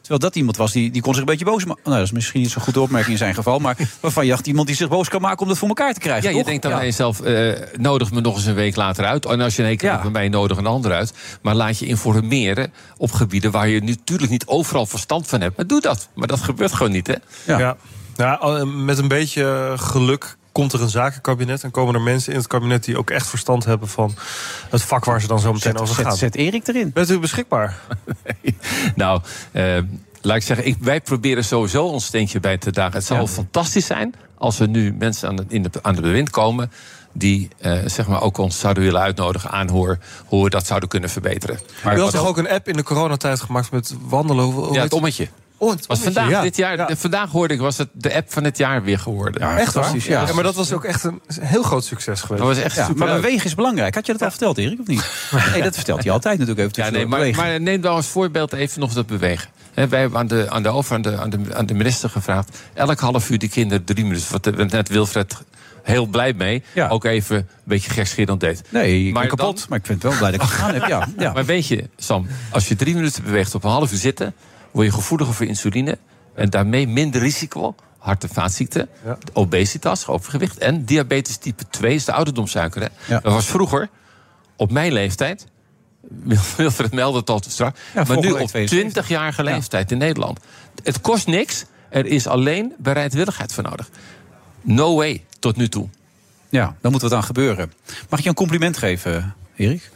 Speaker 8: Terwijl dat iemand was die, die kon zich een beetje boos maken. Nou, dat is misschien niet zo'n goede opmerking in zijn geval. Maar waarvan je dacht iemand die zich boos kan maken om dat voor elkaar te krijgen.
Speaker 19: Ja, je
Speaker 8: toch?
Speaker 19: denkt dan aan jezelf, eh, nodig me nog eens een week later uit. En als je een hekel hebt bij mij, nodig een ander uit. Maar laat je informeren op gebieden waar je nu natuurlijk niet overal verstand van hebt. Maar doe dat. Maar dat gebeurt gewoon niet, hè?
Speaker 9: Ja. ja. al- eh, met een beetje geluk komt er een zakenkabinet en komen er mensen in het kabinet die ook echt verstand hebben van het vak waar ze dan zo meteen
Speaker 8: Zet-
Speaker 9: over
Speaker 8: zet-
Speaker 9: gaan.
Speaker 8: zet Erik erin.
Speaker 9: Bent u beschikbaar?
Speaker 19: Nou, eh, laat ik zeggen, ik, wij proberen sowieso ons steentje bij te dragen. Het zou fantastisch zijn als er nu mensen aan de, in de, aan de bewind komen. die eh, zeg maar ook ons zouden willen uitnodigen aan hoe, hoe we dat zouden kunnen verbeteren.
Speaker 9: Maar u had
Speaker 19: wat-
Speaker 9: toch ook een app in de coronatijd gemaakt met wandelen? hoe- hoe
Speaker 19: ja,
Speaker 9: heet-
Speaker 19: het ommetje.
Speaker 9: Oh, het
Speaker 19: was
Speaker 9: ommetje,
Speaker 19: vandaag,
Speaker 9: ja.
Speaker 19: dit jaar, de- vandaag hoorde ik, was het de app van het jaar weer geworden.
Speaker 9: echt waar? Ja. maar dat was ook echt een heel groot succes geweest.
Speaker 19: Dat was echt
Speaker 9: Ja,
Speaker 19: super.
Speaker 9: maar
Speaker 8: bewegen is belangrijk. Had je dat al verteld, Erik, of niet? Nee, dat vertelt hij altijd natuurlijk even.
Speaker 19: Ja, nee,
Speaker 8: tussendoor.
Speaker 19: maar,
Speaker 8: Bewegen.
Speaker 19: maar neem dan als voorbeeld even nog dat bewegen. Hè, wij hebben aan de, aan de over, aan de, aan, de, aan de minister gevraagd... elk half uur die kinderen drie minuten. Wat eh, net Wilfred heel blij mee. Ook even een beetje gekscherend deed.
Speaker 8: Nee, ik ben
Speaker 19: dan-
Speaker 8: kapot. Maar ik vind het wel blij dat ik het gedaan heb. Ja, ja.
Speaker 19: Maar weet je, Sam, als je drie minuten beweegt op een half uur zitten... word je gevoeliger voor insuline en daarmee minder risico... hart- en vaatziekten, obesitas, overgewicht... en diabetes type 2 is de ouderdomssuiker. Hè? Dat was vroeger, op mijn leeftijd... Wilfred meldde het al te strak... maar nu
Speaker 8: volgende week
Speaker 19: op 20-jarige leeftijd in Nederland. Het kost niks, er is alleen bereidwilligheid voor nodig. No way, tot nu toe.
Speaker 8: ja, dan moet wat aan gebeuren. Mag ik je een compliment geven, Erik?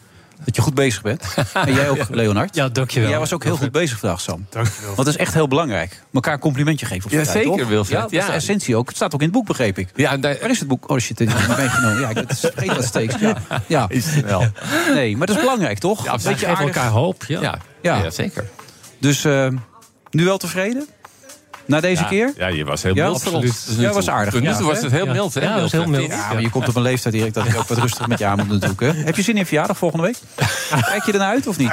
Speaker 8: Dat je goed bezig bent. En jij ook, Leonard.
Speaker 15: Ja, dankjewel.
Speaker 8: Jij was ook heel goed bezig vandaag, Sam.
Speaker 15: Dankjewel.
Speaker 8: Want dat is echt heel belangrijk. Mekaar een complimentje geven op
Speaker 19: Ja,
Speaker 8: z'n tijd,
Speaker 19: zeker,
Speaker 8: toch?
Speaker 19: Wilfred.
Speaker 8: Ja, dat is
Speaker 19: Ja.
Speaker 8: de essentie ook. Het staat ook in het boek, begreep ik. Ja, daar... Waar is het boek? Oh shit, dit heb ik niet meegenomen. Ja, ik het vergeet dat steeds. Ja. ja.
Speaker 19: wel.
Speaker 8: Nee, maar dat is belangrijk, toch?
Speaker 19: Ja,
Speaker 8: Dat
Speaker 19: we
Speaker 8: je
Speaker 19: geven
Speaker 8: aardig-
Speaker 19: elkaar hoop, ja.
Speaker 8: Ja.
Speaker 19: Ja, zeker.
Speaker 8: Dus eh, nu wel tevreden? Na deze
Speaker 19: Ja.
Speaker 8: keer?
Speaker 19: Ja, je was heel
Speaker 8: ja,
Speaker 19: mild voor
Speaker 8: absoluut.
Speaker 19: ons. Dus nu
Speaker 8: Ja,
Speaker 19: toe.
Speaker 8: was aardig.
Speaker 19: Tot nu
Speaker 8: Ja,
Speaker 19: toe was
Speaker 8: hè?
Speaker 19: het heel
Speaker 8: Ja.
Speaker 19: mild, hè,
Speaker 8: Ja, was heel
Speaker 19: Wilfred?
Speaker 8: mild.
Speaker 19: Ja.
Speaker 8: Ja, maar je komt op een leeftijd, Erik, dat ik ook wat rustig met je aan moet natuurlijk. Hè? Heb je zin in verjaardag volgende week? Kijk je ernaar uit of niet?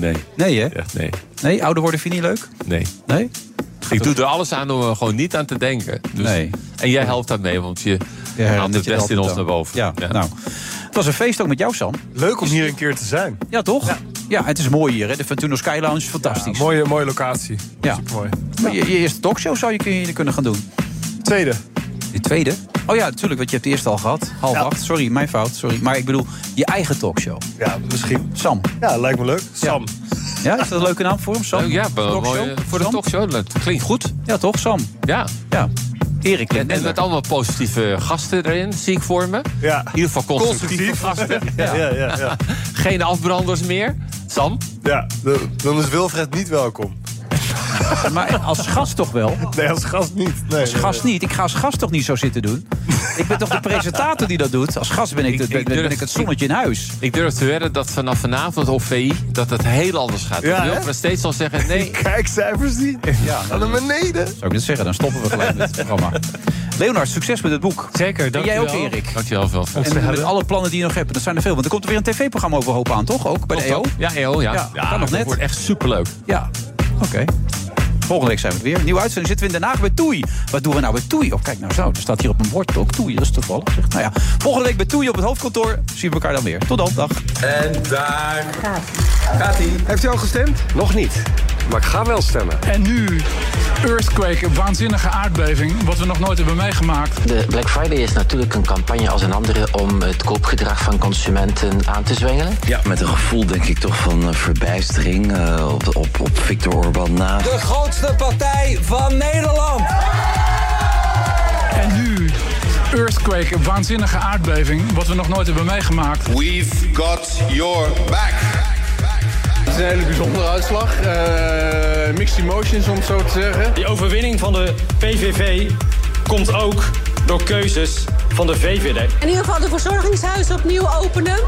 Speaker 19: nee.
Speaker 8: Nee, hè?
Speaker 19: nee.
Speaker 8: Nee, ouder worden vind je niet leuk?
Speaker 19: Nee.
Speaker 8: Nee?
Speaker 19: Ik doe er alles aan om er gewoon niet aan te denken. Dus, nee. En jij helpt daarmee, want je haalt het best in ons naar boven.
Speaker 8: Ja, nou. Het was een feest ook met jou, Sam.
Speaker 9: Leuk om hier een keer te zijn.
Speaker 8: Ja, toch? Ja, het is mooi hier, hè? De Ventuno Sky Lounge, fantastisch.
Speaker 9: mooie, mooie locatie.
Speaker 8: Ja.
Speaker 9: Supermooi.
Speaker 8: Maar je, je eerste talkshow zou je kun- kunnen gaan doen?
Speaker 9: Tweede.
Speaker 8: Je tweede? Oh ja, natuurlijk, want je hebt de eerste al gehad. Half acht, sorry, mijn fout, sorry. Maar ik bedoel, je eigen talkshow.
Speaker 9: Ja, misschien.
Speaker 8: Sam.
Speaker 9: Ja, lijkt me leuk. Sam.
Speaker 8: Ja, is dat een leuke naam voor hem, Sam?
Speaker 19: Leuk, ja, wel een mooie- voor de talkshow. Dat klinkt goed.
Speaker 8: Ja, toch, Sam?
Speaker 19: Ja.
Speaker 8: ja. Erik
Speaker 19: en, en met allemaal positieve gasten erin, zie ik voor me.
Speaker 9: Ja.
Speaker 19: In ieder geval constructieve gasten.
Speaker 9: Ja, ja, ja, ja.
Speaker 19: Geen afbranders meer. Sam?
Speaker 9: Ja, de- dan is Wilfred niet welkom.
Speaker 8: Maar als gast toch wel?
Speaker 9: Nee, als gast niet. Nee,
Speaker 8: als
Speaker 9: nee,
Speaker 8: gast
Speaker 9: nee.
Speaker 8: niet. Ik ga als gast toch niet zo zitten doen? ik ben toch de presentator die dat doet? Als gast ben ik, de- ben, ben ik het zonnetje in huis.
Speaker 19: Ik durf te wedden dat vanaf vanavond op VI dat het heel anders gaat.
Speaker 8: Ja,
Speaker 19: Ja,
Speaker 8: hè?
Speaker 19: ik wil steeds al zeggen, nee,
Speaker 9: Kijkcijfers die
Speaker 8: Ja,
Speaker 9: gaan naar beneden.
Speaker 8: Zou ik dit zeggen? Dan stoppen we gelijk met het programma. Leonard, succes met het boek.
Speaker 15: Zeker,
Speaker 8: En jij ook,
Speaker 19: dankjewel.
Speaker 8: Erik.
Speaker 19: Dankjewel, veel.
Speaker 8: En met alle plannen die je nog hebt, en dat zijn er veel. Want er komt er weer een tv-programma over hoop aan, toch? Ook bij de EO?
Speaker 19: Ja, EO, ja.
Speaker 8: Ja, kan nog
Speaker 19: dat
Speaker 8: net.
Speaker 19: wordt echt superleuk.
Speaker 8: Ja, oké. Volgende week zijn we er weer. Nieuwe uitzending. Zitten we in Den Haag bij Toei. Wat doen we nou bij Toei? Oh, kijk nou zo. Er staat hier op mijn bord ook Toei. Dat is toevallig. Zeg. Nou ja, volgende week bij Toei op het hoofdkantoor. Zien we elkaar dan weer. Tot dan. Dag.
Speaker 21: En daar gaat hij.
Speaker 22: Heeft u al gestemd? Nog niet. Maar ik ga wel stemmen.
Speaker 23: En nu Earthquake, een waanzinnige aardbeving, wat we nog nooit hebben meegemaakt.
Speaker 24: De Black Friday is natuurlijk een campagne als een andere om het koopgedrag van consumenten aan te zwengelen.
Speaker 5: Ja, met een gevoel denk ik toch van eh, verbijstering eh, op, op, op Victor Orban na.
Speaker 21: De grootste partij van Nederland.
Speaker 23: En nu Earthquake, een waanzinnige aardbeving, wat we nog nooit hebben meegemaakt.
Speaker 7: We've got your back.
Speaker 25: Het is een hele bijzondere uitslag. Eh, mixed emotions, om het zo te zeggen.
Speaker 26: Die overwinning van de PVV komt ook door keuzes van de VVD.
Speaker 27: In ieder geval de verzorgingshuizen opnieuw openen.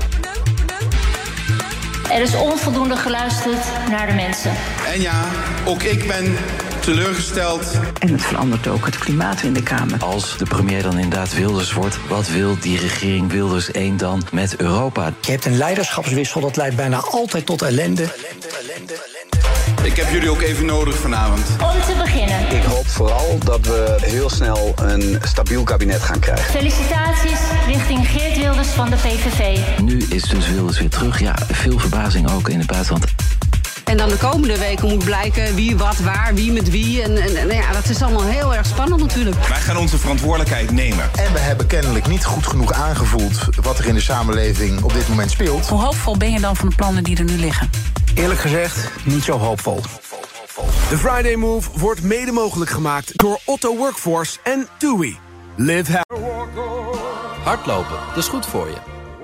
Speaker 28: Er is onvoldoende geluisterd naar de mensen.
Speaker 7: En ja, ook ik ben teleurgesteld.
Speaker 24: En het verandert ook het klimaat in de Kamer.
Speaker 5: Als de premier dan inderdaad Wilders wordt, wat wil die regering Wilders 1 dan met Europa?
Speaker 29: Je hebt een leiderschapswissel, dat leidt bijna altijd tot ellende.
Speaker 7: Ik heb jullie ook even nodig vanavond.
Speaker 28: Om te beginnen,
Speaker 10: Ik hoop vooral dat we heel snel een stabiel kabinet gaan krijgen.
Speaker 28: felicitaties richting Geert Wilders van de PVV.
Speaker 5: Nu is dus Wilders weer terug. Ja, veel verbazing ook in het buitenland.
Speaker 30: En dan de komende weken moet blijken wie wat waar, wie met wie. En, en, en nou ja, dat is allemaal heel erg spannend natuurlijk.
Speaker 7: Wij gaan onze verantwoordelijkheid nemen.
Speaker 31: En we hebben kennelijk niet goed genoeg aangevoeld wat er in de samenleving op dit moment speelt.
Speaker 32: Hoe hoopvol ben je dan van de plannen die er nu liggen?
Speaker 33: Eerlijk gezegd, niet zo hoopvol. De Friday Move wordt mede mogelijk gemaakt door Otto Workforce en TUI. Live happy.
Speaker 1: Hardlopen, dat is goed voor je.